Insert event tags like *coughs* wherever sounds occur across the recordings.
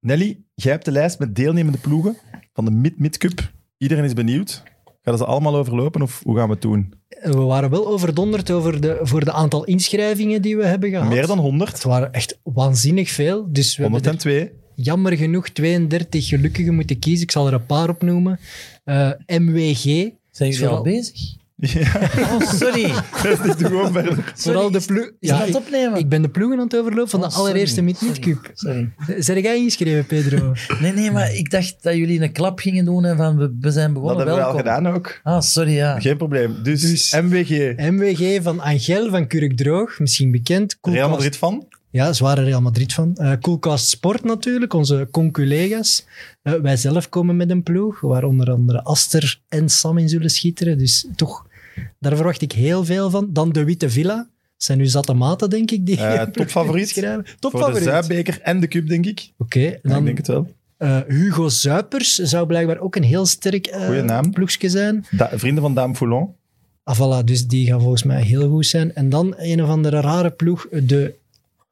Nelly, jij hebt de lijst met deelnemende ploegen van de Mid-Mid Cup. Iedereen is benieuwd. Gaan ze allemaal overlopen of hoe gaan we het doen? Eh, We waren wel overdonderd over de, voor de aantal inschrijvingen die we hebben gehad. Meer dan Het 100. waren echt waanzinnig veel. Dus we hebben er *laughs* 102. jammer genoeg 32 gelukkigen moeten kiezen. Ik zal er een paar opnoemen. Eh, MWG. Zijn jullie al Vooral- bezig? Ja, Oh, sorry. dat is gewoon verder. Vooral de ploeg. Is dat ik, opnemen? ik ben de ploegen aan het overlopen van Oh, de allereerste sorry. Mid-Mid Sorry. Cup. Sorry. Zijn jij ingeschreven, *laughs* Pedro? Nee, nee, maar ik dacht dat jullie een klap gingen doen en van we, we zijn Dat begonnen. hebben we al Welkom. gedaan ook. Ah, sorry, ja. Geen probleem. Dus, MWG, MWG van Angel van Kurkdroog, misschien bekend. Real Koelkast- Madrid van. *laughs* Ja, zware Real Madrid van. Eh Coolcast Sport natuurlijk, onze conculega's. Eh, wij zelf komen met een ploeg, waar onder andere Aster en Sam in zullen schitteren. Dus toch, daar verwacht ik heel veel van. Dan de Witte Villa. Zijn nu zatte maten, denk ik. Die *laughs* Eh, topfavoriet. schrijven. Voor de Topfavoriet. Oké, Zuidbeker en de Cup, denk ik. en Ja, ik dan denk het wel. eh, Hugo Zuipers zou blijkbaar ook een heel sterk Goeie eh naam. ploegje zijn. Da- vrienden van Dame Foulon. Ah, voilà, dus die gaan volgens mij heel goed zijn. En dan een of andere rare ploeg, de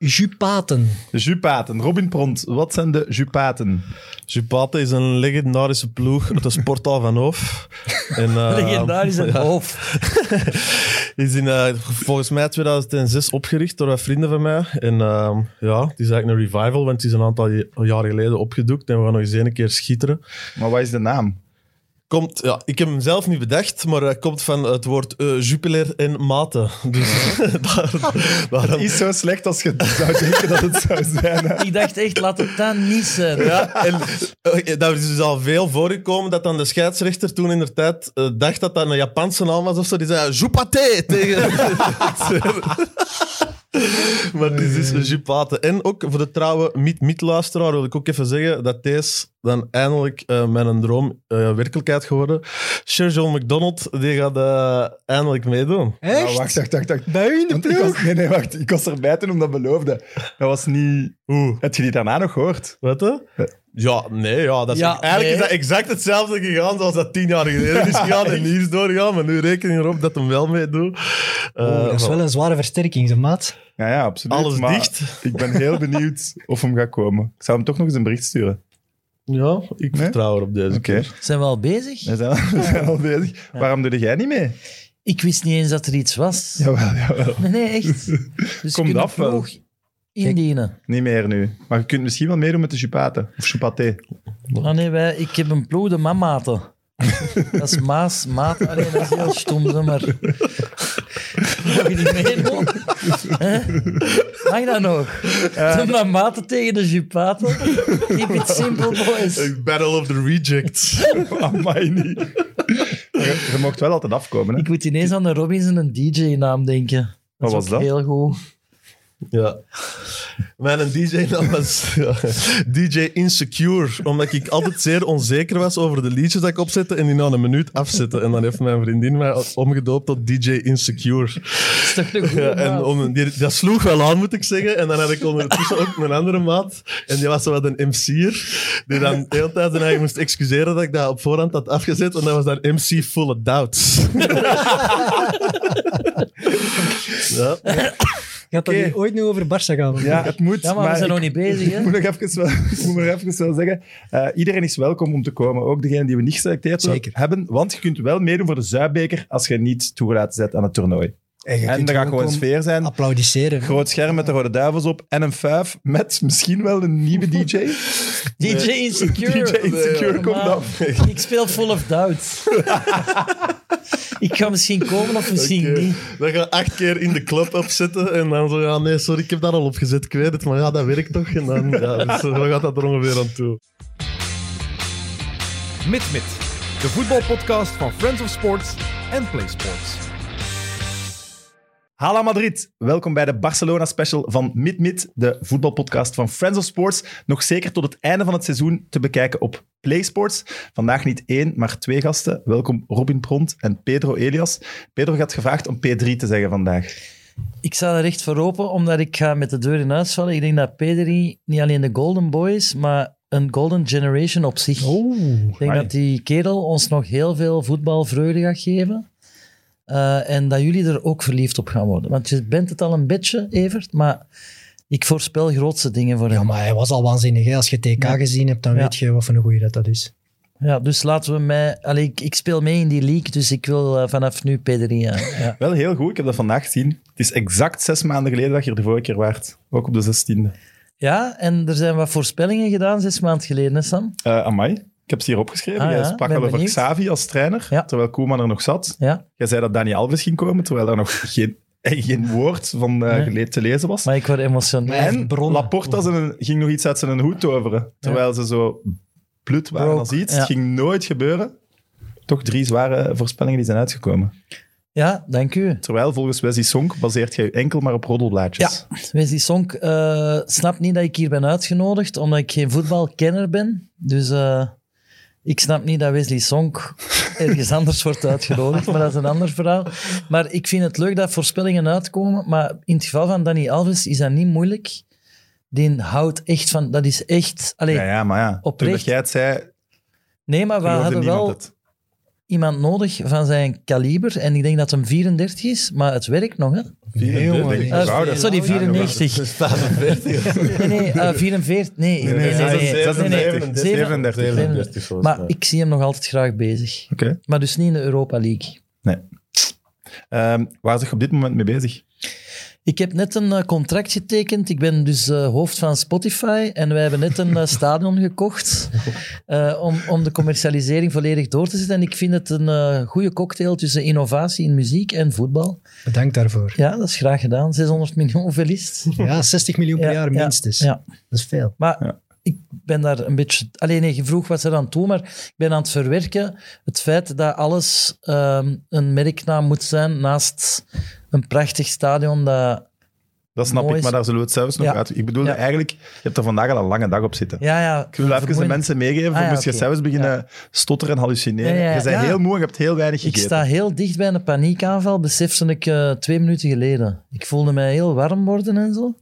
Jupaten. De Jupaten. Robin Pront, wat zijn de Jupaten? Jupate is een legendarische ploeg uit de sporthal van Hoof. En, eh, Legendarische ja, hoofd. is in, eh, volgens mij 2006 opgericht door wat vrienden van mij. En ehm, ja, het is eigenlijk een revival, want het is een aantal j- jaar geleden opgedoekt. En we gaan nog eens een keer schitteren. Maar wat is de *laughs* naam? Komt, ja, ik heb hem zelf niet bedacht, maar hij komt van het woord eh jupiler en mate. Dus *laughs* daar, daarom- Is zo slecht als je zou denken dat het zou zijn. hè? Ik dacht echt, laat het dan niet zijn. Ja, *laughs* en eh, dat is dus al veel voorgekomen dat dan de scheidsrechter toen in de tijd eh, dacht dat dat een Japanse naam was of zo. Die zei Jupate tegen. *laughs* maar dit is dus Jupate. En ook voor de trouwe Miet-Miet-luisteraar wil ik ook even zeggen dat deze dan eindelijk eh, mijn droom eh, werkelijkheid geworden. Sir John McDonald, die gaat eh, eindelijk meedoen. Echt? Nou, wacht, wacht, wacht. wacht. Bij u in de Want ik ploeg? was, nee, nee, wacht. Ik was erbij toen omdat beloofde. Dat was niet... Oeh. Heb je die daarna nog gehoord? Wat hè? Ja, nee, ja. Dat is, Ja, eigenlijk is nee. dat exact hetzelfde gegaan zoals dat tien jaar geleden is gegaan en hier is doorgegaan. Maar nu reken je erop dat hem wel meedoet. Eh, Oh, dat is wel een zware versterking, zeg, maat. Ja, ja, absoluut. Alles maar dicht. Ik ben heel benieuwd of hem gaat komen. Ik zou hem toch nog eens een bericht sturen. Ja, ik Nee? vertrouw erop deze Oké, keer. Zijn we al bezig? we, zijn, we zijn al bezig. Waarom doe jij niet mee? Ik wist niet eens dat er iets was. Jawel, jawel. Nee, nee, *laughs* echt. Dus Komt je kunt af wel. vroeg indienen. Niet meer nu. Maar je kunt misschien wel meedoen met de Chupaten. Of Chupaté. Ah, nee, wij, ik heb een ploeg de mamaten. *laughs* Dat is Maas, Maat. Allee, dat is heel stom, zeg maar. Mag je niet meedoen? Hè? Mag dat nog? De mamaten tegen de jupaten. Keep it simple, boys. Battle of the Rejects. Amai, niet. Je, je mocht wel altijd afkomen, hè? Ik moet ineens aan de Robbins en een DJ-naam denken. Wat Dat is was ook dat? Heel goed. ja. Mijn DJ-naam was ja, DJ Insecure, omdat ik altijd zeer onzeker was over de liedjes dat ik opzette en die na een minuut afzette. En dan heeft mijn vriendin mij omgedoopt tot DJ Insecure. Dat is toch een goede Ja, en naam? om, die, dat sloeg wel aan, moet ik zeggen. En dan had ik ondertussen ook mijn andere maat. En die was zo wat een MC'er. Die dan de hele tijd en moest excuseren dat ik dat op voorhand had afgezet. En dat was dan MC Full of Doubts. *laughs* ja. Gaat dat Oké. hier ooit nu over Barça gaan? Ja, het moet. Ja, maar we zijn nog niet bezig, Ik hè? *laughs* moet, nog even wel, ik moet nog even wel zeggen, eh, iedereen is welkom om te komen. Ook degenen die we niet geselecteerd Zeker. hebben. Want je kunt wel meedoen voor de Zuidbeker als je niet toegelaten bent aan het toernooi. En, en er gaat gewoon sfeer zijn. Applaudisseren. Groot scherm met de rode duivels op en een fuif met misschien wel een nieuwe *laughs* DJ. DJ Insecure. DJ Insecure Nee, komt maar af. Ik speel Full of Doubt. *laughs* ik ga misschien komen of misschien Oké. niet. Dan ga ik acht keer in de club opzetten. En dan zo, ja, nee, sorry, ik heb dat al opgezet. Ik weet het, maar ja, dat werkt toch. En dan, ja, dus zo gaat dat er ongeveer aan toe. MidMid, de voetbalpodcast van Friends of Sports en Play Sports. Hala Madrid, welkom bij de Barcelona special van MidMid, de voetbalpodcast van Friends of Sports. Nog zeker tot het einde van het seizoen te bekijken op PlaySports. Vandaag niet één, maar twee gasten. Welkom Robin Pront en Pedro Elias. Pedro gaat gevraagd om P3 te zeggen vandaag. Ik sta er echt voor open, omdat ik ga met de deur in huis vallen. Ik denk dat Pedri niet alleen de Golden Boy is, maar een Golden Generation op zich. Oeh. Ik denk Oh, Amai. dat die kerel ons nog heel veel voetbalvreugde gaat geven. Eh, en dat jullie er ook verliefd op gaan worden. Want je bent het al een beetje, Evert, maar Ik voorspel grootste dingen voor Ja, hem. maar hij was al waanzinnig. Hè? Als je TK Ja. gezien hebt, dan Ja. weet je wat voor een goeie dat, dat is. Ja, dus laten we mij... Allee, ik, ik speel mee in die league, dus ik wil eh, vanaf nu P3 aan. *laughs* Ja. Wel heel goed, ik heb dat vandaag gezien. Het is exact zes maanden geleden dat je er de vorige keer waart. Ook op de 16e. ja, en er zijn wat voorspellingen gedaan zes maanden geleden, hè, Sam? Eh amai, ik heb ze hier opgeschreven. Ah, Jij ja, sprak al ben over benieuwd. Xavi als trainer, Ja. terwijl Koeman er nog zat. Ja. Jij zei dat Dani Alves ging komen, terwijl er nog *laughs* geen, eh, geen woord van eh, Nee. gele- te lezen was. Maar ik word emotioneel. hij heeft En bronnen. Laporta zijn- ging nog iets uit zijn hoed toveren. Terwijl ze zo blut waren Broke, als iets. ja. Het ging nooit gebeuren. Toch drie zware voorspellingen die zijn uitgekomen. Ja, dank u. Terwijl volgens Wesley Sonk baseert jij je enkel maar op roddelblaadjes. Wesley Sonk eh snapt niet dat ik hier ben uitgenodigd, omdat ik geen voetbalkenner ben. Dus eh, ik snap niet dat Wesley Sonk ergens *laughs* anders wordt uitgenodigd, maar dat is een ander verhaal. Maar ik vind het leuk dat voorspellingen uitkomen, maar in het geval van Danny Alves is dat niet moeilijk. Die houdt echt van... Dat is echt... Allee, Ja, ja, maar ja. Oprecht. Toen dat jij het zei, Nee, maar we geloofde hebben niemand wel het. iemand nodig van zijn kaliber. En ik denk dat hem 34 is, maar het werkt nog, hè? Eh, Zo oud is sorry, het. Ja, 94. Nee, nee, eh, 44. Nee, nee, nee. nee, nee, nee, nee. 37. 37. Maar ik zie hem nog altijd graag bezig. Oké. Maar dus niet in de Europa League. Ehm, waar is je op dit moment mee bezig? Ik heb net een eh, contract getekend. Ik ben dus eh, hoofd van Spotify. En wij hebben net een eh, stadion *laughs* gekocht. eh, om, om de commercialisering volledig door te zetten. En ik vind het een eh, goede cocktail tussen innovatie in muziek en voetbal. Bedankt daarvoor. Ja, dat is graag gedaan. 600 miljoen, hoeveel is het? Ja, 60 miljoen per Ja, jaar ja, minstens. ja. Dat is veel. Maar Ja. ik ben daar een beetje... Alleen nee, je vroeg wat ze aan toe, maar ik ben aan het verwerken het feit dat alles ehm, een merknaam moet zijn naast een prachtig stadion dat... Dat snap Mooi ik, is- maar daar zullen we het zelfs nog Ja. uit. Ik bedoel Ja. eigenlijk, je hebt er vandaag al een lange dag op zitten. Ja, ja. Ik wil even de vermoeiend. mensen meegeven, Ah, ja, moest je oké. zelfs beginnen stotteren en hallucineren. Ja, ja, je bent ja. heel moe en je hebt heel weinig Ik gegeten. sta heel dicht bij een paniekaanval, besefte ik eh, twee minuten geleden. Ik voelde mij heel warm worden en zo.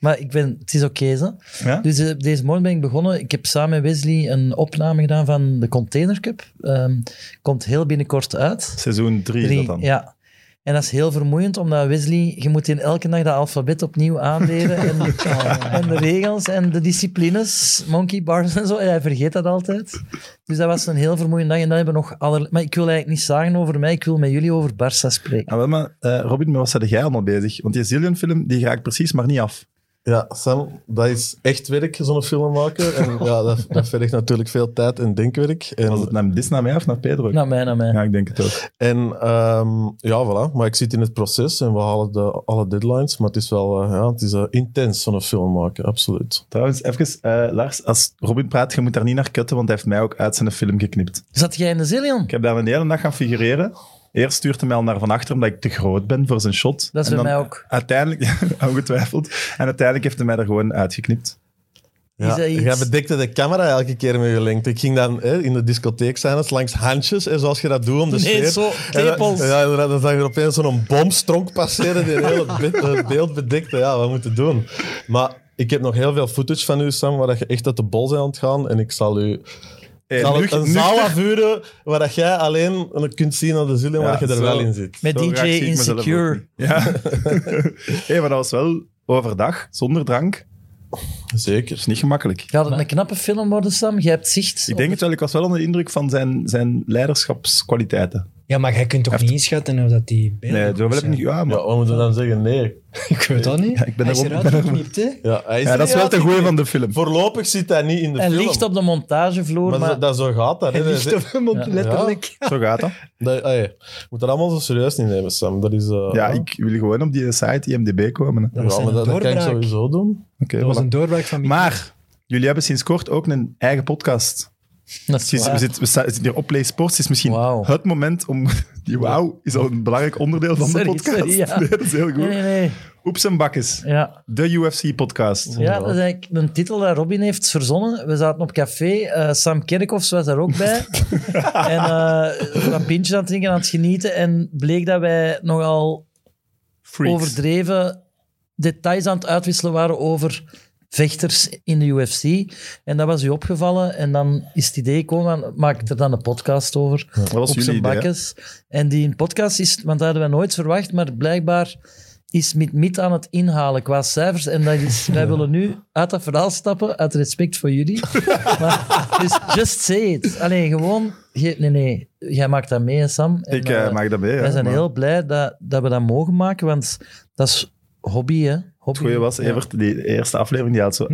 Maar ik ben, het is oké, zo. Ja? Dus eh, deze morgen ben ik begonnen. Ik heb samen met Wesley een opname gedaan van de Container Cup. Ehm, komt heel binnenkort uit. Seizoen 3 is Drie, dat dan. Ja. En dat is heel vermoeiend, omdat Wesley, je moet in elke dag dat alfabet opnieuw aanleren. en, *laughs* en de regels en de disciplines, monkey bars en zo. En hij vergeet dat altijd. Dus dat was een heel vermoeiende dag. En dan hebben we nog allerlei... Maar ik wil eigenlijk niet zagen over mij, ik wil met jullie over Barça spreken. Ah, wel, maar eh, Robin, met wat zijn jij allemaal bezig? Want die Zillion-film, die raakt precies maar niet af. Ja, Sam, dat is echt werk, zo'n film maken. En ja, dat, dat vergt natuurlijk veel tijd en denkwerk. Was En, het naar, dit naar mij of naar Pedro? Naar mij, naar mij. Ja, ik denk het ook. en ehm, ja, voilà. Maar ik zit in het proces en we halen de, alle deadlines. Maar het is wel eh, ja, het is, eh, intens, zo'n film maken, absoluut. Trouwens, even, eh, Lars, als Robin praat, je moet daar niet naar kutten, want hij heeft mij ook uit zijn film geknipt. Zat jij in de Zillion? Ik heb daar een hele dag gaan figureren. Eerst stuurt hij mij al naar van achter, omdat ik te groot ben voor zijn shot. Dat is En bij dan mij ook. Uiteindelijk, *laughs* ongetwijfeld. En uiteindelijk heeft hij mij er gewoon uitgeknipt. Is Ja, dat iets- Jij bedekte de camera elke keer met je lengte. Ik ging dan hè, in de discotheek zijn, dus langs handjes, en zoals je dat doet om de Nee, sfeer. zo, En dan- tepels. Ja, inderdaad, dan zag je opeens zo'n bomstronk passeren die het hele *laughs* be- het beeld bedekte. Ja, wat moeten doen? Maar ik heb nog heel veel footage van u, Sam, waar dat je echt uit de bol bent aan het gaan. En ik zal u Hey, zal nu- een nu- zaal afvuren waar dat jij alleen kunt zien aan de ziel en Ja, waar dat je er zo. wel in zit. Met Zo DJ graag zie ik mezelf ook Insecure. niet. Ja. *laughs* hey, maar dat was wel overdag, zonder drank. Dat Zeker. is niet gemakkelijk. Gaat het een knappe film worden, Sam? Jij hebt zicht. Ik denk het wel, ik was wel onder de indruk van zijn, zijn leiderschapskwaliteiten. Ja, maar jij kunt toch niet inschatten of dat die beelden Nee, goed zo wil ik zijn? niet. Ja, maar Ja, wat moeten we dan zeggen? Nee. Ik weet dat niet. Ja, ik ben Hij is daarom- eruit geknipt, hè? Ja, hij is ja, dat is wel eruit te goeie geknipt. van de film. Voorlopig zit hij niet in de En film. ligt op de montagevloer, Maar, maar... zo- dat zo gaat dat. hè. Hij ligt Dat is- op hem op, Ja. letterlijk. Zo gaat dat. Dat, ah, ja. Je moet dat allemaal zo serieus niet nemen, Sam. Dat is... eh, Ja, ik wil gewoon op die site IMDB komen. hè. ja, Dat was maar een dat, dat kan ik doorbraak. sowieso doen. Oké, Dat was voilà. een doorbraak van Mickey. Maar jullie hebben sinds kort ook een eigen podcast. dat is Het is- waar. we, zitten, we sta- we zitten hier op Play Sports. Het is misschien Wauw. het moment om... Die wauw is al een belangrijk onderdeel van Sorry, de podcast. sorry, ja. *laughs* Nee, dat is heel goed. Nee, nee, nee. Oeps en bakkes. Ja. De UFC-podcast. Ja, dat is eigenlijk een titel dat Robin heeft verzonnen. We zaten op café, eh, Sam Kerkhoffs was daar ook bij. en eh wat pintjes aan het drinken, aan het genieten. En bleek dat wij nogal overdreven details aan het uitwisselen waren over vechters in de UFC. En dat was u opgevallen. En dan is het idee gekomen, van, maak er dan een podcast over. Dat was op jullie zijn idee. hè? bakkes. En die podcast is, want dat hadden we nooit verwacht, maar blijkbaar is met mit aan het inhalen qua cijfers. En dat is, wij willen nu uit dat verhaal stappen, uit respect voor *laughs* jullie. maar, dus just say it. Allee, gewoon... ge- nee, nee. Jij maakt dat mee, hè, Sam. En, Ik eh, eh, maak dat mee. Wij ja, zijn maar heel blij dat, dat we dat mogen maken, want dat is hobby, hè. Hobby. Het goede was, Evert, die eerste aflevering die had Hm. zo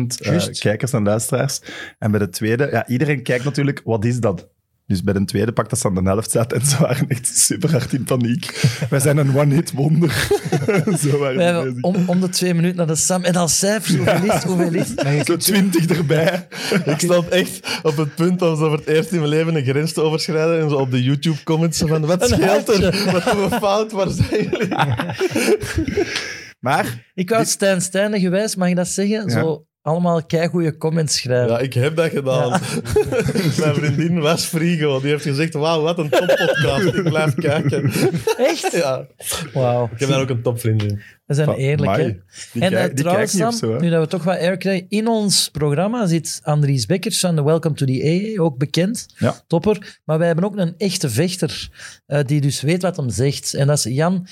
11.000 eh, Juist. kijkers en luisteraars. En bij de tweede, ja, iedereen kijkt natuurlijk, wat is dat? Dus bij de tweede pak dat ze aan de helft zaten en ze waren echt super hard in paniek. Wij zijn een one-hit wonder. *laughs* zo waren We ze hebben bezig. om, om de twee minuten naar de Sam en dan cijfers. Hoeveel is het? Hoeveel is het? Zo twintig erbij. *laughs* Ik stond echt op het punt om zo voor het eerst in mijn leven een grens te overschrijden en zo op de YouTube-comments zo van wat scheelt er? Wat hebben we fout? Waar zijn jullie? Maar Ik wou het Stijn Stijnen gewijs, mag je dat zeggen? Zo allemaal keigoede comments schrijven. *laughs* Ja, ik heb dat gedaan. *laughs* Mijn vriendin was Frigo. Die heeft gezegd, wauw, wat een toppodcast. Ik blijf kijken. Echt? *laughs* Ja. Wauw. Ik heb daar ook een topvriendin. We zijn Van, eerlijk, amai. hè. die, en kijk- eh, die kijkt trouwens, niet Sam, of zo. hè. nu dat we toch wat air krijgen, in ons programma zit Andries Bekkers van de Welcome to the AA, ook bekend, Ja. topper. Maar wij hebben ook een echte vechter, eh, die dus weet wat hem zegt. En dat is Jan...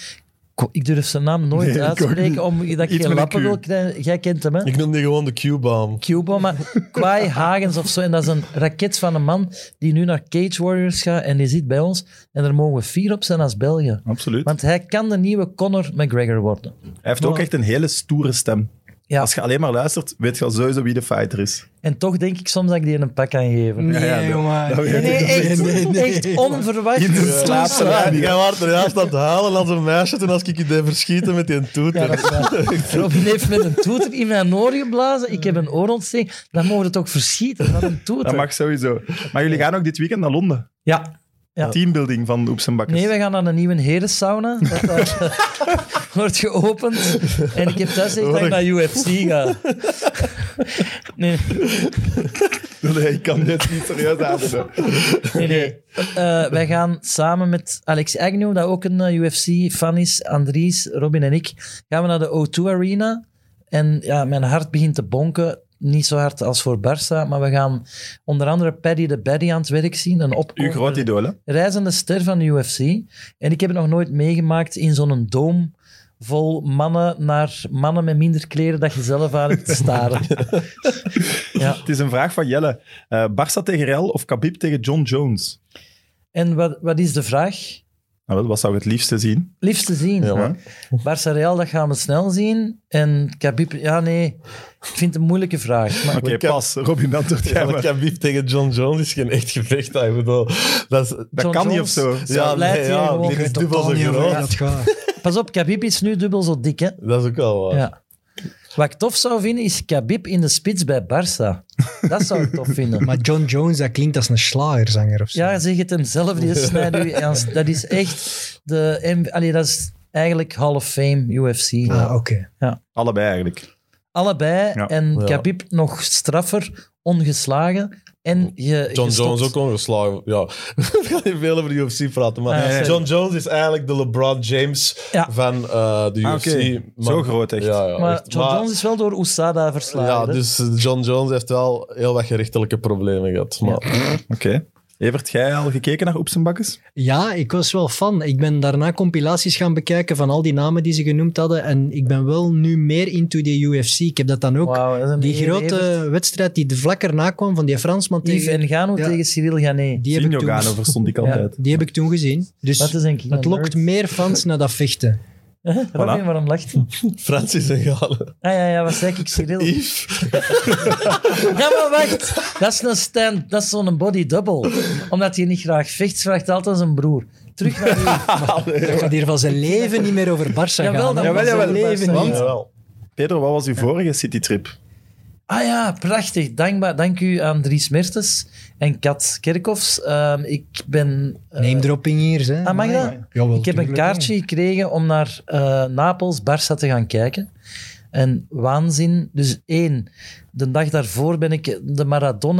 Ko- Ik durf zijn naam nooit Nee, ik ook uit te niet. spreken, omdat Iets ik met geen een lappen Q. wil krijgen. Jij kent hem, hè? Ik noem die gewoon de Q-bomb. Cubo, maar Kwai Hagens of zo. En dat is een raket van een man die nu naar Cage Warriors gaat en die zit bij ons. En daar mogen we fier op zijn als België. Absoluut. Want hij kan de nieuwe Conor McGregor worden. Hij heeft ook echt een hele stoere stem. Ja, Als je alleen maar luistert, weet je al sowieso wie de fighter is. en toch denk ik soms dat ik die een pak kan geven. Nee, ja, dat- jongen. dat- Nee, nee, echt, nee, nee. echt onverwacht. In de Ja, slaapsalon. die gaan waard ernaast aan het halen als een meisje toen als ik je deed verschieten met die Ja, toeter. dat is waar. Robin heeft met een toeter in mijn oor geblazen. Ik heb een oorontsteking. Dan mogen we toch verschieten. Wat een toeter. Dat mag sowieso. Maar jullie gaan ook dit weekend naar Londen. Ja. Ja. Teambuilding van Oeps en Bakkers. Nee, we gaan naar een nieuwe herensauna. Dat daar wordt geopend. En ik heb thuis gezegd dat ik naar UFC ga. Nee, *laughs* Nee, ik kan dit niet serieus aandoen. nee, nee. Eh, wij gaan samen met Alex Agnew, dat ook een eh, UFC-fan is, Andries, Robin en ik, gaan we naar de O2 Arena. En ja, mijn hart begint te bonken. Niet zo hard als voor Barça, maar we gaan onder andere Paddy de Baddy aan het werk zien. Een Uw opkomende- groot idool, hè? reizende ster van de UFC. En ik heb het nog nooit meegemaakt in zo'n doom vol mannen naar mannen met minder kleren dat je zelf aan hebt te staren. ja. Het is een vraag van Jelle. Eh Barça tegen Real of Khabib tegen John Jones? En wat, wat is de vraag? Nou, wel, wat zou je het liefste zien? Liefst te zien. Ja. Barça Real, dat gaan we snel zien. En Khabib, ja nee, ik vind het een moeilijke vraag. Maar Oké, Ik kan- pas. Robin, antwoord jij ik maar. heb beef tegen John Jones is geen echt gevecht. Ik bedoel, dat is... Dat John kan niet of Jones, zo. zou blijft nee, hier ja, gewoon- dit is Totaal dubbel zo niet over groot. dat gaat. Pas op, Khabib is nu dubbel zo dik, hè? Dat is ook wel waar. Ja. Wat ik tof zou vinden, is Khabib in de spits bij Barça. Dat zou ik tof vinden. Maar John Jones, dat klinkt als een slagerzanger of zo. Ja, zeg het hem zelf, die snijden u aan. Dat is echt de... M- Allee, dat is eigenlijk Hall of Fame UFC. Ah, oké. Allebei eigenlijk. Allebei. Ja. En Ja. Khabib nog straffer, ongeslagen. En je, John je stopt- Jones ook ongeslagen. Ja, *laughs* we gaan niet veel over de UFC praten, maar Ja, sorry. John Jones is eigenlijk de LeBron James Ja. van eh, de UFC. Ah, oké. maar- Zo groot echt. Ja, ja, Maar echt. John Maar- Jones is wel door Usada verslagen. Ja, hè? dus John Jones heeft wel heel wat gerechtelijke problemen gehad. Maar Oké. Evert, jij al gekeken naar Oeps en Bakkers? Ja, ik was wel fan. Ik ben daarna compilaties gaan bekijken van al die namen die ze genoemd hadden. En ik ben wel nu meer into de UFC. Ik heb dat dan ook. Wauw, dat is een die eer, grote Evert. wedstrijd die de vlak erna kwam van die Fransman Yves tegen... Ngannou Ja. tegen Cyril Gane. Die heb, ik Sinjo Gano toen, verstond ik altijd. die heb ik toen gezien. Dus Wat is denk ik het een lokt nerd? meer fans naar dat *laughs* vechten. Robin, waarom lacht hij? *laughs* Francis en Galen. Ah ja, ja, wat zei ik? Cyril. Yves. Ja, maar wacht. Dat is een stand, dat is zo'n body double. Omdat hij niet graag vecht, vraagt altijd zijn broer. Terug naar u. Dat gaat hier van zijn leven niet meer over Barça gaan. Jawel, dat hè. was Zijn een leven Barça. niet. Jawel. Pedro, wat was uw vorige citytrip? Ah ja, prachtig. Dankbaar. Dank u aan Dries Mertens en Kat Kerkhoffs. Ehm, ik ben... eh, Name-dropping hier, hè. Ah, mag dat? Amai. Jawel, ik heb een tuurlijk, hè. kaartje gekregen om naar eh, Napels, Barça te gaan kijken. En waanzin. Dus één, de dag daarvoor ben ik de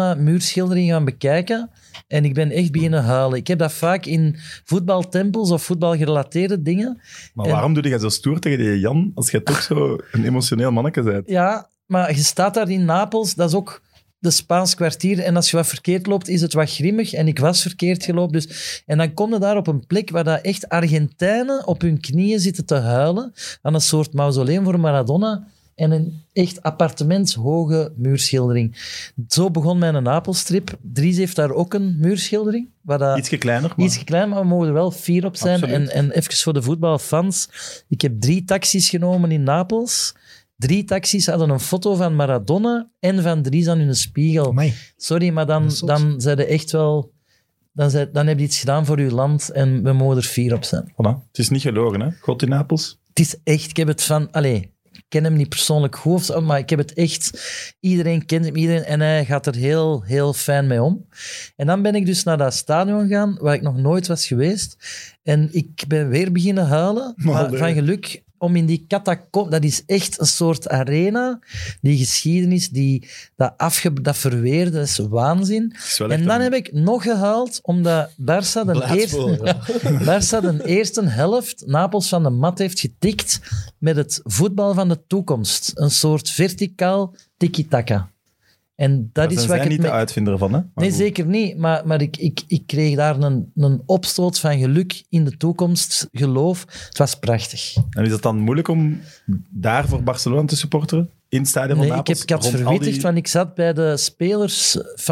Maradona-muurschildering gaan bekijken. En ik ben echt beginnen huilen. Ik heb dat vaak in voetbaltempels of voetbalgerelateerde dingen. Maar Ja. waarom doe jij zo stoer tegen die Jan, als jij toch zo een emotioneel manneke bent? Ja, maar je staat daar in Napels, dat is ook de Spaans kwartier. En als je wat verkeerd loopt, is het wat grimmig. En ik was verkeerd gelopen. Dus... En dan kom je daar op een plek waar dat echt Argentijnen op hun knieën zitten te huilen. Aan een soort mausoleum voor Maradona. En een echt appartementshoge muurschildering. Zo begon mijn Napelstrip. Dries heeft daar ook een muurschildering. Waar dat... Ietsje kleiner, maar... Iets klein, maar we mogen er wel fier op zijn. Absoluut. En, en even voor de voetbalfans. Ik heb drie taxis genomen in Napels. Drie taxis hadden een foto van Maradona en van Dries aan hun spiegel. Amai. Sorry, maar dan, Dat is zot. dan zijn ze echt wel... Dan, zijn, dan heb je iets gedaan voor uw land en we mogen er fier op zijn. Voilà. Het is niet gelogen, hè? God in Napels. Het is echt... Ik heb het van... Allez, ik ken hem niet persoonlijk goed, of zo, maar ik heb het echt... Iedereen kent hem, iedereen... En hij gaat er heel, heel fijn mee om. En dan ben ik dus naar dat stadion gegaan, waar ik nog nooit was geweest. En ik ben weer beginnen huilen, maar Oh, nee. van geluk om in die catacomb, dat is echt een soort arena, die geschiedenis, die, dat, afge, dat verweerde, dat is waanzin. Het is wel echt En dan een- heb ik nog gehuild, omdat Barça de, Blaadspoor, eerste, Barça de eerste helft Napels van de mat heeft getikt met het voetbal van de toekomst. Een soort verticaal tiki-taka. En dat Maar is zijn wat zij ik niet het de me- uitvinder van, hè? Maar Nee, goed. zeker niet. Maar, maar ik, ik, ik kreeg daar een, een opstoot van geluk in de toekomst, geloof. Het was prachtig. En is het dan moeilijk om daar voor Barcelona te supporteren? In het stadion Nee, van ik, heb, Napels? ik had Rond al verwittigd, die- want ik zat bij de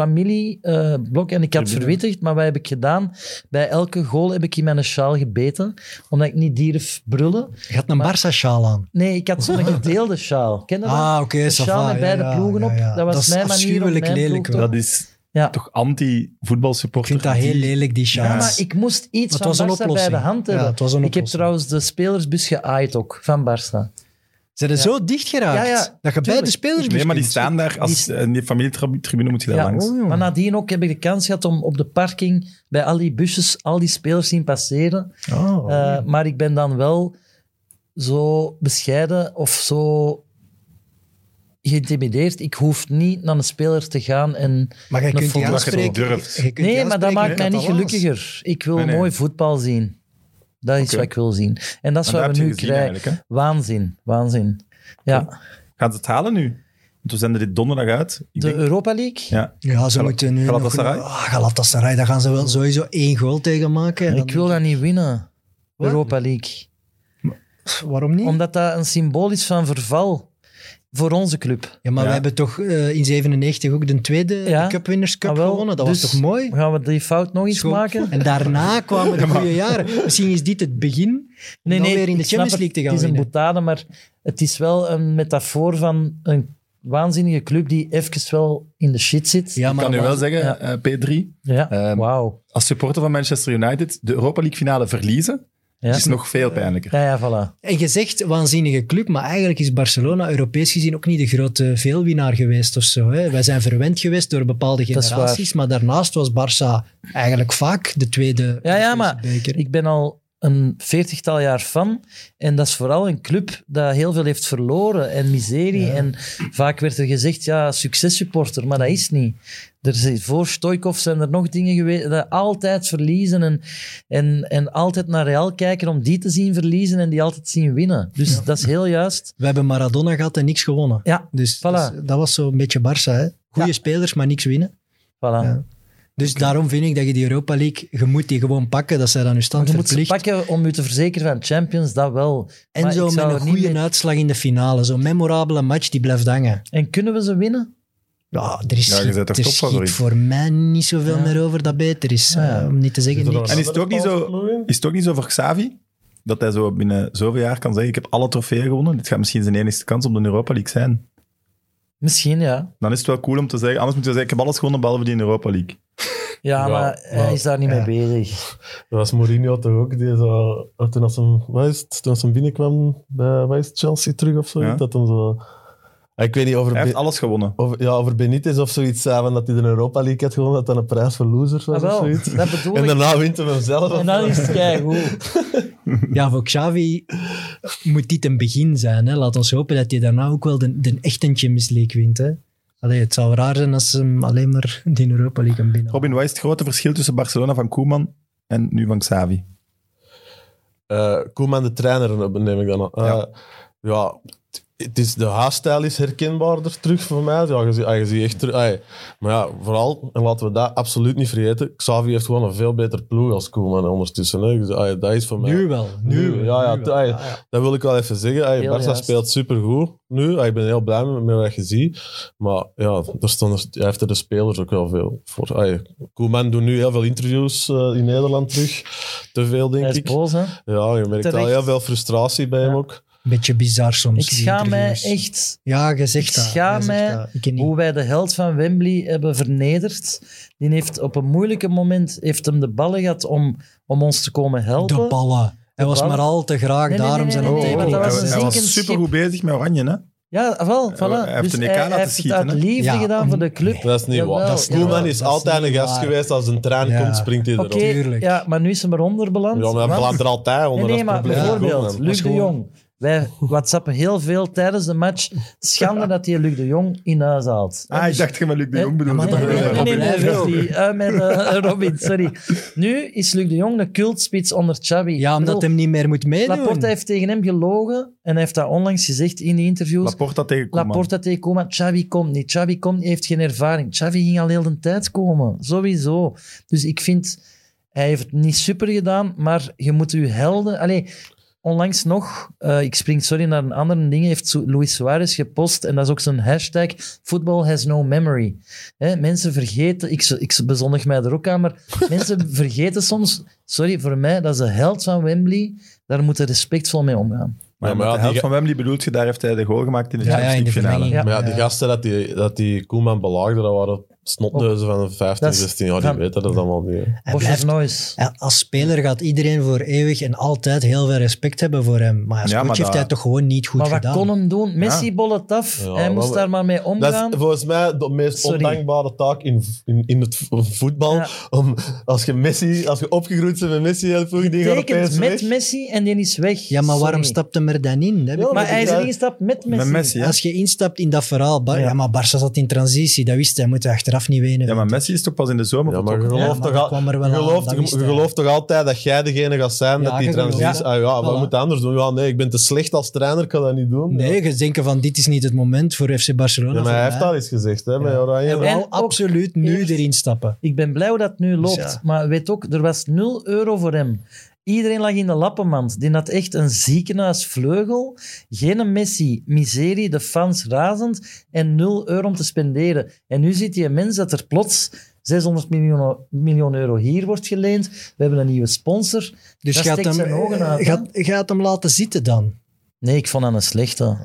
spelersfamilieblok en ik had Tribune. verwittigd, maar wat heb ik gedaan? Bij elke goal heb ik in mijn sjaal gebeten, omdat ik niet dierf brullen. Je had een Maar- Barça-sjaal aan. Nee, ik *laughs* had zo'n gedeelde sjaal. Ken je dat? Ah, oké, Een ça sjaal va, met ja, beide ja, ploegen ja, op. ja. Dat was Dat is mijn manier om afschuwelijk mijn lelijk, ploeg te- Dat is Ja. toch anti-voetbalsupporter? Ik vind dat heel Die- lelijk, die sjaal. Ja, maar ik moest iets Maar het was van een Barça bij de oplossing. hand Ja, hebben. het was een ik heb oplossing. trouwens de spelersbus geaaid ook, van Barça. Zijn er Ja. zo dicht geraakt Ja, ja, dat je bij tuurlijk. de spelers Nee, maar die kunt. staan daar als Die- in die familietribune moet je daar Ja, langs. oh, ja. Maar nadien ook heb ik de kans gehad om op de parking bij al die busjes al die spelers zien passeren. Oh. Eh, maar ik ben dan wel zo bescheiden of zo geïntimideerd. Ik hoef niet naar een speler te gaan en... maar je dat kunt vond die ik- aanspreken. durft. Je kunt die Nee, maar dat aanspreken maakt in mij niet Catalaans. gelukkiger. Ik wil Nee, nee. mooi voetbal zien. Dat is Oké. wat ik wil zien. En dat is En dat wat heb we je nu gezien krijgen. eigenlijk, hè? Waanzin, waanzin. Ja, Gaan ze het halen nu? Want we zenden dit donderdag uit. Ik de denk, Europa League. ja. Ja, ze Gal- moeten nu Galatasaray? Nog, Ah, Galatasaray, daar gaan ze wel sowieso één goal tegen maken. En Ik dan- wil dat niet winnen. Europa League. Waarom niet? Omdat dat een symbool is van verval voor onze club. Ja, maar Ja. we hebben toch eh, in 97 ook de tweede Ja. Cupwinners Cup Ah, wel, gewonnen. Dat dus- was toch mooi? Gaan we die fout nog eens Schoon. maken? *laughs* En *laughs* daarna kwamen de Ja, maar- goede jaren. Misschien is dit het begin om dan weer in de ik snap Champions League het. te gaan Het is een winnen. boutade, maar het is wel een metafoor van een waanzinnige club die even wel in de shit zit. Ja, Ik maar kan nu wel wat- zeggen, ja. eh, P3, Ja, Ehm, wauw. als supporter van Manchester United, de Europa League finale verliezen, Ja. is nog veel pijnlijker. Ja, ja, voilà. En je zegt waanzinnige club, maar eigenlijk is Barcelona Europees gezien ook niet de grote veelwinnaar geweest of zo. Hè? Wij zijn verwend geweest door bepaalde is generaties, maar daarnaast was Barça eigenlijk vaak de tweede Ja, ja, Europese maar Dus beker. Ik ben al een veertigtal jaar fan en dat is vooral een club dat heel veel heeft verloren en miserie. En vaak werd er gezegd, ja, successupporter, maar dat is niet. Er zijn, voor Stoikov zijn er nog dingen geweest, dat altijd verliezen en, en, en altijd naar Real kijken om die te zien verliezen en die altijd zien winnen. Dus dat is heel juist. We hebben Maradona gehad en niks gewonnen. Ja, Dus, Voilà. dus dat was zo'n beetje Barça. hè. Goede Ja. spelers, maar niks winnen. voilà. Ja. Dus daarom vind ik dat je die Europa League, je moet die gewoon pakken. Dat zij dan nu stand Je moet ze verplicht. pakken om je te verzekeren van Champions, dat wel. En Maar zo ik met zou een er niet goede mee- uitslag in de finale. Zo'n memorabele match die blijft hangen. En kunnen we ze winnen? Ja, er is, Ja, je bent toch er schiet topfavoriet? voor mij niet zoveel Ja. meer over dat beter is. Ja. eh, om niet te zeggen Zit er niks. En is het ook niet zo- Ploegen? Is het ook niet zo voor Xavi? Dat hij zo binnen zoveel jaar kan zeggen, ik heb alle trofeeën gewonnen. Dit gaat misschien zijn enigste kans om de Europa League zijn. Misschien, ja. Dan is het wel cool om te zeggen, anders moet je zeggen, ik heb alles gewonnen behalve die in Europa League. Ja, Ja, maar hij maar- is daar niet ja. mee bezig. Dat was Mourinho toch ook, die zo, toen als hem, wat is het, toen als hem binnenkwam bij wat is het, Chelsea terug of zo, Ja. dat hem zo... Ah, Ik weet niet over, Hij heeft Be- alles gewonnen. over, ja, over Benitez of zoiets, zei van dat hij de Europa League had gewonnen, dat dat een prijs voor losers was Ah, wel, of zoiets. dat bedoel En ik. daarna wint hem hem zelf. En dan is het keigoed. Ja, voor Xavi moet dit een begin zijn. Hè. Laat ons hopen dat hij daarna ook wel de, de echte Champions League wint. Hè. Allee, het zou raar zijn als ze hem alleen maar die Europa League gaan binnen. Robin, wat is het grote verschil tussen Barcelona van Koeman en nu van Xavi? Eh, Koeman de trainer neem ik dan al. Eh, ja. het is, de haarstijl is herkenbaarder terug voor mij. Ja, je, ziet- ah, je ziet echt terug. ah, ja. maar ja, vooral, en laten we dat absoluut niet vergeten, Xavi heeft gewoon een veel beter ploeg als Koeman ondertussen. Hè. Dus, ah, ja, dat is voor mij... Nu wel. Nu, ja, ja, nu t- ah, ja. Dat wil ik wel even zeggen. Hey, Heel Barca juist. speelt supergoed nu. Ah, Ik ben heel blij met, met wat je ziet. Maar ja, er staan er, hij heeft er de spelers ook wel veel voor. Ay, Koeman doet nu heel veel interviews eh, in Nederland terug. Te veel, denk Hij is ik. boos, hè? Ja, je merkt al Terecht. heel veel frustratie bij hem Ja. ook. Beetje bizar soms. Ik die schaam mij interviews. echt Ja, je zegt Ik dat. schaam je zegt mij dat. Ik ken niet. hoe wij de held van Wembley hebben vernederd. Die heeft op een moeilijke moment heeft hem de ballen gehad om, om ons te komen helpen. De ballen. Hij was ballen. maar al te graag, Nee, nee, daarom nee, zijn nee, al nee, tepel want dat Oh, hij, was een gezet. hij zinkend was Ah, supergoed bezig met Oranje, hè? Ja, wel, voilà. hij heeft Dus een EK laten heeft schieten, Het hè? uit liefde Ja, gedaan voor om- de club. Dat is niet Jawel, waar. Dat is niet Koeman waar, is dat is altijd niet een gast waar. geweest. Als een trein Ja. komt, springt hij Oké, erop. Tuurlijk. ja, maar nu is hem eronder beland. Ja, maar hij want- belandt er altijd onder. Nee, nee, dat is maar het probleem van bijvoorbeeld, Koeman. Luc de Jong. Wij whatsappen heel veel tijdens de match. Schande dat hij Luc de Jong in huis haalt. Ah, ik dacht dat je met Luc de Eh, Jong bedoelde. maar Nee, nee, nee, nee, nee, Robin. Robin. Eh, met eh, *laughs* Robin, sorry. Nu is Luc de Jong de cultspits onder Xabi. Ja, Ik omdat bedoel, hem niet meer moet meedoen. Laporta heeft tegen hem gelogen en hij heeft dat onlangs gezegd in de interviews. Laporta tegen Koeman. Laporta tegen Koeman, Xavi komt niet. Xavi komt niet, heeft geen ervaring. Xavi ging al heel de tijd komen, sowieso. Dus ik vind, hij heeft het niet super gedaan, maar je moet je helden... Allee, onlangs nog, eh, ik spring sorry naar een ander ding, heeft Su- Luis Suarez gepost, en dat is ook zo'n hashtag, football has no memory. Hè, mensen vergeten, ik, ik bezondig mij er ook *laughs* aan, maar mensen vergeten soms, sorry voor mij, dat is de held van Wembley, daar moeten we respectvol mee omgaan. Maar, Ja, met maar ja, de helft die- van Wembley bedoelt je, daar heeft hij de goal gemaakt in de Ja, ja, Champions in League de finale. verlenging. Ja. Maar ja, die gasten dat die, dat die Koeman belaagden, dat waren snotneuzen van een 15, Dat is- 16 jaar. Die van- weten dat allemaal niet. hè. Hij Of blijft- Noise. Ja, Als speler gaat iedereen voor eeuwig en altijd heel veel respect hebben voor hem. Maar als Ja, coach maar heeft dat- hij toch gewoon niet goed maar wat gedaan. kon hem doen? Messi Ja. bol het af. Ja, hij moest maar- daar maar mee Dat is omgaan. volgens mij de meest Sorry. ondankbare taak in, in, in het vo- voetbal. Ja. Om, als, je Messi, als je opgegroeid bent met Messi, heel vroeg, die gaat opeens Tekent met weg. Messi en die is weg. Ja, maar waarom Sorry. stapt hem er dan in? Dat heb ik Ja, niet Maar hij is Ja. erin gestapt met Messi. Met Messi, hè? Als je instapt in dat verhaal, Bar- Ja. ja. maar Barça zat in transitie, dat wist hij, moet hij achteraf niet wenen. Ja, maar Messi is toch pas in de zomer Ja, maar je vertrokken? Ja, gelooft, maar dat toch, al, kwam er wel je aan, gelooft, dat je wist hij. gelooft toch altijd dat jij degene gaat zijn Ja, dat die je gelooft transitie... dat. Ah ja, wat Voilà. moet anders doen? Ja, nee, ik ben te slecht als trainer, ik kan dat niet doen. nee, je denken van dit is niet het moment voor FC Barcelona. Ja, maar hij voor heeft mij. al iets gezegd, hè, met Oranje. En- Wel ook absoluut nu eerst- erin stappen. Ik ben blij hoe dat nu loopt. ja. Maar weet ook, er was 0 euro voor hem. Iedereen lag in de lappenmand. Die had echt een ziekenhuisvleugel. Geen Messi, miserie, de fans razend. En 0 euro om te spenderen. En nu ziet die mens dat er plots 600 miljoen, miljoen euro hier wordt geleend. We hebben een nieuwe sponsor. Dus Dat gaat steekt hem, zijn ogen uit, hè? gaat, gaat hem laten zitten dan. Nee, ik vond dat een *laughs* slechte.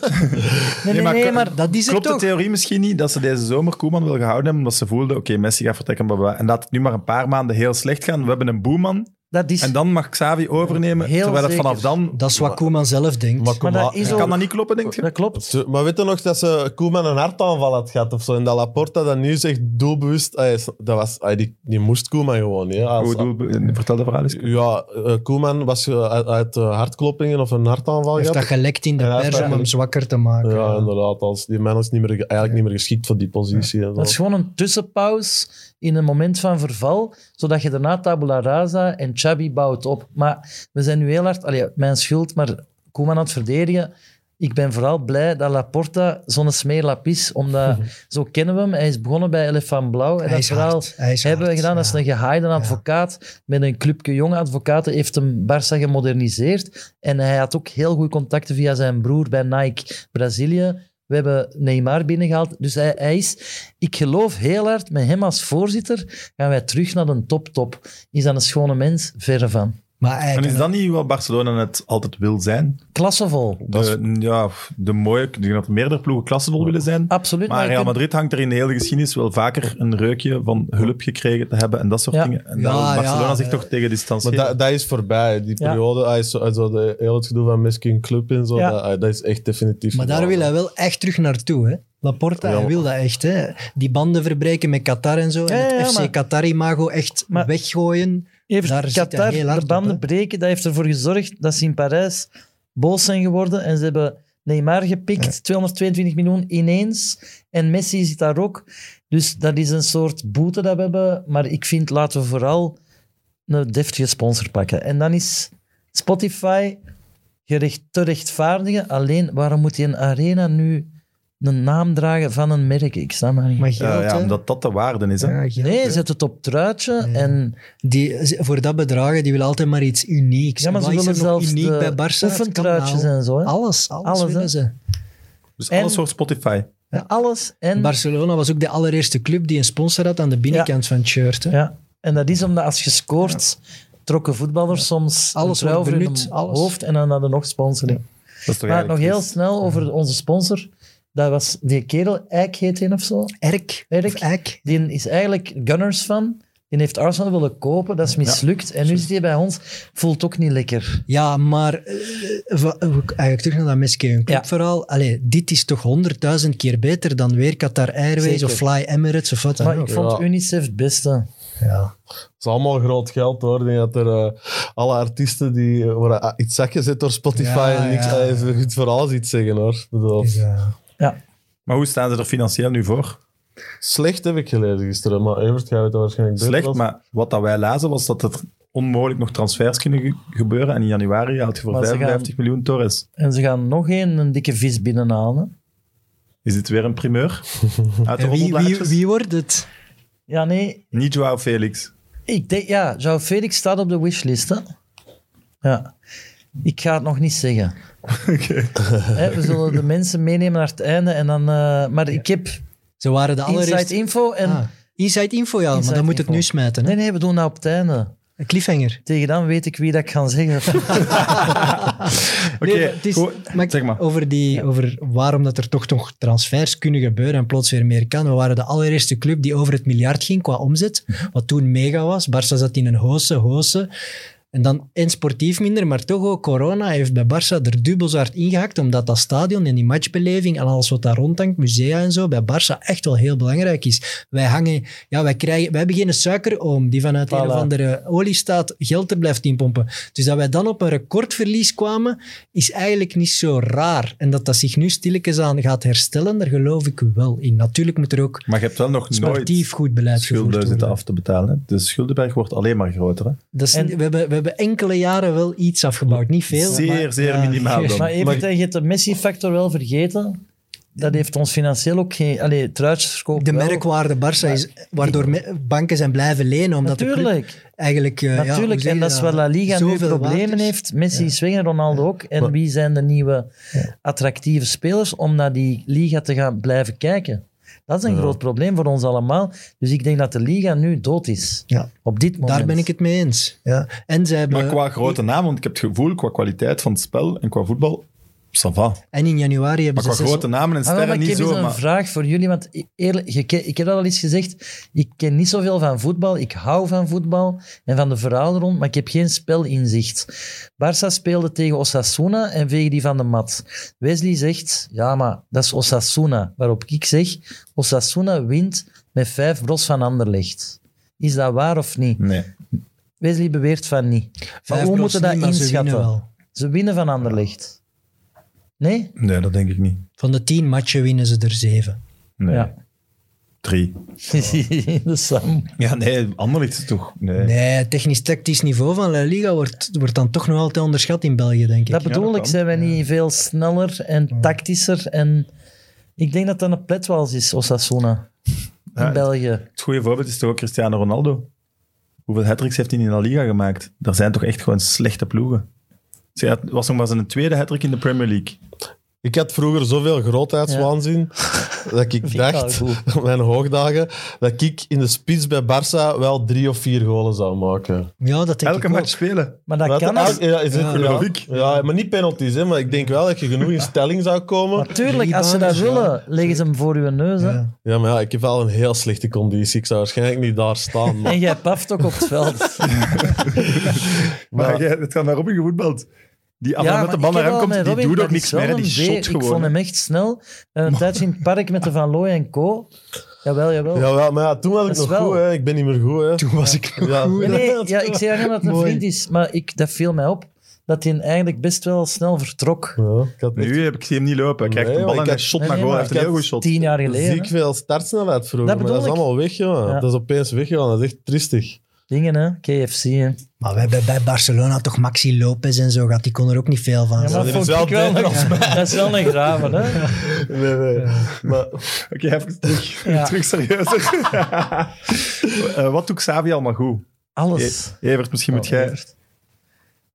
nee, nee, maar- nee, maar Dat is het Klopt de toch? theorie misschien niet dat ze deze zomer Koeman wil gehouden hebben, omdat ze voelden, oké, Messi gaat vertrekken, bla, bla, bla. en laat het nu maar een paar maanden heel slecht gaan. We hebben een boeman, dat is... en dan mag Xavi overnemen, Heel terwijl het vanaf zeker. dan... Dat is wat Koeman zelf denkt. Maar kom Maar dat maar. is ook- Kan dat niet kloppen, denk je? Dat klopt. Zo, Maar weet je nog dat ze Koeman een hartaanval had gehad of zo? En dat Laporta dat nu zegt doelbewust... ah, is- dat was, ah, die, die moest Koeman gewoon. Ja, als- Hoe doel- eh, vertel de verhaal eens. ja eh, Koeman was eh, uit, uit, eh, hartkloppingen of een hartaanval Hij heeft dat gehad. gelekt in de Ja, dat is pers om hem eigenlijk- zwakker te maken. Ja, inderdaad. Als, die man is niet meer, ge- eigenlijk niet meer geschikt voor die positie. En zo. Dat is gewoon een tussenpauze in een moment van verval, zodat je daarna tabula rasa en Chabi bouwt op. Maar we zijn nu heel hard... Allee, mijn schuld, maar Koeman aan het verdedigen. Ik ben vooral blij dat Laporta zo'n smeerlap *laughs* is, omdat zo kennen we hem. Hij is begonnen bij Elefant Blauw. En Hij dat is verhaal hard. Hij is hebben we hard, gedaan. ja. Dat is een gehaaide advocaat met een clubje jonge advocaten. Heeft hem Barça gemoderniseerd. En hij had ook heel goede contacten via zijn broer bij Nike Brazilië. We hebben Neymar binnengehaald. Dus hij, hij is... Ik geloof heel hard, met hem als voorzitter, gaan wij terug naar een top-top. Is dat een schone mens? Verre van. Maar hij En kan is dat niet wat Barcelona het altijd wil zijn? Klassevol. De, ja, de mooie, ik denk dat meerdere ploegen klassevol willen zijn. Absoluut. Maar je Real kunt- Madrid hangt er in de hele geschiedenis wel vaker een reukje van hulp gekregen te hebben en dat soort Ja. dingen. En Ja, daar wil Barcelona ja, zich eh, toch tegen Maar distancieren. dat, dat is voorbij, die Ja. periode. Ah, is zo, ah, zo de, heel het gedoe van Miskin Club en zo, Ja. dat, ah, dat is echt definitief. Maar daar gedaan. wil hij wel echt terug naartoe, hè? Laporta, Ja, hij maar- wil dat echt, hè? Die banden verbreken met Qatar en zo. en Ja, ja, het ja, FC maar- Qatar-imago echt Maar- weggooien. Heeft Daar zit hij Qatar heel hard de banden op, hè? breken, dat heeft ervoor gezorgd dat ze in Parijs boos zijn geworden. En ze hebben Neymar gepikt, 222 miljoen ineens. En Messi zit daar ook. Dus dat is een soort boete dat we hebben. Maar ik vind, laten we vooral een deftige sponsor pakken. En dan is Spotify... gerecht, te rechtvaardigen. Alleen, waarom moet die een arena nu een naam dragen van een merk? Ik snap dat niet. Maar Ja, geld, ja, hè? omdat dat de waarde is. Hè? Ja, geld, nee, hè. zet het op truitje Ja. en... die, ze- voor dat bedrag, die willen altijd maar iets unieks. Ja, maar Wat ze is willen er nog zelfs uniek de bij Barca? Het oefentruitjes kanaal. en zo. Hè? Alles, alles, Alles, hè? willen ze. Dus En- alles voor Spotify. Ja, Alles en... Barcelona was ook de allereerste club die een sponsor had aan de binnenkant van het shirt. hè. Ja, en dat is omdat als je scoort, trokken voetballers soms Alles een trui wordt over benut, hun alles. hoofd en dan hadden we nog sponsoring. Dat is toch maar nog eigenlijk heel triest. snel over onze sponsor. Dat was die kerel, Eik heet hij of zo. Erk. Erk. Of Eik. Die is eigenlijk Gunners van. Die heeft Arsenal willen kopen, dat is mislukt. En nu zit hij bij ons, voelt ook niet lekker. Ja, maar eh, va- eigenlijk terug naar dat Meskeun Club Ja. verhaal. Allee, dit is toch honderdduizend keer beter dan weer Qatar Airways Zeker. of Fly Emirates of wat dan Maar ook. ik vond Ja. Unicef het beste. Ja. Het is allemaal groot geld hoor. Ik denk dat er eh, alle artiesten die eh, worden ah, iets zet door Spotify Ja, en niks ja. ja. even goed verhaal ziet zeggen hoor. Ik bedoel, Dus, eh, Maar hoe staan ze er financieel nu voor? Slecht heb ik gelezen gisteren, maar Evert gaat het waarschijnlijk beter Slecht, als- maar wat dat wij lazen was dat er onmogelijk nog transfers kunnen ge- gebeuren. En in januari haalt je voor Maar ze gaan- 55 miljoen Torres. En ze gaan nog één een dikke vis binnenhalen. hè. Is dit weer een *laughs* primeur? Uit de en wie, wie, roddelblaadjes? wie wordt het? Ja, nee. Niet Joao Felix. Ik denk, ja, João Felix staat op de wishlist. Hè? Ja. Ik ga het nog niet zeggen. *laughs* Hè, we zullen de mensen meenemen naar het einde. En dan, eh, maar ik heb Ze waren de inside allereerste... info. En, Ah, inside info, ja, Inside maar dan moet info. het nu smijten. Hè? Nee, nee, we doen dat op het einde. Een cliffhanger. Tegen dan weet ik wie dat ik ga zeggen. Oké, Nee, maar het is- goed. maar ik- zeg maar. Over, die, over waarom dat er toch nog transfers kunnen gebeuren en plots weer meer kan. We waren de allereerste club die over het miljard ging qua omzet. Wat toen mega was. Barça zat in een hoose, hoose. En dan en sportief minder, maar toch ook corona heeft bij Barça er dubbel zo hard ingehakt. Omdat dat stadion en die matchbeleving en alles wat daar rondhangt, musea en zo, bij Barça echt wel heel belangrijk is. Wij hangen, ja, wij krijgen, wij hebben geen suikeroom die vanuit een Voilà. of andere eh, oliestaat geld er blijft inpompen. Dus dat wij dan op een recordverlies kwamen, is eigenlijk niet zo raar. En dat dat zich nu stilletjes aan gaat herstellen, daar geloof ik wel in. Natuurlijk moet er ook Maar je hebt wel nog sportief nooit goed beleid gevoerd schulden zitten worden. af te betalen. Hè? De schuldenberg wordt alleen maar groter. Hè? Dat is- En- we, hebben, we hebben enkele jaren wel iets afgebouwd. Niet veel, Zeer, maar- zeer ja. *laughs* minimaal dan. maar even, Mag ik- je hebt de Messi-factor wel vergeten. Dat heeft ons financieel ook geen... Allee, truitjes verkopen De wel. merkwaarde Barça is, waardoor me- banken zijn blijven lenen, omdat de club Natuurlijk. eigenlijk... eh, ja, hoe Natuurlijk, zeg je en dat is waar La Liga nu Zoveel problemen waard is. heeft. Messi is weg en Ronaldo ook. En wie zijn de nieuwe attractieve spelers om naar die Liga te gaan blijven kijken? Dat is een groot probleem voor ons allemaal. Dus ik denk dat de Liga nu dood is. Ja, Op dit moment. daar ben ik het mee eens. Ja. En zij hebben... Maar qua grote naam, want ik heb het gevoel, qua kwaliteit van het spel en qua voetbal, Dus ça va. En in januari hebben Maar qua ze... zes- grote namen en Ah, wel, maar sterren ik niet heb eens zo. een Maar vraag voor jullie, want i- eerlijk, je ken- ik heb dat al eens gezegd. Ik ken niet zoveel van voetbal. Ik hou van voetbal en van de verhalen rond, maar ik heb geen spelinzicht. Barça speelde tegen Osasuna en veeg die van de mat. Wesley zegt, ja, maar dat is Osasuna. Waarop ik zeg, Osasuna wint met vijf bros van Anderlecht. Is dat waar of niet? nee. Wesley beweert van niet. Maar Vijf hoe moeten we dat plots niet, maar ze winnen inschatten? wel. ze winnen van Anderlecht. Nee? nee, dat denk ik niet. Van de tien matchen winnen ze er zeven. Nee. Ja. Drie. *laughs* de Sam. Ja, nee, Anderlicht is toch... Nee. Nee, technisch-tactisch niveau van La Liga wordt, wordt dan toch nog altijd onderschat in België, denk ik. Dat Ja, bedoel dat ik, kan. zijn wij niet veel sneller en tactischer en... Ik denk dat dat een pletwals is, Osasuna. In Ja, België. Het goede voorbeeld is toch ook Cristiano Ronaldo. Hoeveel hat heeft hij in La Liga gemaakt? Daar zijn toch echt gewoon slechte ploegen. Zeg, Het was nog maar zijn tweede hat in de Premier League. Ik had vroeger zoveel grootheidswaanzin *laughs* dat ik ik wel dacht, *laughs* op mijn hoogdagen, dat ik in de spits bij Barça wel drie of vier golen zou maken. ja, dat denk Elke ik ook. match spelen. Maar dat Wat? kan Ah, als... ja, is het, Ja. Geloof ja. ik. Ja, maar niet penalties, hè, maar ik denk wel dat je genoeg in stelling zou komen. Natuurlijk, als ze dat Rebounders, ja. willen, leggen ze hem voor uw neus. hè. Ja. Ja, maar ja, ik heb wel een heel slechte conditie. Ik zou waarschijnlijk niet daar staan. Maar, En jij paft ook op het *laughs* veld. Maar jij- het gaat naar Robin gevoetbald. Die maar allemaal met de ik bal naar heb hem wel komt, die met Robin, doet dat ook is niks wel meer. hè. Die een shot zee. Ik vond gewoon. hem echt snel. En een tijdje in het park met de Van Looy en co. Jawel, jawel. ja, wel, maar ja, toen was ik Dat is nog wel- goed. Hè. Ik ben niet meer goed. Hè. Toen was ik nog goed. Nee, nee, ja, ik zei niet dat het een Mooi. vriend is, maar ik, dat viel mij op. Dat hij eigenlijk best wel snel vertrok. *laughs* Ja, ik had echt Nu heb ik zie hem niet lopen. Hij krijgt Nee, een maar bal en hij ik had- shot Nee, naar nee, goal. Hij maar heeft een heel ik goed shot. Tien jaar geleden. ziek veel startsnelheid vroeger, Dat maar dat is bedoel ik. allemaal weg, jongen. Ja. Dat is opeens weg, jongen. Dat is echt triestig. dingen, hè? KFC. Hè. Ja, Maar we hebben bij Barcelona toch Maxi Lopez en zo gehad. Die kon er ook niet veel van. maar zijn. is vond wel ik wel beter een- *laughs* dat is wel een graven, hè? Nee, nee. Maar *laughs* Oké, even terug, Ja. *laughs* terug serieuzer. Eh, wat doet Xavi allemaal goed? Alles. E- Evert, misschien Oh, moet jij...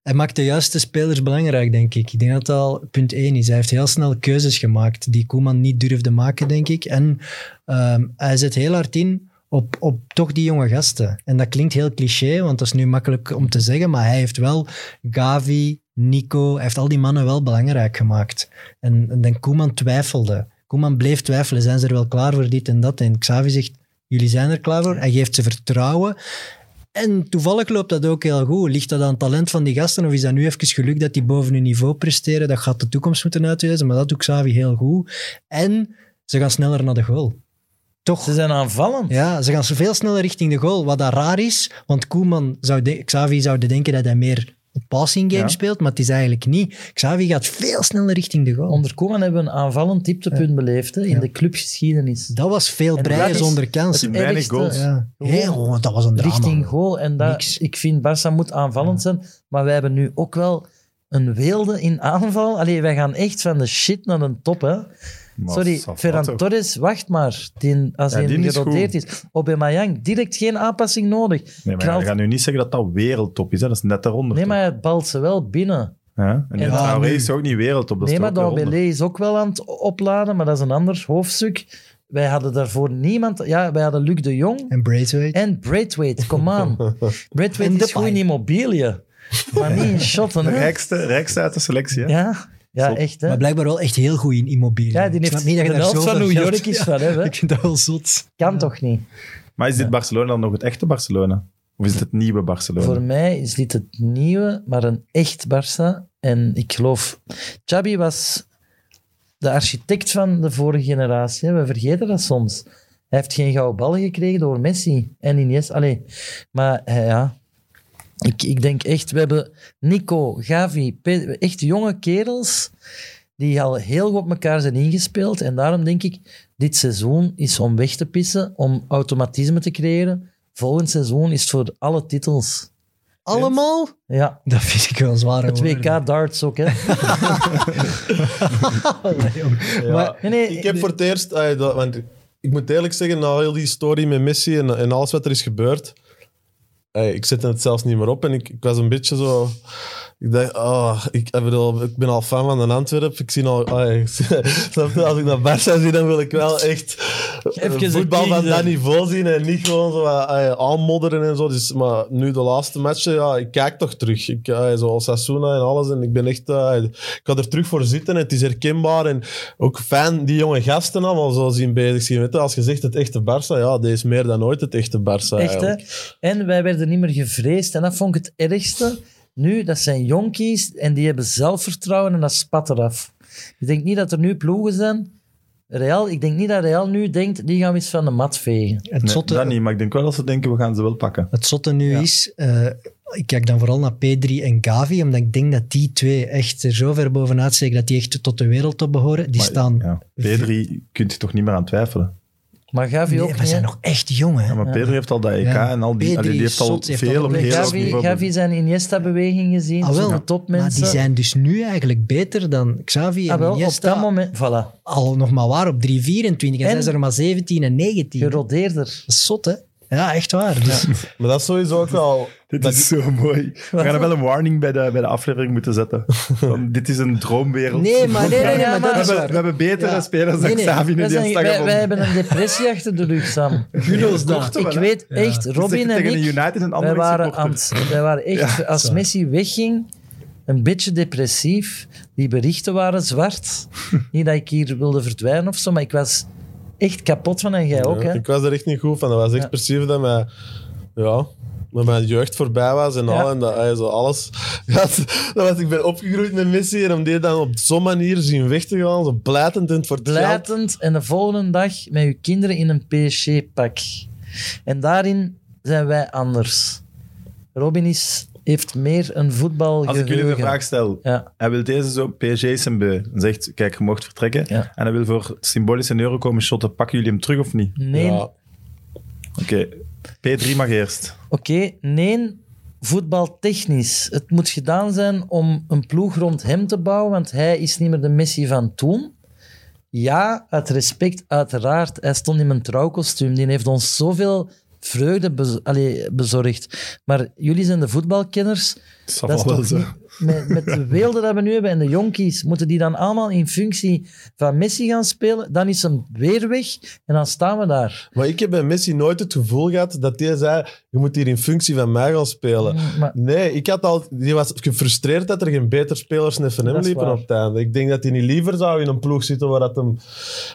Hij maakt de juiste spelers belangrijk, denk ik. Ik denk dat dat al punt één is. Hij heeft heel snel keuzes gemaakt die Koeman niet durfde maken, denk ik. En ehm, hij zet heel hard in op, op toch die jonge gasten. En dat klinkt heel cliché, want dat is nu makkelijk om te zeggen, maar hij heeft wel Gavi, Nico, hij heeft al die mannen wel belangrijk gemaakt. En, en dan Koeman twijfelde. Koeman bleef twijfelen. Zijn ze er wel klaar voor dit en dat? En Xavi zegt, jullie zijn er klaar voor. Hij geeft ze vertrouwen. En toevallig loopt dat ook heel goed. Ligt dat aan het talent van die gasten of is dat nu even geluk dat die boven hun niveau presteren? Dat gaat de toekomst moeten uitwijzen, maar dat doet Xavi heel goed. En ze gaan sneller naar de goal. Toch? Ze zijn aanvallend. Ja, ze gaan veel sneller richting de goal, wat dat raar is. Want Koeman zou de- Xavi zouden denken dat hij meer een passing game Ja. speelt, maar het is eigenlijk niet. Xavi gaat veel sneller richting de goal. Onder Koeman hebben we een aanvallend dieptepunt beleefd hè, in Ja. de clubgeschiedenis. Dat was veel En dat breien is eh, zonder kans. het weinig ergste goals. Ja. Heel, want dat was een drama. richting goal. En dat, Niks. ik vind, Barça moet aanvallend zijn. Maar wij hebben nu ook wel een weelde in aanval. Allee, wij gaan echt van de shit naar de top, hè. Maar Sorry, ça va Ferran toch? Torres, wacht maar. Die, als Ja, hij die is geroteerd is. Aubameyang, direct geen aanpassing nodig. Nee, maar Knalt- we gaan nu niet zeggen dat dat wereldtop is. Hè. Dat is net daaronder. Nee, maar hij balt ze wel binnen. toch? Ja? En die Ja, Traoré nu. is ook niet wereldtop. Dat is nee, maar toch ook daaronder. Dembélé is ook wel aan het opladen, maar dat is een ander hoofdstuk. Wij hadden daarvoor niemand... Ja, wij hadden Luc de Jong En Braithwaite. en Braithwaite, *laughs* come on. En Braithwaite is Depay. goed in immobiliën, maar niet in shotten. hè. Rijkste, rijkste uit de selectie. Hè? Ja, ja Zot. echt hè. Maar blijkbaar wel echt heel goed in immobiliën. Ja, die Ik snap heeft niet dat je de daar helft van zoveel New geld- York is Ja, van hem. *laughs* hè. Ik vind dat wel zot. Kan toch niet? Maar is dit Barcelona dan nog het echte Barcelona? Of is het het nieuwe Barcelona? Voor mij is dit het nieuwe, maar een echt Barça. En ik geloof... Xabi was de architect van de vorige generatie. hè. We vergeten dat soms. Hij heeft geen gouden bal gekregen door Messi en Iniesta. Allee, maar eh, ja... Ik, ik denk echt, we hebben Nico, Gavi, Pe- echt jonge kerels die al heel goed op elkaar zijn ingespeeld. En daarom denk ik, dit seizoen is om weg te pissen, om automatisme te creëren. Volgend seizoen is het voor alle titels. Allemaal? Ja, Dat vind ik wel zwaar. het WK *laughs* darts ook, hè. Maar, Nee, nee, Ik heb voor het eerst, ah, dat- want ik moet eerlijk zeggen, na heel die story met Messi en, en alles wat er is gebeurd, ah, ik zette het zelfs niet meer op en ik, ik was een beetje zo. Ik dacht, ah, ik, ik bedoel, ik ben al fan van de Antwerp. Ik zie al, ah, *laughs* ik- snap je, als ik naar Barça zie, dan wil ik wel echt Even een voetbal van kiezer. dat niveau zien en niet gewoon zo ah, ah, aanmodderen en zo. Dus, maar nu de laatste matchen, ja, ik kijk toch terug. Ik, ah, zo Sasuna en alles en ik ben echt, ah, ik ga er terug voor zitten. Het is herkenbaar en ook fijn die jonge gasten allemaal zo zien bezig zien. Weet je, als je zegt het echte Barça, ja, dit is meer dan ooit het echte Barça. Echt, hè. eigenlijk. En wij werden niet meer gevreesd. En dat vond ik het ergste. Nu, dat zijn jonkies en die hebben zelfvertrouwen en dat spat eraf. Ik denk niet dat er nu ploegen zijn... Real, ik denk niet dat Real nu denkt, die gaan we eens van de mat vegen. het, Nee, zotte, dat niet, maar ik denk wel dat ze denken, we gaan ze wel pakken. het zotte nu is, eh, ik kijk dan vooral naar P3 en Gavi, omdat ik denk dat die twee echt er zo ver bovenuit steken dat die echt tot de wereldtop behoren. Die Maar, staan... Ja. Pedri kunt je toch niet meer aan twijfelen. Maar Gavi Nee, ook maar niet, zijn hè. nog echt jong, hè. Ja, maar Pedri heeft al dat EK Ja. en al die... Pedri, allee, die heeft al Zot heeft veel al op een heel hoog Gavi, niveau. Gavi zijn Iniesta-beweging gezien, Ah, wel. zijn de maar topmensen. die zijn dus nu eigenlijk beter dan Xavi en Ah, wel, op Iniesta. dat moment, voilà, Al nog maar waar, op 3, 24. En, En- zijn ze er maar 17 en 19. Dat gerodeerder. is zot, hè. Ja, echt waar. Dus, Maar dat is sowieso ook wel... Dit is zo mooi. We gaan er wel een warning bij de, bij de aflevering moeten zetten. Want dit is een droomwereld. *laughs* Nee, maar, nee, nee, nee, maar dat we, is hebben, waar. we hebben betere Ja. spelers dan Nee, nee, Xavi Wij, nu die zijn- aan wij- wij hebben hebben een depressie achter de rug, Sam. *laughs* Gulo's daar. Toch Ik wel, hè? weet echt, Robin en tegen de ik, United en wij andere waren, aan, supporters. het- wij waren echt, als Messi wegging, een beetje depressief. Die berichten waren *laughs* zwart. Niet dat ik hier wilde verdwijnen of zo, maar ik was echt kapot van en jij ook. Ja, Hè? Ik was er echt niet goed van. Dat was echt Ja. precies dat mijn, ja, dat mijn jeugd voorbij was en Ja. al. En dat hij zo alles... *laughs* Ja, dat was, ik ben opgegroeid met Messi en om die dan op zo'n manier zien weg te gaan, zo blijtend in het voor het geld. Blijtend en de volgende dag met uw kinderen in een PSG-pak. En daarin zijn wij anders. Robin is, heeft meer een voetbal Als ik jullie de vraag stel, Ja. hij wil deze zo, PSG is een beu. En zegt, kijk, je mocht vertrekken. Ja. En hij wil voor symbolisch een euro komen shotten. Pakken jullie hem terug of niet? Nee, Ja. Oké, P3 mag eerst. Oké, nee, voetbaltechnisch. Het moet gedaan zijn om een ploeg rond hem te bouwen, want hij is niet meer de Messi van toen. Ja, uit respect, uiteraard. Hij stond in mijn trouwkostuum. Die heeft ons zoveel vreugde bez- allee, bezorgd. Maar jullie zijn de voetbalkenners. zal Dat is wel toch zo. niet- Met, met de weelde dat we nu hebben en de jonkies, moeten die dan allemaal in functie van Messi gaan spelen? Dan is hem weer weg en dan staan we daar. Maar ik heb bij Messi nooit het gevoel gehad dat hij zei: Je moet hier in functie van mij gaan spelen. Mm, Maar Nee, ik had al, die was gefrustreerd dat er geen beter spelers net van hem Dat is liepen waar. op het einde. Ik denk dat hij niet liever zou in een ploeg zitten waar dat hem...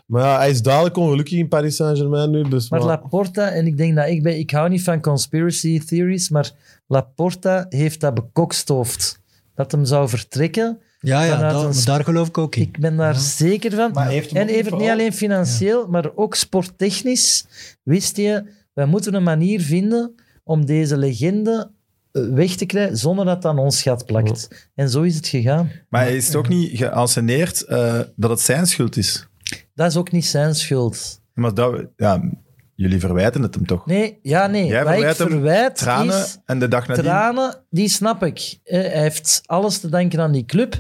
Maar ja, hij is dadelijk ongelukkig in Paris Saint-Germain nu. Dus Maar maar- Laporta, en ik denk dat ik ben, ik hou niet van conspiracy theories, maar Laporta heeft dat bekokstoofd. Dat hem zou vertrekken. Ja, ja Vanuit dat- ons- daar geloof ik ook in. Ik ben daar zeker van. Maar heeft hem ook en even niet vooral- alleen financieel, maar ook sporttechnisch wist je, wij moeten een manier vinden om deze legende eh, weg te krijgen zonder dat het aan ons gat plakt. En zo is het gegaan. Maar hij is ook niet geanceneerd eh, dat het zijn schuld is. Dat is ook niet zijn schuld. Maar dat, ja, jullie verwijten het hem toch? Nee, ja, nee. Jij Wat ik verwijt hem verwijt Tranen is... en de dag nadien. Tranen, die snap ik. Eh, Hij heeft alles te danken aan die club.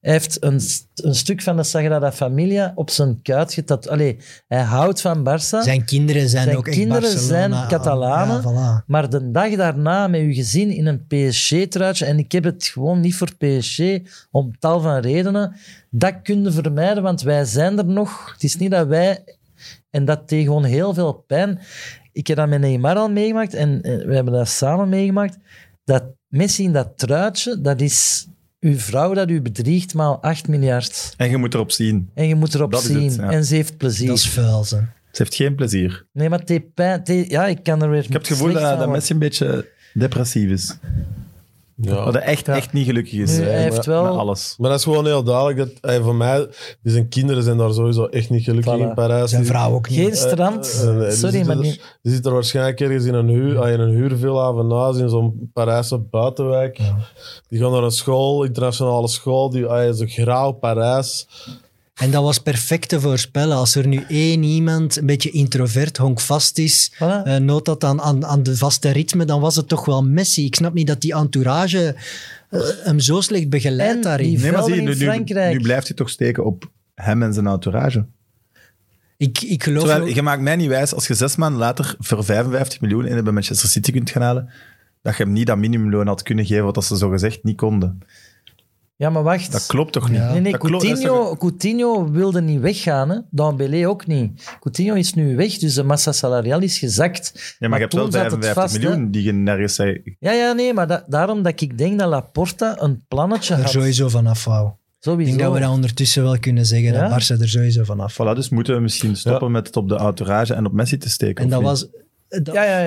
Hij heeft een, st- een stuk van de Sagrada Familia op zijn kuit getat. Allee, hij houdt van Barça. Zijn kinderen zijn, Zijn ook echt kinderen Barcelona zijn aan- Catalanen. Ja, voilà. Maar de dag daarna met uw gezin in een PSG-truitje, en ik heb het gewoon niet voor PSG, om tal van redenen, dat kunnen vermijden, want wij zijn er nog. Het is niet dat wij... En dat deed gewoon heel veel pijn. Ik heb dat met Neymar al meegemaakt, en eh, we hebben dat samen meegemaakt, dat Messi in dat truitje, dat is uw vrouw dat u bedriegt maal 8 miljard. En je moet erop zien. En je moet erop Dat is zien. het, ja. En ze heeft plezier. Dat is vuil, ze. Ze heeft geen plezier. Nee, maar het deed pijn. Het deed- Ja, ik kan er weer Ik heb het gevoel slecht van dat, dat worden. Messi een beetje depressief is. Ja. Dat hij echt, echt niet gelukkig is. Nu, Oh. hij met- heeft wel- Met alles. Maar dat is gewoon heel duidelijk. Dat, hij voor mij, die zijn kinderen zijn daar sowieso echt niet gelukkig Voilà. in Parijs. Zijn Die- vrouw ook niet. Geen strand. Eh, eh, nee, dus- die Sorry, zitten maar er- niet. Die zit er waarschijnlijk ergens in een, huur, ah, in een huurvilla van naast in zo'n Parijse buitenwijk. Die gaan naar een school, internationale school. Die ah, is een grauw Parijs. En dat was perfect te voorspellen. Als er nu één iemand een beetje introvert, honkvast is, Voilà. eh, nood dat aan, aan, aan de vaste ritme, dan was het toch wel Messi. Ik snap niet dat die entourage eh, hem zo slecht begeleidt En daarin. die- Nee, maar zie je, Velden nu, in nu, Frankrijk. nu blijft hij toch steken op hem en zijn entourage. Ik, ik geloof... Terwijl, ook- je maakt mij niet wijs, als je zes maanden later voor 55 miljoen in bij Manchester City kunt gaan halen, dat je hem niet dat minimumloon had kunnen geven wat dat ze zo gezegd niet konden. Ja, maar wacht. Dat klopt toch niet? Nee, nee, Dat klopt- dat is Coutinho, toch- Coutinho wilde niet weggaan. Hè? Dembélé ook niet. Coutinho is nu weg, dus de massa salariaal is gezakt. Ja, maar, je hebt wel toen zat het 55 vast, hè. miljoen die je nergens zei. Ja, ja, nee, maar da- daarom dat ik denk dat Laporta een plannetje er had. sowieso van afhouden. Ik Sowieso. denk dat we dat ondertussen wel kunnen zeggen, Ja? dat Barça er sowieso van af. Voilà, dus moeten we misschien stoppen met het op de entourage en op Messi te steken. En dat of niet? was... dat- Ja, ja,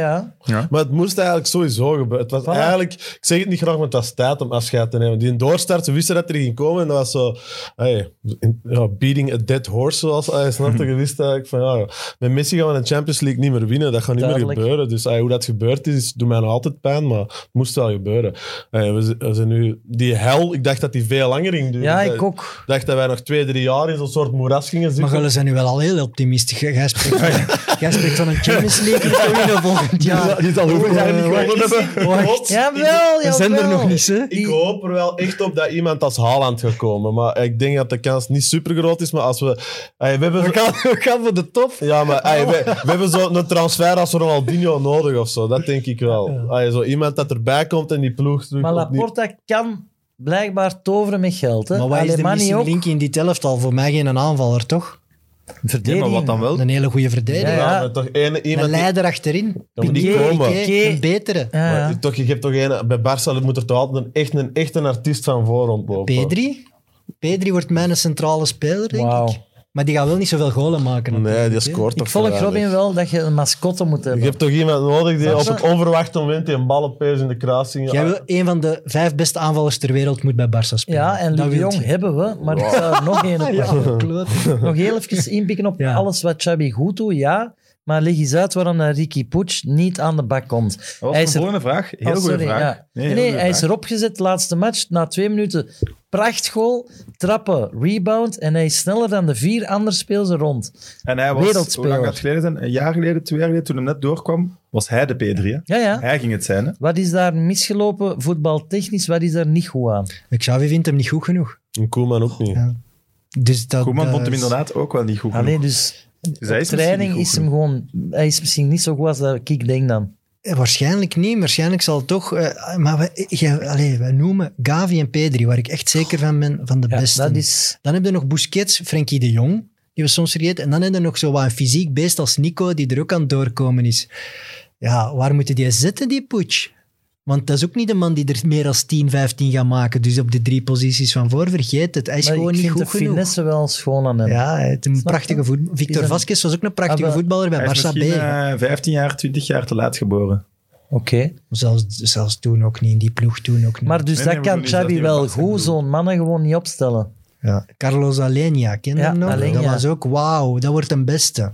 ja. Maar het moest eigenlijk sowieso gebeuren. Het was Voilà. eigenlijk, ik zeg het niet graag, maar het was tijd om afscheid te nemen. Die doorstart, ze wisten dat er ging komen. En dat was zo, hey, in- ja, beating a dead horse, zoals *laughs* hij snapte. Je wist eigenlijk van, ja, met Messi gaan we de Champions League niet meer winnen. Dat gaat niet Duidelijk. meer gebeuren. Dus hey, hoe dat gebeurd is, is- doet mij nog altijd pijn, maar het moest wel gebeuren. Hey, we, z- we zijn nu, die hel, ik dacht dat die veel langer ging duren. Ja, Ik ik dacht- ook. dacht dat wij nog twee, drie jaar in zo'n soort moeras gingen Maar zitten. jullie zijn nu wel al heel optimistisch. Jij- Jij spreekt, *laughs* jij spreekt van een Champions League te winnen volgend jaar. Oh, Die zal hoeveel jaar niet gewonnen hebben. Klopt. Jawel, We zijn er jawel. nog niet, hè? Ik hoop er wel echt op dat iemand als Haaland gaat komen. Maar ik denk dat de kans niet super groot is. Maar als we. Hey, we, hebben we, gaan, voor de top. Ja, maar hey, we, we hebben zo'n transfer als Ronaldinho nodig of zo. Dat denk ik wel. Hey, zo iemand dat erbij komt en die ploeg terug. Maar opnieuw- Laporta kan blijkbaar toveren met geld. Hè? Maar wat is de Alemani missing ook. link in dit elftal? Voor mij geen aanvaller, toch? Ja, maar wat dan wel? Een hele goede verdediger. Oh. Ja, Ja. maar toch één Een iemand. die- leider achterin. moet niet Piqué, komen. Piqué, Piqué. een betere. Ja, ja. maar toch, je hebt toch één, bij Barça moet er toch altijd een, echt, een, echt een artiest van voor rondlopen. Pedri? Pedri wordt mijn centrale speler, denk Wauw. ik. Maar die gaat wel niet zoveel golen maken. Nee, natuurlijk, die hè. scoort toch Ik volg weinig. Robin wel dat je een mascotte moet Je hebben. hebt toch iemand nodig die Snap op je? het onverwachte moment die een bal opeens in de kruising... Ah, Jij wil een van de vijf beste aanvallers ter wereld moet bij Barça spelen. Ja, en Dat Luc de wilt Jong je. hebben we, *laughs* maar ik zou er nog één op Ja, kloot. *laughs* Nog heel even inpikken op Ja. alles wat Xabi goed doet, ja. Maar leg eens uit waarom dat Ricky Poets niet aan de bak komt. Dat was Hij de is er- volgende vraag. Heel Oh, goede sorry, vraag. ja. Nee, heel nee, goede hij vraag. is erop gezet, laatste match, na twee minuten. Prachtgoal, trappen, rebound en hij is sneller dan de vier andere spelers er rond. En hij was, hoe wereldspeler. lang gaat het geleden zijn? Een jaar geleden, twee jaar geleden, toen hij net doorkwam, was hij de P3. hè? Ja, ja. Hij ging het zijn, hè? Wat is daar misgelopen, voetbaltechnisch? Wat is daar niet goed aan? Xavi vindt hem niet goed genoeg. En Koeman ook niet. Ja. Dus dat, Koeman dat vond hem is- inderdaad ook wel niet goed Alleen genoeg. dus, Dus hij is misschien training niet goed is hem gewoon... Hij is misschien niet zo goed als dat ik denk dan. Eh, Waarschijnlijk niet. Waarschijnlijk zal het toch... eh, maar we, je- allee, wij noemen Gavi en Pedri, waar ik echt zeker van ben, van de Ja, beste. Dus dat is... Dan heb je nog Busquets, Frenkie de Jong, die we soms vergeten. En dan heb je nog zo wat een fysiek beest als Nico, die er ook aan het doorkomen is. Ja, waar moeten die zitten, die Poets? Want dat is ook niet de man die er meer dan 10, 15 gaat maken. Dus op de drie posities van voor, vergeet het. Hij is maar gewoon ik niet vind goed de genoeg. finesse wel schoon aan hem. Ja, hij heeft een Snap je? prachtige voetbal. Victor een- Vasquez was ook een prachtige Ah, wel, voetballer bij Hij is Barça B. misschien eh, 15 jaar, 20 jaar te laat geboren. Oké. Zelfs, zelfs toen ook niet, in die ploeg toen ook niet. Maar dus Nee, dat nee, we kan bedoelen zelfs Xavi niet wel wat ik bedoel. goed, zo'n mannen gewoon niet opstellen. Ja. Carlos Alenia, ken je Ja, hem nog? Dat Alenia. was ook, wauw, dat wordt een beste.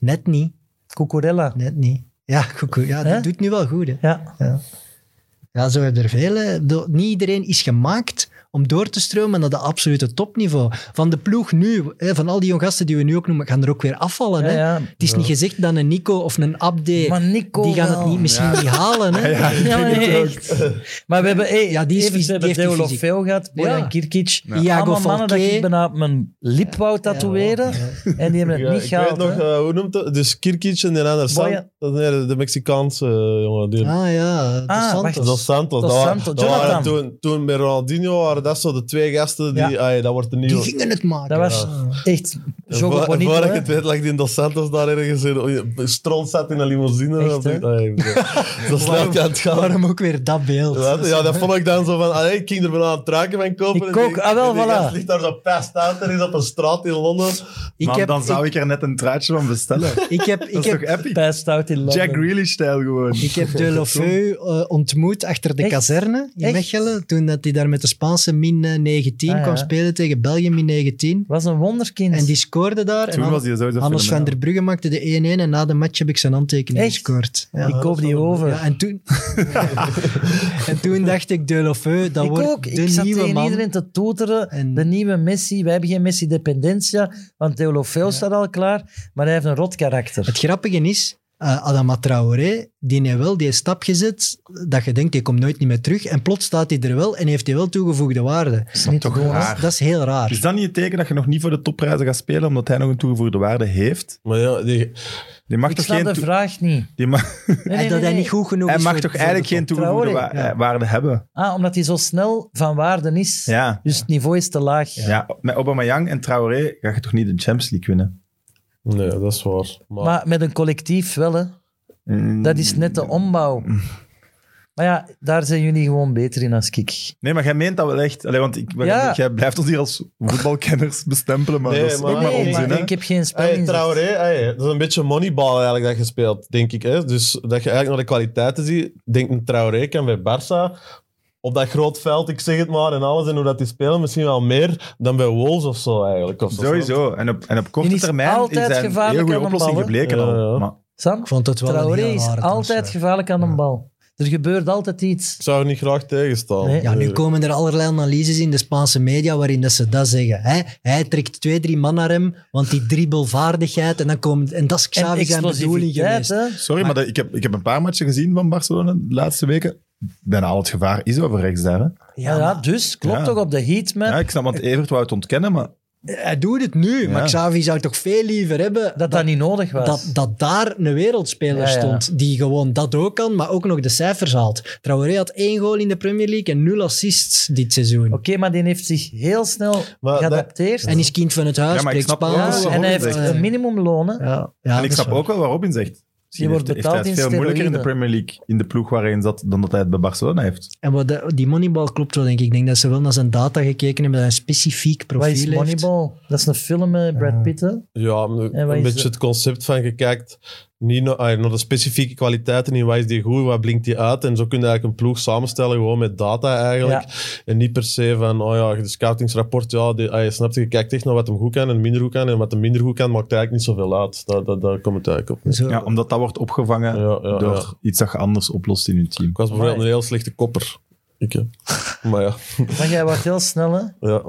Net niet, Cucurella. net niet. Ja, *laughs* goed, goed. ja Hè? dat doet nu wel goed. Hè. Ja, Ja, zo hebben er veel. hè. Ik bedoel, Niet iedereen is gemaakt om door te stromen naar de absolute topniveau. Van de ploeg nu, hè, van al die jong gasten die we nu ook noemen, gaan er ook weer afvallen. ja, hè. ja. Het is niet gezegd dat een Nico of een Abde, Maar Nico die gaan het wel. niet, misschien niet halen. Hè. Ja, Ja, maar echt. Maar we hebben, hey, Ja, die is even, fys- we hebben die heeft die Deulofeu gehad, Bojan Ja. Kirkic. Iago Allemaal mannen dat Falqué. ik bijna op mijn lip wou tatoeëren. En die hebben het Ja, niet ik gehaald. weet nog, hè. eh, hoe noemt dat? Dus Kirkic en die andere Boy- San- nee, de- de Mexicaanse eh, jongen. Die, Ah ja, de Ah, Santos. wacht. Dos Santos. Dos Dat wa- Santos, dat waren Jonathan. toen, toen met Ronaldinho waren dat zo de twee gasten die... Ja. ai, dat wordt de Die nieuwe. *laughs* gingen het maken. Dat was Ja. echt En Jogo voor- en Bonito. Voordat ik hè. het weet lag die in Dos Santos daar ergens in. Stront zat in een limousine. Echt, Dat- hè? ai, *laughs* Zo snel kan het gaan. Waarom ook weer dat beeld? Ja, ja, dat vond ik dan zo van, ah, ik ging er wel aan het ruiken van kopen. Ik en die- ook, ah, wel, en die voilà. gast ligt daar zo pest uit, er is op een straat in Londen. ik Maar heb, dan zou ik, ik er net een truitje van *laughs* bestellen. ik heb, ik Dat is toch heb, epic? Passed out in Londen. Jack Grealish-stijl gewoon. ik heb *laughs* De Lofeu eh, ontmoet achter de Echt? kazerne in Echt? Mechelen. Toen dat hij daar met de Spaanse min eh, 19 Ah, ja. kwam spelen tegen België min 19. was een wonderkind. En die scoorde daar. en Toen was hij sowieso Hannes van fenomenaal. der Brugge maakte de 1-1 en na de match heb ik zijn handtekening Echt? gescoord. Ja. ik koop die over. Ja, en, toen... *laughs* en toen dacht ik, De Lofeu, dat ik wordt ook. de Ik zat nieuwe tegen man. iedereen te toeteren. En- De nieuwe Messi. Wij hebben geen Messi-dependentia, want Deulofeu staat al klaar. Maar hij heeft een rot karakter. Het grappige is, eh, Adama Traoré, die heeft wel die stap gezet, dat je denkt, die komt nooit niet meer terug. En plots staat hij er wel en heeft hij wel toegevoegde waarde. is niet toch te doen, hè. raar. Dat is heel Is raar. dat niet het teken dat je nog niet voor de topprijzen gaat spelen, omdat hij nog een toegevoegde waarde heeft? Maar ja, die, Die mag Ik toch snap geen... de toe- vraag niet. Die mag... Nee, en nee, dat hij nee, nee. niet goed genoeg Hij is. mag voor- toch voor de eigenlijk top. geen toegevoegde Traoré, wa- ja. eh, waarde hebben? Ah, omdat hij zo snel van waarde is. Ja. Dus het niveau is te laag. Ja, met Aubameyang en Traoré ga je toch niet de Champions League winnen? nee, dat is waar. Maar, Maar met een collectief wel, hè. Mm. Dat is net de ombouw. Maar ja, daar zijn jullie gewoon beter in als ik. Nee, maar jij meent dat wel echt. Allee, want ik, we- Ja. jij blijft ons hier als voetbalkenners *laughs* bestempelen, maar Nee, dat is maar- ook maar Nee, onzin. maar hè? ik heb geen spel Hey, in. Traoré, hey, dat is een beetje moneyball eigenlijk dat je speelt, denk ik. Hè? Dus dat je eigenlijk naar de kwaliteiten ziet. Ik Denk een Traoré kan bij Barça op dat groot veld, ik zeg het maar, en alles en hoe dat die spelen, misschien wel meer dan bij Wolves of zo eigenlijk. Of zo. Sowieso. En op, en op korte Die is termijn is altijd hij een gevaarlijk heel goede aan de oplossing bal, hè? gebleken Ja, al. ja. Maar Sam, Ik vond het wel Traoré een heel is rare altijd transfer. gevaarlijk aan een bal. Er gebeurt altijd Ik iets. zou er niet graag tegenstaan. Nee. Ja, nu komen er allerlei analyses in de Spaanse media waarin dat ze dat zeggen. Hè? Hij trekt twee, drie man naar hem, want die dribbelvaardigheid. En, dan komt, en dat is En Xavi zijn bedoeling explosiviteit, geweest. hè. Sorry, maar, dat- ik, heb, ik heb een paar matchen gezien van Barcelona de laatste weken. Bijna al het gevaar is over rechts daar. Hè? Ja, ja, dus klopt Ja. toch op de heat, man. Ja, ik snap, want Evert wou het ontkennen, maar Hij doet het nu, maar Xavi zou toch veel liever hebben dat dat niet nodig was. dat, dat daar een wereldspeler Ja, ja. stond die gewoon dat ook kan, maar ook nog de cijfers haalt. Traoré had één goal in de Premier League en nul assists dit seizoen. Oké, maar die heeft zich heel snel Maar geadapteerd. En is kind van het huis, Ja, maar ik spreekt snap Ja, wel Spaans. waarom en hij dat heeft zegt. een minimumloon. hè. Ja, ja, en dat ik is snap waar. ook wel waarop in zegt. Misschien wordt heeft- heeft hij betaald het in veel moeilijker in de steroïden. Premier League, in de ploeg waarin zat, dan dat hij het bij Barcelona heeft. En wat de- die Moneyball klopt wel, denk ik. Ik denk dat ze wel naar zijn data gekeken hebben, dat hij een specifiek Wat profiel is heeft. Moneyball? Dat is een film met Brad Pitt. hè. Ja, een, wat een is beetje het? het concept van je kijkt niet naar, ah, naar de specifieke kwaliteiten in wat is die goed, wat blinkt die uit. En zo kun je eigenlijk een ploeg samenstellen, gewoon met data eigenlijk. En niet per se van, oh ja, de scoutingsrapport, ja, die, ah, je snapt, je kijkt echt naar wat hem goed kan en minder goed kan. En wat hem minder goed kan, maakt eigenlijk niet zoveel uit. Daar, daar, daar komt het eigenlijk op. Zo, Ja, omdat dat wordt opgevangen Ja, ja, door ja. iets dat je anders oplost in je team. Ik was bijvoorbeeld een heel slechte kopper. Ik, hè. Maar ja, Maar jij wordt heel snel, hè? ja.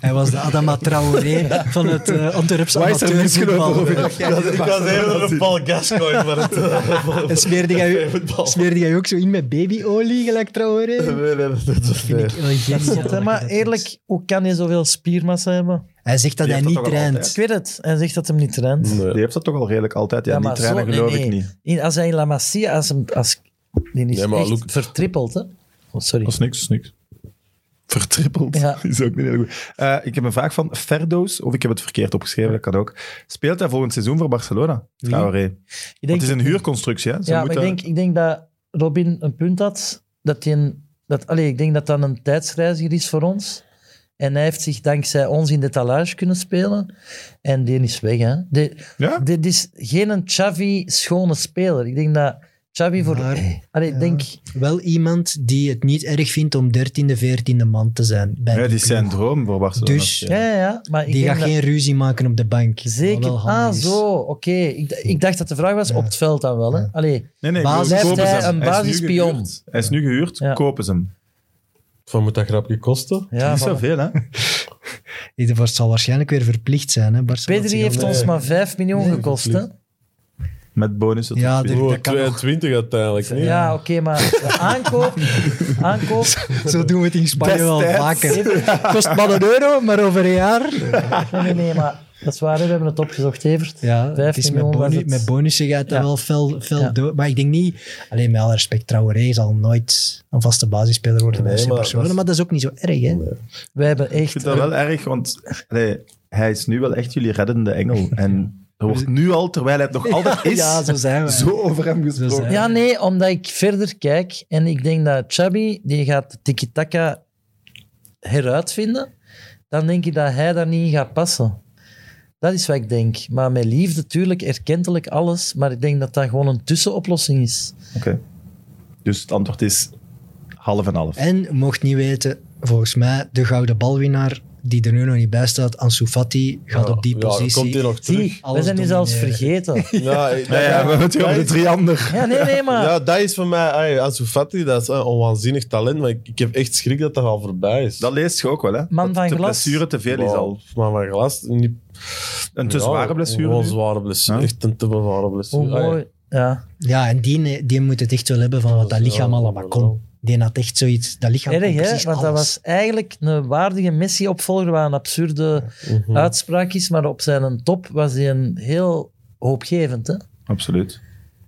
Hij was de Adama Traoré van het eh Antwerpse Waar is er misgelopen amateurvoetbal. over? ik *laughs* was eerder een Paul Gascoigne, maar het... En Smeerde jij, smeerde jij ook zo in met babyolie, gelijk Traoré? Dat Nee, nee, dat is vind ik wel geniaal. Zot, hè? Maar eerlijk, hoe kan hij zoveel spiermassa hebben? Hij zegt dat Die hij heeft niet dat toch al traint. Ik weet het. Hij zegt dat hem niet traint. Nee. Die heeft dat toch al redelijk altijd. Ja, die maar trainen zo- geloof nee, ik nee. niet. In- Als hij in La Masia... Als hem, als, die is Nee, maar echt look- vertrippeld, hè? Oh, sorry. Dat is niks, is niks. Vertrippeld. *laughs* Ja. Is ook niet heel goed. Eh, ik heb een vraag van Ferdoos, of ik heb het verkeerd opgeschreven, dat kan ook. Speelt hij volgend seizoen voor Barcelona? Traoré. Want Ik denk, het is een huurconstructie, hè? Ze ja, maar ik moeten- denk, ik denk dat Robin een punt had. Dat hij een, dat, allee, ik denk dat dat een tijdsreiziger is voor ons. En hij heeft zich dankzij ons in de talage kunnen spelen. En die is weg, hè? Die- Ja? Dit is geen een Xavi schone speler. Ik denk dat Xavi voor... Maar- Allee, ik Ja. denk... Wel iemand die het niet erg vindt om 13e, 14e man te zijn. Bij Ja, die die is zijn ploeg. droom voor Barcelona. Dus Ja, ja, ja. Maar ik die denk gaat dat- geen ruzie maken op de bank. wat Zeker. wel Ah, handig is. zo. Oké. Ik, d- ik dacht dat de vraag was op het veld dan wel, hè? Allee. Nee, nee, Basis- ik bedoel, Blijft kopen hij ze hem. een is nu basispion? gehuurd. Hij is nu gehuurd, Ja. kopen ze hem. *laughs* Wat moet dat grapje kosten? Ja, niet voilà. zoveel, hè? Het zal waarschijnlijk weer verplicht zijn. Hè, Barcelona. Pedri heeft ons maar 5 miljoen gekost, hè? Met bonussen. Ja, tot dit- vier. Oh, dat kan 22 uiteindelijk. Nee? Ja, oké, maar de aankoop... aankoop... *laughs* Zo doen we het in Spanje wel Destijds. vaker. *laughs* Kost maar een euro, maar over een jaar. Nee, nee, nee, maar dat is waar, hè. We hebben het opgezocht, Evert. Ja, Vijf het is met, miljoen was bonu- het. met bonussen gaat dat Ja. wel fel, fel Ja. door. Maar ik denk niet... Alleen met alle respect, Traoré zal nooit een vaste basisspeler worden Nee, bij FC maar Barcelona. dat is- Maar dat is ook niet zo erg, hè? Wij hebben echt... Ik vind dat wel erg, want allee, hij is nu wel echt jullie reddende *laughs* engel. En er wordt nu al, terwijl hij het nog altijd is, ja, zo zijn *laughs* we. zo over hem Zo gesproken. zijn- Ja, nee, omdat ik verder kijk en ik denk dat Chabi die gaat de tiki-taka heruitvinden, dan denk ik dat hij daar niet in gaat passen. Dat is wat ik denk. Maar met liefde, natuurlijk, erkentelijk alles, maar ik denk dat dat gewoon een tussenoplossing is. Oké. Dus het antwoord is half en half. En mocht niet weten, volgens mij de gouden balwinnaar die er nu nog niet bij staat, Ansu Fati, gaat Ja, op die ja, positie. komt hij nog terug? Zie, we Alles zijn die zelfs domineren. vergeten. *laughs* Ja, ik- Ja, ja, we hebben het hier over de triander. Ja, nee, nee, maar... Ja, dat is voor mij, ay, Ansu Fati, dat is een onwaanzinnig talent, maar ik, ik heb echt schrik dat dat al voorbij is. Dat leest je ook wel, hè? Man van dat de glas. blessure te veel is al. Maar mijn glas, niet, Een te ja, zware Gewoon blessure. nu. zware blessure, Ja. echt een te zware blessure. Hoe Ay, Oh, mooi. Ja. Ja, en die, die moet het echt wel hebben van wat dat Ja, lichaam allemaal kon. Die had echt zoiets, dat lichaam kon Erg, hè? precies Want dat alles. was eigenlijk een waardige Messi-opvolger, wat een absurde mhm. uitspraak is, maar op zijn top was hij een heel hoopgevend, hè? Absoluut.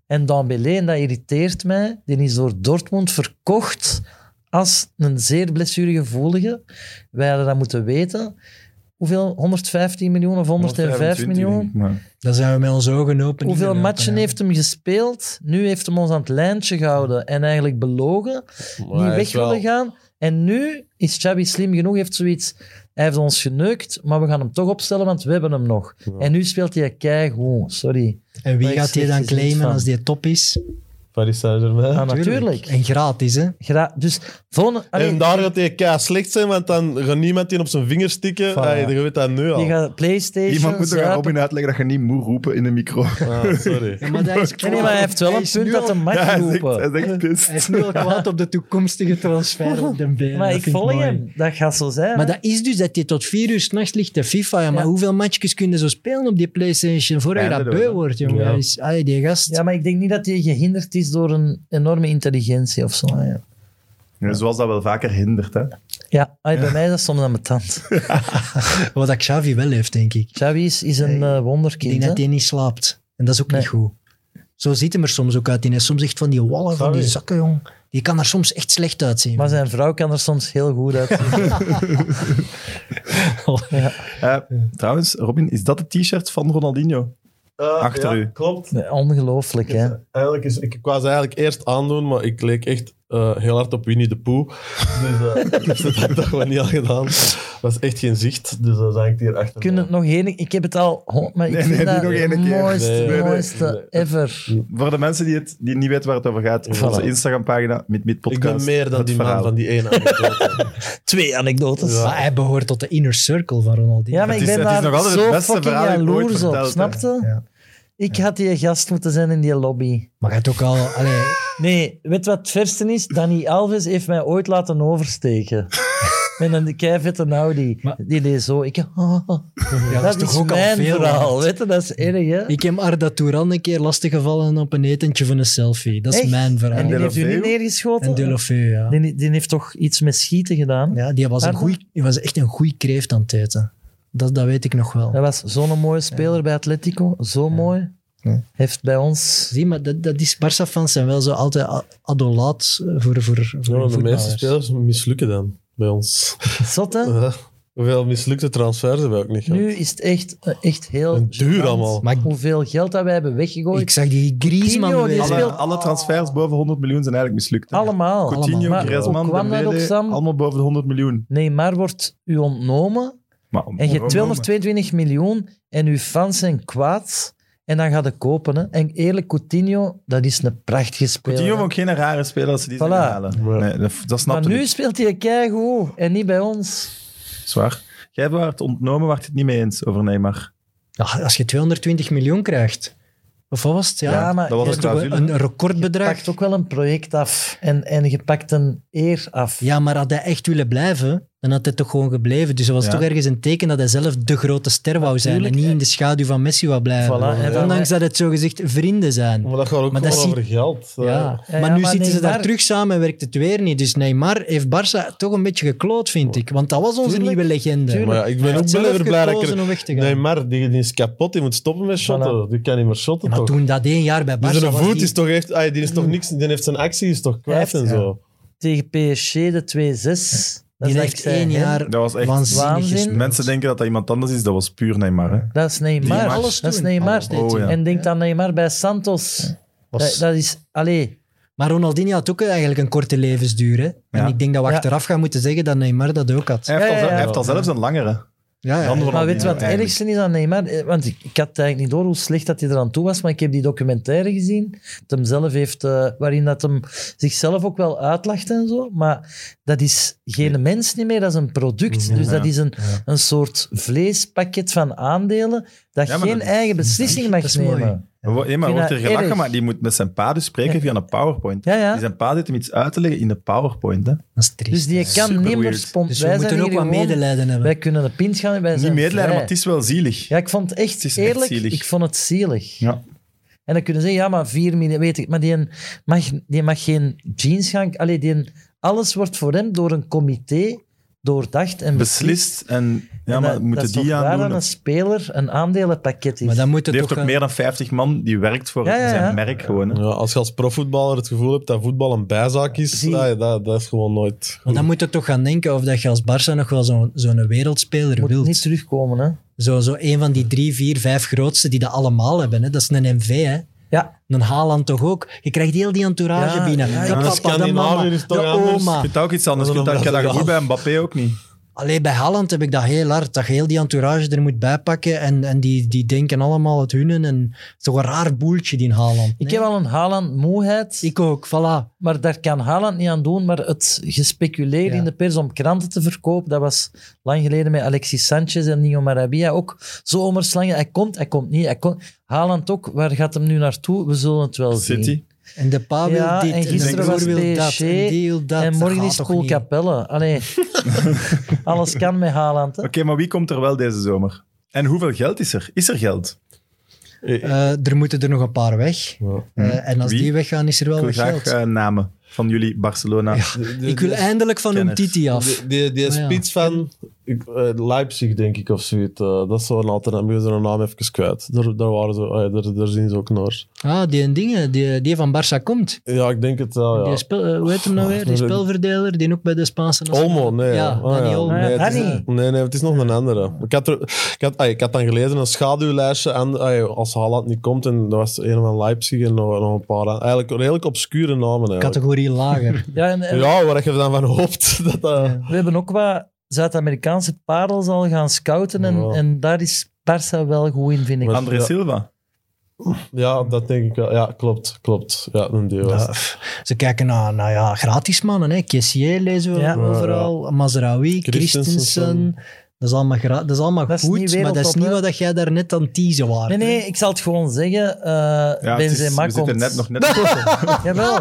En Dambélé, en dat irriteert mij, die is door Dortmund verkocht als een zeer blessuregevoelige. Wij hadden dat moeten weten. Hoeveel? 115 miljoen of 105 miljoen? Maar- Dan zijn we met onze ogen open. Hoeveel ingelopen, matchen ja. heeft hem gespeeld? Nu heeft hem ons aan het lijntje gehouden en eigenlijk belogen. Maar niet hij weg is wel- willen gaan. En nu is Chabi slim genoeg, heeft zoiets... Hij heeft ons geneukt, maar we gaan hem toch opstellen, want we hebben hem nog. En nu speelt hij keigoed, sorry. En wie Maar ik gaat die zeg, dan je ziet claimen van- als die top is? Paris Saint-Germain. Ah, natuurlijk. En gratis, hè? Gra- dus volgende... Allee, en daar gaat hij kei slecht zijn, want dan gaat niemand die op zijn vinger stikken. Ay, je weet dat nu al. Die gaat PlayStation. Iemand moet er aan zuipen. Robin uitleggen dat je niet moet roepen in de micro. *laughs* Ah, sorry. *laughs* maar dat is Nee, nee, maar hij heeft wel een punt dat hem mag hij zegt, roepen. hij zegt Hij pist. is nu al kwaad op de toekomstige transfer op de benen. maar ik volg hem. Dat gaat zo zijn. Maar hè. dat is dus dat je tot vier uur s'nachts ligt te FIFA. Ja, maar Ja. hoeveel matchjes kun je zo spelen op die PlayStation voor je Ja, dat dat beu ook. wordt, jongen? Ja. Dat is, allee, die gast. Ja, maar ik denk niet dat hij gehinderd is door een enorme intelligentie of zo. Ja, Ja, Zoals dat wel vaker hindert, hè. Eh, ja ah, bij mij is dat soms aan mijn tand. Wat dat Xavi wel heeft, denk ik. Xavi is, is een eh, Ik wonderkind. denk hè. dat hij niet slaapt. En dat is ook Nee. niet goed. Zo ziet hem er soms ook uit. Die heeft soms echt van die wallen, van die Xavi. zakken, jong. Die kan er soms echt slecht uitzien. Maar zijn vrouw kan er soms heel goed uit. Eh, Trouwens, Robin, is dat het t-shirt van Ronaldinho? Achter ja, u. Klopt. Nee, Ongelooflijk, hè? Eigenlijk is, ik, ik was eigenlijk eerst aandoen, maar ik leek echt eh, heel hard op Winnie de Pooh. Dus eh, *laughs* ik heb ze dat dag gewoon niet al gedaan. Dat is echt geen zicht, dus dat hangt hier achter. eh, Kun mij. het nog één Ik heb het al... hond- Maar ik Nee, vind nee, dat niet nog één het keer. mooiste, Nee, nee, nee. mooiste ever. Voor de mensen die, het, die niet weten waar het over gaat, op Voilà. onze Instagram-pagina, met, met Ik podcast. ben meer dan het die man verhaal. van die ene *laughs* anekdote. Twee anekdotes. Ja. Ja, Maar hij behoort tot de inner circle van Ronaldinho. maar Het ik is- het ben is nog daar altijd het zo beste fucking verhaal dat ik ooit jaloers op, verteld heb. snapte? Ja. Ik had die gast moeten zijn in die lobby. Maar hij had ook al... Allee, Nee, weet wat het verste is? Danny Alves heeft mij ooit laten *laughs* oversteken. Met een keivette Audi. Maar- die deed zo. Ik, *laughs* ja, dat, is toch ook mijn verhaal. Weet je, dat is erg, hè? Ik heb Arda Touran een keer lastiggevallen op een etentje van een selfie. Dat is Echt? mijn verhaal. en En, die heeft u Delofeu? niet neergeschoten? Delofeu, ja. Die, die heeft toch iets met schieten gedaan? ja. Die was, een Arda? goeie, die was echt een goeie kreeft aan het eten. Dat, dat weet ik nog wel. Dat was zo'n mooie speler bij Atletico. Zo mooi. Ja. Heeft bij ons... Zie, maar dat, dat is Barca-fans zijn wel zo altijd a- adolaat voor, voor, voor Ja, maar de voetballers. meeste spelers mislukken dan bij ons. Zot, hè? Ja. *laughs* Hoeveel mislukte transfers hebben we ook niet gehad? Nu is het echt, eh, echt heel En duur gênant allemaal. Maar ik- Hoeveel geld dat wij hebben weggegooid. Ik zag die Griezmann Coutinho, die weer. is alle, speelt- alle transfers boven 100 miljoen zijn eigenlijk mislukt. hè? allemaal. Coutinho, Maar Griezmann, hoe kwam dat Dembele, ook, Sam? allemaal boven de 100 miljoen. Neymar wordt u ontnomen Maar, en je hebt 222 miljoen en uw fans zijn kwaad en dan gaat het kopen. Hè. En eerlijk, Coutinho, dat is een prachtige speler. Coutinho vond geen rare speler als ze die Voilà. zouden halen. Ja. Nee, dat, dat maar snapte nu ik. speelt hij keigoed en niet bij ons. Zwaar. Jij werd ontnomen, werd het niet mee eens over Neymar. Ja, als je 220 miljoen krijgt. Of wat was het? Ja, Ja, maar dat was je dat is een toch clausule. een recordbedrag. pakt ook wel een project af en, en je pakt een eer af. Ja, maar had hij echt willen blijven, dan had hij toch gewoon gebleven. Dus dat was Ja. toch ergens een teken dat hij zelf de grote ster wou zijn. En Natuurlijk. niet in de schaduw van Messi wou blijven. Voilà, en dan- Ondanks dat het zogezegd vrienden zijn. Maar dat gaat ook Maar dat gewoon zie- over geld. Ja. Eh, Ja, maar ja, nu maar zitten ze daar Neymar- terug samen en werkt het weer niet. Dus Neymar heeft Barça toch een beetje gekloot, vind ik. Want dat was onze Tuurlijk, nieuwe legende. tuurlijk. Maar ja, ik ben Hij ook heeft blij zelf weer blij dat ik gekozen er- om weg te gaan. Nee, maar die, die is kapot. Die moet stoppen met shotten. Die kan niet meer shotten, Ja, maar toch? toen dat één jaar bij Barça Dus zijn was voet die- is toch echt... ah, die, is toch niks, die heeft zijn actie is toch kwijt Hij en heeft- zo. Tegen PSG de 2-6. Dat is die heeft dankzij één hem. jaar Dat was echt... waanzinnig Waanzin. gespeeld. Dus Mensen denken dat dat iemand anders is, dat was puur Neymar. Hè? Dat is Die Neymar. heeft match. alles dat is toen. Neymar. Alles deed hij. Oh, ja. En denk dan Neymar bij Santos. Was- Dat, dat is... Allee, Maar Ronaldinho had ook eigenlijk een korte levensduur. Hè? En Ja. ik denk dat we Ja. achteraf gaan moeten zeggen dat Neymar dat ook had. Hij heeft, Ja, al, ja, ja. hij heeft al zelfs een langere. Ja, ja. Dan maar weet je wat het Eigenlijk. ergste is aan Neymar? Eh, Want ik, ik had eigenlijk niet door hoe slecht dat hij eraan toe was, maar ik heb die documentaire gezien, dat hem zelf heeft, eh, waarin dat hem zichzelf ook wel uitlacht en zo. Maar dat is geen mens niet meer, dat is een product. Ja. dus dat is een, Ja. een soort vleespakket van aandelen dat Ja, maar geen dat- eigen beslissing dat mag is mooi. nemen. Ja, maar vind wordt er dat gelachen, erg. maar die moet met zijn pa dus spreken Ja. via een PowerPoint. Ja, ja. Die zijn pa zit hem iets uit te leggen in de PowerPoint. Hè? Dat is triest. Dus die Super kan niet meer weird. spontaan. Dus we moeten ook wat medelijden hebben. Wij kunnen de pint gaan. Wij Niet zijn medelijden, vrij. maar het is wel zielig. Ja, ik vond het echt Het is echt eerlijk. zielig. ik vond het zielig. Ja. En dan kunnen ze zeggen, ja, maar 4 miljoen, weet ik. Maar die mag, die mag geen jeans gaan. Allee, die, alles wordt voor hem door een comité doordacht en Beslist en... Ja, En maar dat- dat moeten is toch die raar dat aan een speler een aandelenpakket is. Maar dan moet het Die heeft toch eh, ook gaan- meer dan 50 man, die werkt voor Ja, ja, zijn ja. merk gewoon. hè. Ja, als je als profvoetballer het gevoel hebt dat voetbal een bijzaak is, Zie- ah, dat, dat is gewoon nooit... Maar dan moet je toch gaan denken of dat je als Barça nog wel zo'n zo'n wereldspeler moet wilt. niet terugkomen, hè. Zo, zo een van die drie, vier, vijf grootste die dat allemaal hebben. Hè. Dat is een MV, hè. Ja. Een Haaland toch ook. Je krijgt heel die entourage Ja, binnen. ja, de ja. papa, de Scandinavië mama, is toch de anders. oma. Je kunt dat ook iets anders. Je kunt Dat dat, is je dat wel- gevoel bij Mbappé ook niet. Alleen bij Haaland heb ik dat heel hard. Dat je heel die entourage er moet bijpakken. En, en die, die denken allemaal het hunnen. En het is toch een raar boeltje, die Haaland. Ik Nee? heb al een Haaland-moeheid. ik ook, voilà. Maar daar kan Haaland niet aan doen. Maar het gespeculeerd Ja. in de pers om kranten te verkopen, dat was lang geleden met Alexis Sanchez en Nino Marabia ook. Zomerslangen, hij komt, hij komt niet. Hij komt. Haaland ook, waar gaat hem nu naartoe? We zullen het wel zien. City. En de pa wil Ja, dit. en de gisteren broer was wil dat. PSG En die wil dat. en Dat morgen gaat is toch Cool niet? Capelle. *laughs* Allee, alles kan met Haaland. hè. Oké, maar wie komt er wel deze zomer? En hoeveel geld is er? Is er geld? Eh, er moeten er nog een paar weg. Ja. Hm. Eh, en als Wie? die weggaan, is er wel Ik wil wat graag geld. eh, namen van jullie Barcelona. eh, ik wil eindelijk van Kenners. Umtiti af. Die, die, die Maar ja. spits van ik, eh, Leipzig, denk ik, of zoiets. eh, dat is zo'n alternatief. maar Ik ben zijn naam even kwijt. Daar, daar, waren ze, ah, ja, daar, daar zien ze ook naar. Ah, die dingen, die, die van Barça komt. Ja, ik denk het wel, Oh, ja. Die spel, eh, hoe heet hem Oh, nou weer? *laughs* Die spelverdeler, die ook bij de Spaanse... nationale- Olmo, nee. Ja, Ah, Dani Olmo. Nee, het is, Dani. nee, nee, het is nog een andere. Ik had, er, ik had, ah, ik had dan gelezen een schaduwlijstje aan, ah, als Haaland niet komt. En dat was een van Leipzig en nog, nog een paar. aan- Eigenlijk redelijk obscure namen. Eigenlijk. Categorie *laughs* lager. Ja, en, en Ja, waar je dan van hoopt. *laughs* Dat, dat- we hebben ook wat Zuid-Amerikaanse parels al gaan scouten. En, Ja. en daar is Barça wel goed in, vind ik. Maar- André Ja. Silva. ja, dat denk ik wel. Ja, klopt. Klopt. Ja, een deel. was Ja, het. pff, ze kijken naar, nou ja, gratis mannen. Hè. Kessier lezen we Ja. overal. Mazraoui, Christensen. Christensen. Dat is allemaal, gra- dat is allemaal Dat is goed, niet maar dat is wereldtop, niet hè. wat jij daar net aan het teasen was. Nee, nee, ik zal het gewoon zeggen. eh Ja, het is- Benzema we komt. zitten net nog net tussen. *laughs* Jawel,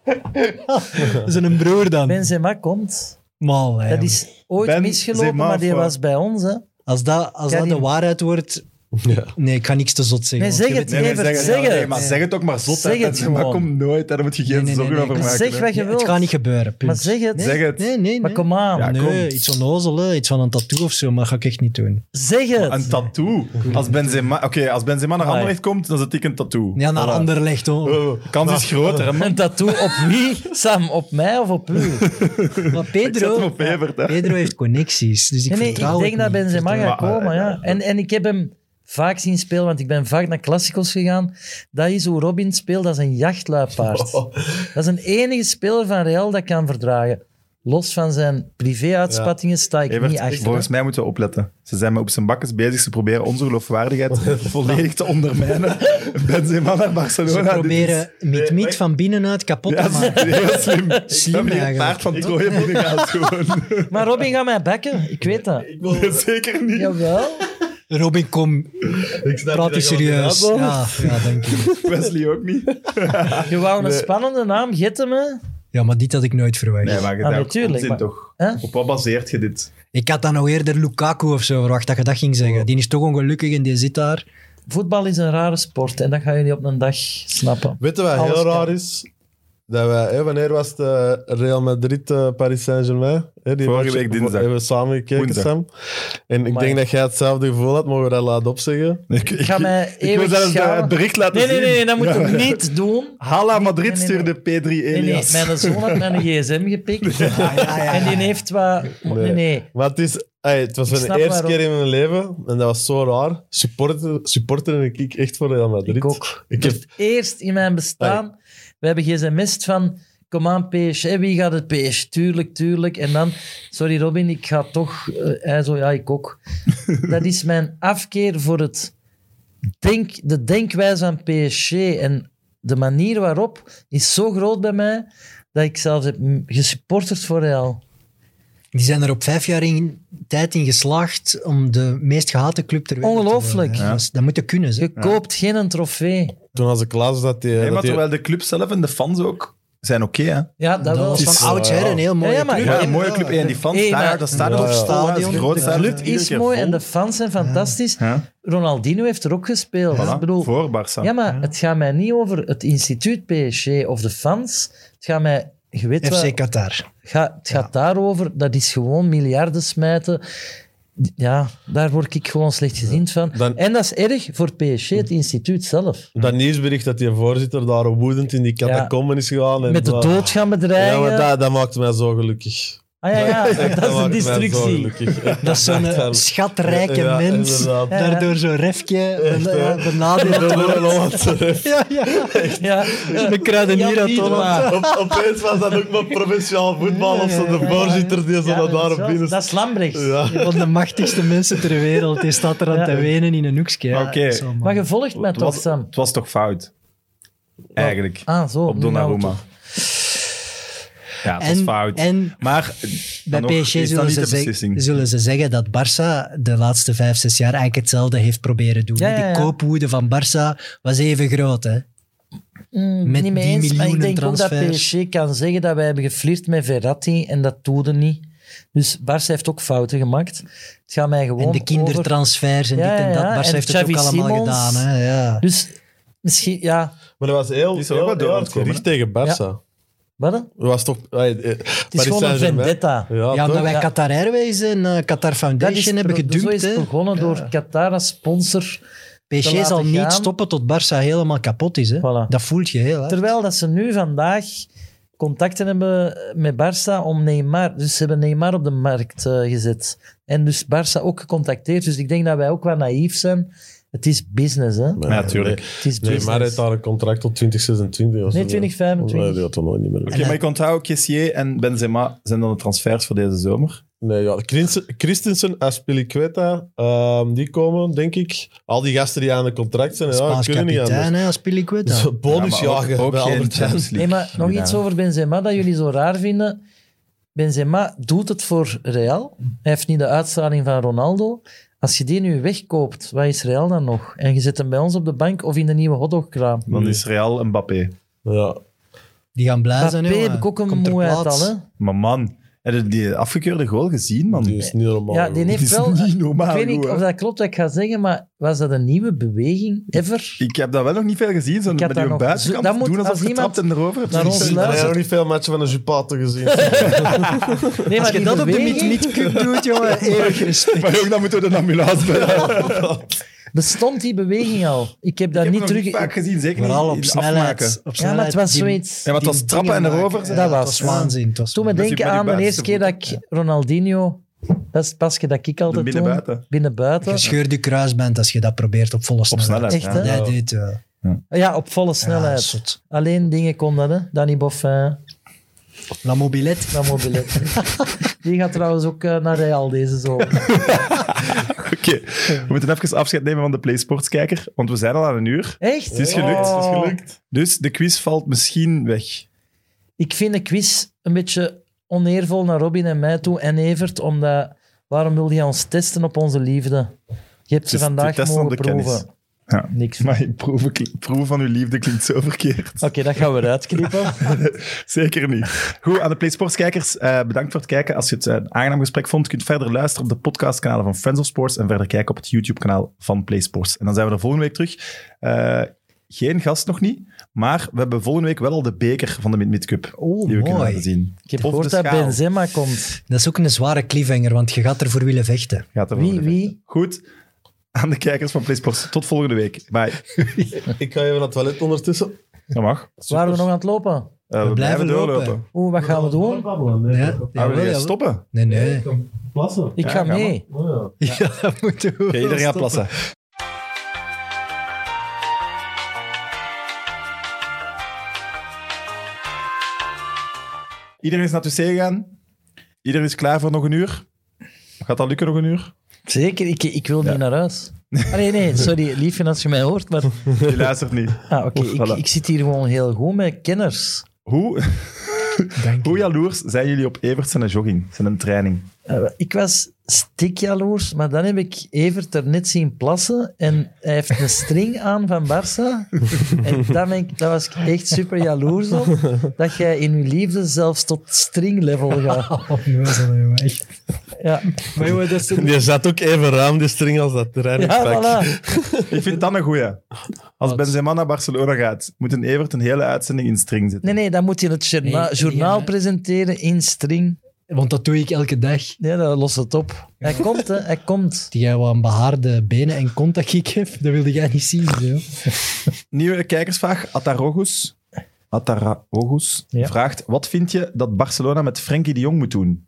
*laughs* Dat is een broer dan. Benzema komt. Mal, hè, Dat is ooit Benzema, misgelopen, maar die of wat? was bij ons. Hè. Als dat, als Kan dat de niet. waarheid wordt... *laughs* Ja. Nee, ik ga niks te zot zeggen. Nee, want je zeg weet- het. Nee, maar Evert, zeg, het- zeg het. nee, maar zeg het ook maar zot. Zeg het maar gewoon. komt nooit, daar moet je geen Nee, nee, zorgen nee, over nee. maken. Dus Zeg hè. wat je wilt. Het gaat niet gebeuren, punt. Maar zeg het. Zeg het. Nee, nee, Maar nee. kom aan. Ja, nee, kom. iets onnozel, hè. iets van een tattoo of zo, maar dat ga ik echt niet doen. Zeg Een het. tattoo. Als Benzema, oké, als Benzema naar Amai. Anderlecht komt, dan zet ik een tattoo. Ja, naar Voilà. Anderlecht, hoor. De kans is groter, hè, man. Een tattoo op wie? Sam, op mij of op u? Maar Ik zet hem Pedro, op Evert, hè. Pedro heeft connecties, dus ik Nee, nee, ik vertrouw denk het dat niet. Benzema Vertrouw- Ah, gaat Maar, komen. eh, Ja. En, en ik heb hem vaak zien spelen, want ik ben vaak naar Classicos gegaan. Dat is hoe Robin speelt, dat is een jachtluipaard. Oh. Dat is een enige speler van Real dat kan verdragen. Los van zijn privé-uitspattingen sta ik Evert, niet ik- achter. volgens hè. mij moeten we opletten. Ze zijn maar op zijn bakkes bezig. Ze proberen onze *laughs* geloofwaardigheid volledig te *laughs* ondermijnen. Benzema naar Barcelona. Ze dit is- proberen Miet Miet van binnenuit kapot Ja, *laughs* te dat maken. is heel slim. Slim We hebben hier een eigenlijk. paard van Troje *laughs* binnengehaald gewoon. Maar Robin gaat mij bekken, ik weet dat. Zeker niet. Jawel. Robin, kom, Ik praat snap je u dat je serieus. dat wil. Ja, ja, dank je. Wesley ook niet. Je wou een spannende naam, gitte me. Ja, maar dit had ik nooit verwacht. Nee, maar je Ah, hebt natuurlijk, onzin maar- toch. Hè? Op wat baseert je dit? Ik had dan nog eerder Lukaku of zo verwacht, dat je dat ging Oh. zeggen. Die is toch ongelukkig en die zit daar. Voetbal is een rare sport en dat gaan jullie op een dag snappen. Weet je wat Alles heel kan. raar is? Dat wij, hè, wanneer was het eh, Real Madrid, eh, Paris Saint-Germain? Hè, die Vorige match week dinsdag. Hebben we samen gekeken, Woensdag. Sam. En ik Maar- denk dat jij hetzelfde gevoel had, mogen we dat laten opzeggen? Ik, ik, ga mij ik wil eeuwig zelfs schamen. het bericht laten Nee, nee, zien. nee, dat moet Ja, je maar- niet doen. Hala Madrid Nee, nee, nee. stuurde P3 Nee, nee, Elias. mijn zoon had *laughs* mijn gsm gepikt. Ah, En die heeft wat... Nee, nee. Maar het, is, ey, het was Ik mijn snap eerste waarom. keer in mijn leven en dat was zo raar. Supporter, supporter en ik echt voor Real Madrid. Ik ook. Ik Voor heb, het eerst in mijn bestaan. We hebben gsm'st van... Kom aan, PS. Hé, wie gaat het PS? Tuurlijk, tuurlijk. En dan... Sorry, Robin, ik ga toch... eh, hij zo, ja, *laughs* ik ook. Dat is mijn afkeer voor het... Denk, de denkwijze van PSG en de manier waarop is zo groot bij mij dat ik zelfs heb mm, gesupporterd voor Real. Die zijn er op vijf jaar in, tijd in geslaagd om de meest gehate club ter wereld te Ongelooflijk. worden. hè. Dat is- Dat moet je kunnen, zeg. Je koopt geen een trofee. toen als ik las dat die... Nee, maar dat die- terwijl de club zelf en de fans ook zijn oké, hè. Ja, dat, Dat wel. was van oudsher een heel mooie Ja, ja, maar- club. Ja, eh, Ja, een mooie club. En die fans, Hey, daar, maar- dat staat Ja, ook ja. stadion. Groot De club stadion, Het iedere is keer mooi vol. en de fans zijn fantastisch. Ja, Ronaldinho heeft er ook gespeeld. voilà. Ik bedoel, Voor Barça. ja, maar het gaat mij niet over het instituut PSG of de fans. Het gaat mij, je weet wel, FC Qatar. het gaat- het gaat daarover. Dat is gewoon miljarden smijten. Ja, daar word ik gewoon slecht gezind van. Dan- En dat is erg voor PSG, het instituut zelf. Dat nieuwsbericht dat die voorzitter daar woedend in die catacomben is gegaan. En Met de bla- dood gaan Ja, bedreigen. maar dat, dat maakt mij zo gelukkig. ah ja, *laughs* ja, dat is maakt een mij zo destructie. gelukkig. Echt. Dat is zo'n eh, Echt, schatrijke ja, mens. inderdaad. Ja, ja. Daardoor zo'n refje ben- ja, *laughs* *laughs* benadeeld Door een wordt. Hollandse. Ja, ja. *laughs* *laughs* Ja, De kruidenier Jan uit Holland. Iedema. Op, opeens was dat ook maar provinciaal voetbal of zo. De voorzitter die zo Ja, naar daarop binnen Dat is Lambrechts. Ja. Een van de machtigste mensen ter wereld. Die staat er aan Ja. te wenen in een hoekje. Ja, Oké. zo, man. Maar je volgt mij het, toch, was, Sam? het was toch fout? Eigenlijk. Ah, zo. Op nu gaan we Donnarumma. toch- Ja, het was en, fout. en maar eh, bij dan nog PSG is dat zullen niet de ze, zeg- beslissing. zullen ze zeggen dat Barça de laatste vijf, zes jaar eigenlijk hetzelfde heeft proberen doen. Ja, hè. ja, ja. Die koopwoede van Barça was even groot. Hè? Mm, Met niet mee die eens, maar ik denk ook dat miljoenentransfers. PSG kan zeggen dat wij hebben geflirt met Verratti en dat doelde niet. Dus Barça heeft ook fouten gemaakt. Het gaat mij gewoon En de over- kindertransfers en Ja, dit en ja, dat. ja. Barça En heeft het ook Xavi allemaal Simons. gedaan. Hè? Ja. Dus misschien, ja, Maar dat was heel, Die is er ook heel, wel door heel aan het hard komen, gericht tegen Barça. Wat? Het Was toch, allee, eh, is Paris gewoon een Saint-Germain. vendetta. Ja, ja, toch? omdat wij ja. Qatar Airways en eh, Qatar Dat is Foundation hebben pro- Zo gedumpt. is het hè. begonnen door Qatar als sponsor. te PSG laten zal niet gaan. stoppen tot Barça helemaal kapot is. Hè. Voilà. Dat voelt je heel. Hè. Terwijl dat ze nu vandaag contacten hebben met Barça om Neymar. Dus ze hebben Neymar op de markt eh, gezet. En dus Barça ook gecontacteerd. Dus ik denk dat wij ook wel naïef zijn. Het is business, hè? Maar Ja, tuurlijk. nee. Het is Nee, business. maar hij heeft daar een contract tot 2026. of Nee, zo. 2025. Nee, dat toch nooit niet meer. Oké, maar ik onthoud ook Kessier en Benzema zijn dan de transfers voor deze zomer. Nee, ja. Christen- Christensen, Aspilicueta, ehm, die komen, denk ik. Al die gasten die aan de contract zijn, ja, Spaans kunnen niet kapitein anders. hè, als Piliqueta. *laughs* Dus bonusjagen Ja, maar ook- ook bij geen Albert Heijn. Champions League. Nee, maar nog iets over Benzema dat jullie zo raar vinden. Benzema doet het voor Real. Hij heeft niet de uitstraling van Ronaldo. Als je die nu wegkoopt, wat is Real dan nog? En je zet hem bij ons op de bank of in de nieuwe hotdogkraam. Dan is Real Mbappé. Ja. Die gaan blij zijn. Mbappé jongen. heb ik ook een Komt ter moeheid plaats. al, hè? Maar man, heb je die afgekeurde goal gezien, man? Die is niet normaal. Ja, die goed. Het heeft is wel... niet normaal Ik weet niet goed, hè. of dat klopt wat ik ga zeggen, maar was dat een nieuwe beweging? *laughs* Ever? Ik heb dat wel nog niet veel gezien, zo met Ik had die daar nog- buitenkant dat moet- doen alsof als getrapt iemand en erover. naar ons Ik heb nog niet veel matchen van een Jupato *laughs* gezien. Nee, maar Als je die dat op de beweging Mid-Mid Cup doet, jongen, eeuwig respect. *laughs* Maar ook dan moeten we de ambulance bij. Bestond die beweging al? Ik heb dat ik heb niet nog terug... niet vaak gezien, zeker Vooral niet op in snelheid. afmaken. Op Ja, maar het snelheid was die- zoiets... Ja, want dat die was trappen en dingen erover. maken, zeg. Dat hè. was- Het waanzin. het was Toen me Dat is denken met die aan de eerste buitenste keer dat ik Ronaldinho... Dat is het pasje dat ik altijd De binnenbuiten. doe. Binnenbuiten. Je scheurt je kruisband als je dat probeert op volle Op snelheid. snelheid. Echt, ja. hè? Nee, dit wel. Ja, op volle snelheid. zot. Alleen dingen kon dat, hè. Danny Boffin, La Mobilette. dat *laughs* mobilet. Die gaat trouwens ook eh, naar Real deze zomer. Oké, we moeten even afscheid nemen van de PlaySportskijker, want we zijn al aan een uur. Echt? Het is gelukt. Oh. Het is gelukt. Dus de quiz valt misschien weg. Ik vind de quiz een beetje oneervol naar Robin en mij toe en Evert, omdat waarom wil je ons testen op onze liefde? Je hebt Dus ze te vandaag testen mogen op de kennis. proeven. Ja. Niks. Oké, Maar proeven, kli- proeven van uw liefde klinkt zo verkeerd. dat gaan we *laughs* eruit knippen. Zeker niet. Goed, aan de PlaySportskijkers, eh bedankt voor het kijken. Als je het eh, een aangenaam gesprek vond, kunt verder luisteren op de podcastkanalen van Friends of Sports en verder kijken op het YouTube-kanaal van PlaySports. En dan zijn we er volgende week terug. Eh, geen gast nog niet, maar we hebben volgende week wel al de beker van de Mid-Mid Cup. Oh, die we kunnen mooi. laten zien. Ik heb Of gehoord de dat schaal. Benzema komt. Dat is ook een zware cliffhanger, want je gaat ervoor willen vechten. Gaat er Wie, volgende week. wie? Goed, aan de kijkers van PlaySports. Tot volgende week. Bye. Ik ga even naar het toilet ondertussen. Dat mag. Waren we nog aan het lopen? Eh, we, blijven blijven lopen. doorlopen. Oeh, wat gaan we doen? Ja, Ah, wil jawel, jij jawel. stoppen? Nee, nee. Plassen. Ik Ja, ga ga maar. mee. *laughs* Ja, dat moeten *laughs* we Oké, wel iedereen gaat stoppen. plassen. Iedereen is naar het wc gegaan. Iedereen is klaar voor nog een uur. Gaat dat lukken nog een uur? Zeker, ik, ik wil niet naar huis. Nee, nee, sorry, liefje als je mij hoort, maar... Je luistert niet. Ah, oké, Voilà. ik, ik zit hier gewoon heel goed met kenners. Hoe, Dank hoe je. jaloers zijn jullie op Evert zijn jogging, zijn training? Eh, Ik was stikjaloers, maar dan heb ik Evert er net zien plassen en hij heeft een string aan van Barça. En daar, ben ik, daar was ik echt super jaloers op, dat jij in je liefde zelfs tot *laughs* stringlevel gaat. Oh, nee, dat is wel heel erg. Ja, Maar jongen, dat is een- *laughs* Die zat ook even ruim, die string, als dat trainingspak. ja voilà. Ik vind dat een goeie. Als Benzema naar Barcelona gaat, moet een Evert een hele uitzending in string zitten. Nee, nee, dan moet je het journa- Nee, nee, journaal hè. presenteren in string. Want dat doe ik elke dag. Nee, dat lost het op. Hij komt, hè. Hij komt. Die jij wel een behaarde benen en kont dat ik heb, dat wilde jij niet zien. Zo. Nieuwe kijkersvraag. Atarogus, Ataraogus Ja. vraagt: Wat vind je dat Barcelona met Frenkie de Jong moet doen?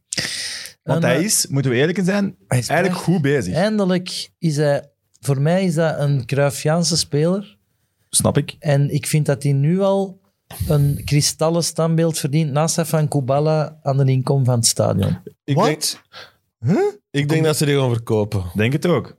Want En, hij eh, is, moeten we eerlijk in zijn, hij is eigenlijk echt- goed bezig. Eindelijk is hij... Voor mij is dat een Cruyffiaanse speler. Snap ik. En ik vind dat hij nu al een kristallen standbeeld verdient naast dat van Kubala aan de inkom van het stadion. Ik Wat? denk, ik denk dat ze die gaan verkopen. Denk het ook.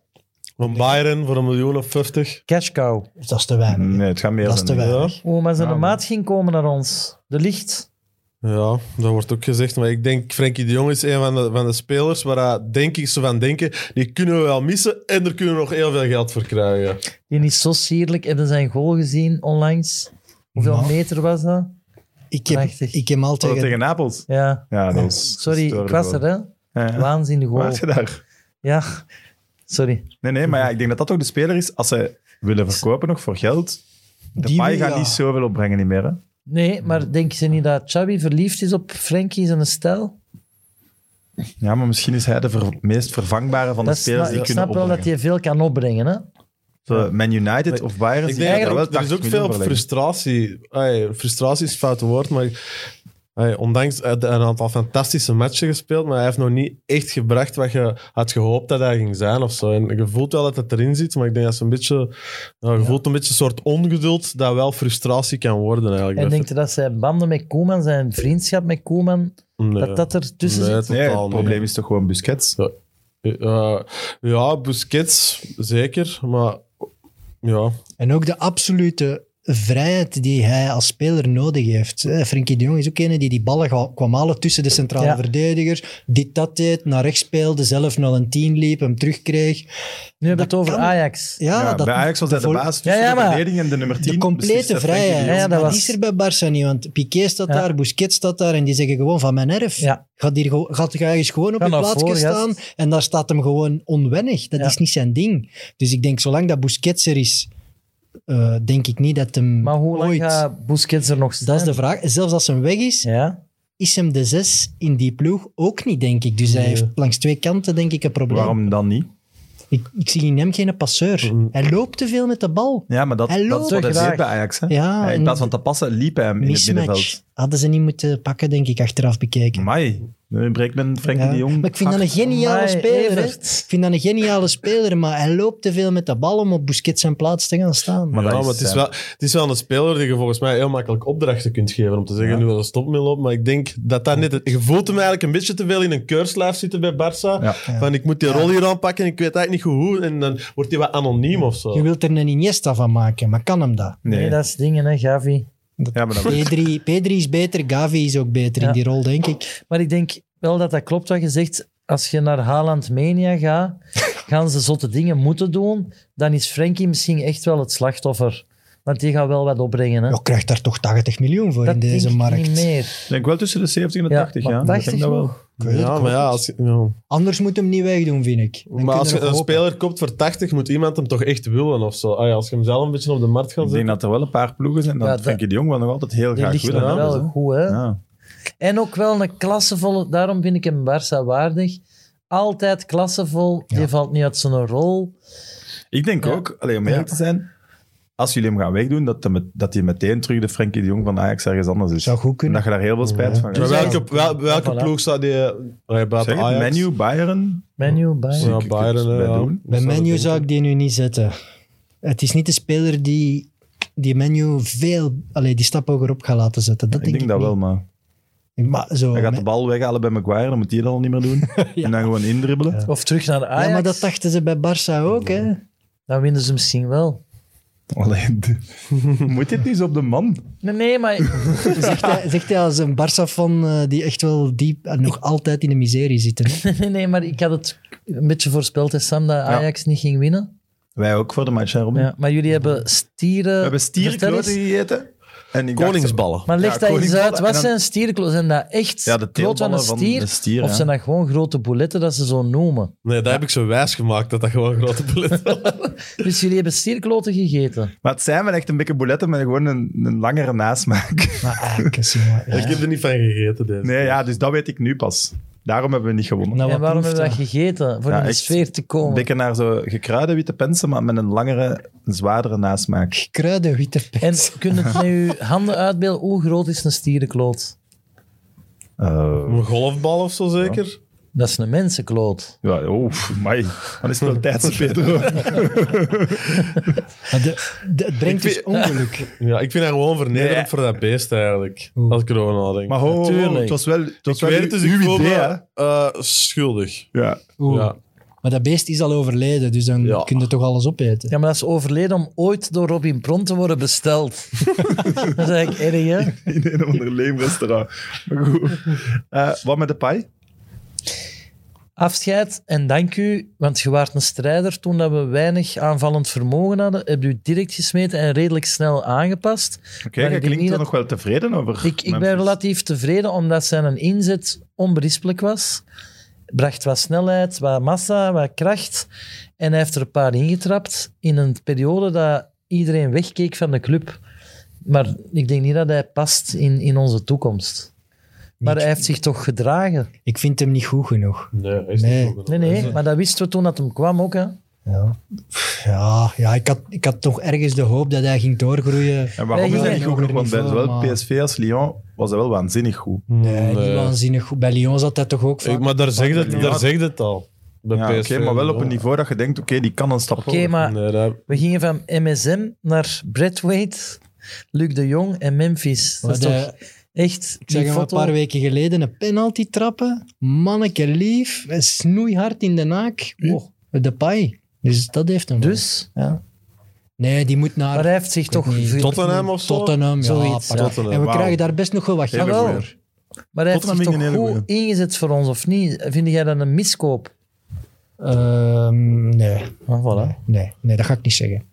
Van Bayern voor een miljoen of 50. Cash cow. Dat is te weinig. Nee, het gaat meer dat is te zijn. weinig. Oh, maar zijn Ja, maat ging komen naar ons. De licht. Ja, dat wordt ook gezegd. Maar ik denk, Frenkie de Jong is een van de, van de spelers waar hij, denk ik ze van denken, die kunnen we wel missen en er kunnen we nog heel veel geld voor krijgen. Die is zo sierlijk. Hebben zijn goal gezien onlangs? Hoeveel Nou. meter was dat? Ik heb, Prachtig. ik heb Oh, altijd... tegen Napels. Ja. Ja, dat is Sorry, ik was er, hè. Waar Waanzinnig goal. was je daar? Ja. Sorry. Nee, nee, maar ja, ik denk dat dat ook de speler is. Als ze willen verkopen nog voor geld, de Die paai wil- gaat ja. niet zoveel opbrengen niet meer. Hè? Nee, maar denken ze niet dat Xavi verliefd is op Frenkie zijn stijl? Ja, maar misschien is hij de ver- meest vervangbare van de Dat spelers sna- die ik kunnen snap wel dat opbrengen. hij veel kan opbrengen. Hè? Zo, Man United of Bayern, Ik die denk gaan dat er wel ook, er is 80 ook veel miljoen voor leggen. frustratie. Ai, frustratie is het foute woord, maar ai, ondanks hij had een aantal fantastische matchen gespeeld, maar hij heeft nog niet echt gebracht wat je had gehoopt dat hij ging zijn of zo. En je voelt wel dat het erin zit, maar ik denk dat ze een beetje, nou, je voelt een beetje een soort ongeduld dat wel frustratie kan worden eigenlijk. En bij denkt je dat zijn banden met Koeman, zijn vriendschap met Koeman, Ver- Nee. dat dat er tussen Nee, zit? totaal Nee, het niet. probleem is toch gewoon Busquets? Eh, ja, Busquets, zeker, maar ja. En ook de absolute vrijheid die hij als speler nodig heeft. Eh, Frenkie de Jong is ook een die die ballen ga- kwam halen tussen de centrale Ja. verdedigers. Dit, dat deed, naar rechts speelde, zelf naar een tien liep, hem terugkreeg. Nu hebben we het over kan. Ajax. Ja, Ja, dat, bij Ajax was hij de vol- baas tussen Ja, ja, de maar verdediging en de nummer Dus 10. De beslist complete dat Frenkie de vrijheid. Jong- Ja, dat maar was- die is er bij Barça niet, want Piqué staat Ja. daar, Busquets staat daar en die zeggen gewoon van mijn erf. Ja. Gaat, hier, gewo- gaat hij eens gewoon op Ga je naar plaatsje voor, staan en daar staat hem gewoon onwennig. Dat Ja. is niet zijn ding. Dus ik denk, zolang dat Busquets er is, eh, denk ik niet dat hem Maar hoe lang ooit... gaat Busquets er nog staan? Dat is de vraag. Zelfs als hem weg is, Ja, is hem de zes in die ploeg ook niet, denk ik. Dus hij heeft langs twee kanten, denk ik, een probleem. Waarom Mm. dan niet? Ik, ik zie in hem geen passeur. Hij loopt te veel met de bal. Ja, maar dat, Hij dat is wat loopt. hij Graag. deed bij Ajax. Hè? Ja, Hij- in en- plaats van te passen, liep hij hem in het Mismatch. middenveld. Hadden ze niet moeten pakken, denk ik, achteraf bekeken. Mai, nu breekt men Frenkie Ja. Mm. de Jong. Maar ik vind dat een geniale Amai, speler. hè. Evert. Ik vind dat een geniale speler, maar hij loopt te veel met de bal om op Busquets zijn plaats te gaan staan. Maar ja, dat is, maar het is, eh, wel, het is wel een speler die je volgens mij heel makkelijk opdrachten kunt geven. Om te zeggen, nu wil dat stop mee lopen. Maar ik denk dat dat net... het- Je voelt hem eigenlijk een beetje te veel in een keurslijf zitten bij Barça. Ja. Van, ik moet die rol hier aanpakken en ik weet eigenlijk niet goed hoe. En dan wordt hij wat anoniem of zo. Je wilt er een Iniesta van maken, maar kan hem dat? nee. Nee, dat is dingen, hè, Gavi. ja, maar dat Pedri, Pedri is beter, Gavi is ook beter Ja. in die rol, denk ik. Maar ik denk wel dat dat klopt wat je zegt. Als je naar Haaland *laughs* Mania gaat, gaan ze zotte dingen moeten doen. Dan is Frenkie misschien echt wel het slachtoffer. Want die gaat wel wat opbrengen. Hè? Je Oh, krijgt daar toch 80 miljoen voor in dat deze denk markt. ik niet meer. ik denk wel tussen de 70 en de Ja, 80. maar Ja, dat 80 denk ik dat wel. nog? Ik weet het, ja, ik maar hoop ja, het. als, je- ja. Anders moet hem niet wegdoen, vind ik. Dan maar kunnen als we je nog een hopen. speler koopt voor 80, moet iemand hem toch echt willen of zo. Ah ja, als je hem zelf een beetje op de markt gaat Ik denk zetten. dat er wel een paar ploegen zijn. Dan Ja, ja, dat- Frenkie de Jong wel nog altijd heel Die graag ligt willen. er hebben, wel dus, goed. Hè? hè. Ja. En ook wel een klassevolle, daarom vind ik hem Barça waardig. Altijd klassevol, die valt niet uit zijn rol. Ik denk Ja. ook, allee, om eerlijk te zijn, als jullie hem gaan wegdoen, dat hij met- dat hij meteen terug de Frenkie de Jong van Ajax ergens anders is. Zou goed En kunnen. dat je daar heel veel spijt van Maar hebt. welke, wel- welke Ja, voilà. ploeg zou die... Oh ja, buiten Zeg het, Ajax. Menu, Bayern. Menu, bij. Zie Ja, ik- Bayern. ik- hè, ik- ja. doen. Bij Menu zou ik die nu niet zetten. Het is niet de speler die, die Menu veel, allee, die stap hogerop gaat laten zetten. Dat Ik denk dat niet. wel, maar Maar zo, hij gaat de me- bal weghalen bij Maguire, dan moet hij dat al niet meer doen. En dan gewoon indribbelen. Of terug naar Ajax. ja, maar dat dachten ze bij Barça ook, hè? Dan winnen ze misschien wel. Allee, moet dit niet zo op de man? Nee, nee maar *laughs* Zegt hij, zegt hij als een Barça-fan eh, die echt wel diep en nog altijd in de miserie zit. hè. Nee, nee, maar ik had het een beetje voorspeld, hè, Sam, dat Ajax niet ging winnen. Wij ook voor de match, hè, Robin? Ja, maar jullie hebben stieren... We hebben Vertel eens. stierenkloten gegeten. En ik dacht- Koningsballen. Maar leg Ja, dat eens koningsballen uit. Wat en dan- zijn stierenkloten? Zijn dat echt Ja, de kloot van een teelballen van stier? de stier, of ja. zijn dat gewoon grote bouletten dat ze zo noemen? Nee, dat heb ik zo wijs gemaakt, dat dat gewoon grote *laughs* bullet was. Dus jullie hebben stierkloten gegeten. Maar het zijn wel echt een beetje bouletten met gewoon een, een langere nasmaak. *laughs* Maar eh, eigenlijk, is hij maar- ja. Ik heb er niet van gegeten, deze. Nee, ja, dus dat weet ik nu pas. Daarom hebben we niet gewonnen. Nou, en wat waarom proeft hebben we hij? dat gegeten? Voor Ja, in de echt. sfeer te Een komen. beetje naar zo gekruide witte pensen, maar met een langere, een zwaardere nasmaak. Kruiden, witte pijn. En kun je het met je handen uitbeelden? Hoe groot is een stierenkloot? Eh, Een golfbal of zo zeker? Dat is een mensenkloot. ja, oef, mai. Dan is het *laughs* wel tijd, Pedro. Maar de- de- Het brengt dus ongeluk. Ja, ik vind haar gewoon vernederend Nee. voor dat beest eigenlijk. Als ik erover nadenk. Maar ho, ho, ho, Natuurlijk. het was wel, het was ik wel weet het, dus uw ik voel idee, hè. me eh, schuldig. Ja. *laughs* Oeh. Ja. Maar dat beest is al overleden, dus dan Ja. kun je toch alles opeten. Ja, maar dat is overleden om ooit door Robin Pront te worden *laughs* besteld. dat is eigenlijk erg, hè? In een onderleemrestaurant. Maar goed. Eh, wat met de paai? Afscheid en dank u, want je waart een strijder toen dat we weinig aanvallend vermogen hadden. Heb u direct gesmeten en redelijk snel aangepast. Oké, Maar jij ik denk klinkt niet er dat- nog wel tevreden over. Ik, ik ben Memphis. relatief tevreden omdat zijn een inzet onberispelijk was. Bracht wat snelheid, wat massa, wat kracht. En hij heeft er een paar ingetrapt in een periode dat iedereen wegkeek van de club. Maar ik denk niet dat hij past in, in onze toekomst. Maar hij heeft zich toch gedragen. Ik vind hem niet goed genoeg. Nee, hij is Nee. niet goed Nee, genoeg. nee, maar dat wisten we toen dat hem kwam ook. Hè. Ja, Pff, ja, ja ik, had, ik had toch ergens de hoop dat hij ging doorgroeien. En waarom Nee, is hij nee, niet goed genoeg? Want bij niet voor, zowel maar- PSV als Lyon was hij wel waanzinnig goed. Nee, niet waanzinnig goed. Bij Lyon zat hij toch ook eh, Ik- vaak. maar daar zegt het, Ja. daar zegt het al. Bij Ja, Oké, PSV maar wel op ja. een niveau dat je denkt, oké, die kan een stap Oké, hoger. maar Nee, daar- we gingen van MSM naar Bradwaite, Luc de Jong en Memphis. Dat is Wat, eh, toch echt Ik zeg die hem een foto. paar weken geleden een penalty trappen. Manneke lief. en Snoeihard in de naak. Oh, de paai. Dus dat heeft hem. wel. Hm? Dus, Ja. Nee, die moet naar maar hij heeft zich toch... weet niet. ver- Tottenham of zo? Tottenham. Ja, Zoiets, pak. ja. Tottenham, En we wauw. krijgen daar best nog wel wat Hele Ah, geld. wel. goeie. Maar hij heeft zich Tottenham toch ging een hele goed ingezet voor ons, of niet? Vind jij dat een miskoop? Ehm, nee. Ah, voilà. Nee, nee, dat ga ik niet zeggen.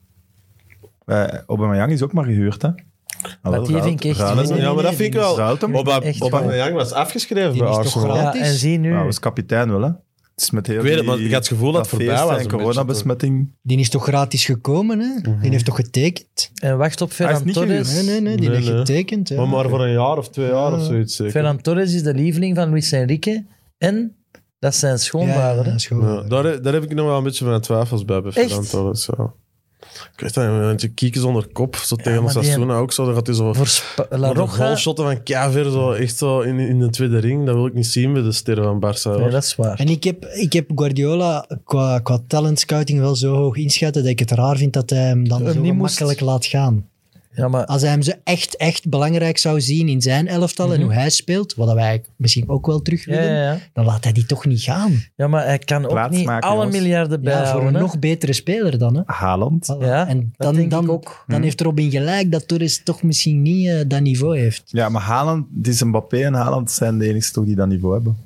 Eh, Aubameyang is ook maar gehuurd, hè? Ah, wel, Maar die ruilt- vind ik echt- ruilt Nee, hem. nee, Ja, maar dat vind ik wel. Ruilt hem. Boba- Echt Aubameyang was afgeschreven Die bij is toch Arsenal. gratis? Ja, en zie nu... Nou, als kapitein wel, hè? Het is met heel Ik weet het, die- maar ik had het gevoel dat het voorbij feest was En een coronabesmetting. Die is toch gratis gekomen, hè? Mhm. Die heeft toch getekend? En wacht op Ferran niet Torres. Nee, nee, nee, die Nee, heeft nee. getekend. Ja. Maar, maar voor een jaar of twee jaar of zoiets zeker. Ferran Torres is de lieveling van Luis Enrique. En dat is zijn Ja, schoonvader. dat hè. is goed. Ja, daar, daar heb ik nog wel een beetje mijn twijfels bij, bij Ferran Echt? Torres, ja. Ik weet dat, een beetje kiekjes onder kop, zo tegen maar die- Osasuna ook zo. Dan gaat hij zo... Voor Sp- La Maar de Roja... goalshotten van Kaver, zo echt zo in, in de tweede ring, dat wil ik niet zien bij de sterren van Barça. hoor. Nee, dat is waar. En ik heb, ik heb Guardiola qua, qua talent scouting wel zo hoog inschatten dat ik het raar vind dat hij hem dan Hem zo niet moest. makkelijk laat gaan. Ja, maar Als hij hem zo echt, echt belangrijk zou zien in zijn elftal en hoe hij speelt, wat wij eigenlijk misschien ook wel terug Mhm. Ja, willen, ja, ja. dan laat hij die toch niet gaan. ja, maar hij kan ook Plaats niet maken, alle jongens. miljarden Ja, voor bijhouden. een hè. nog betere speler dan. Hè? Haaland. Voilà. Ja, en dat dan, denk dan, ik ook. Mhm. dan heeft Robin gelijk dat Torres toch misschien niet eh, dat niveau heeft. Ja, maar Haaland, het is Mbappé en Haaland zijn de enigste toch die dat niveau hebben.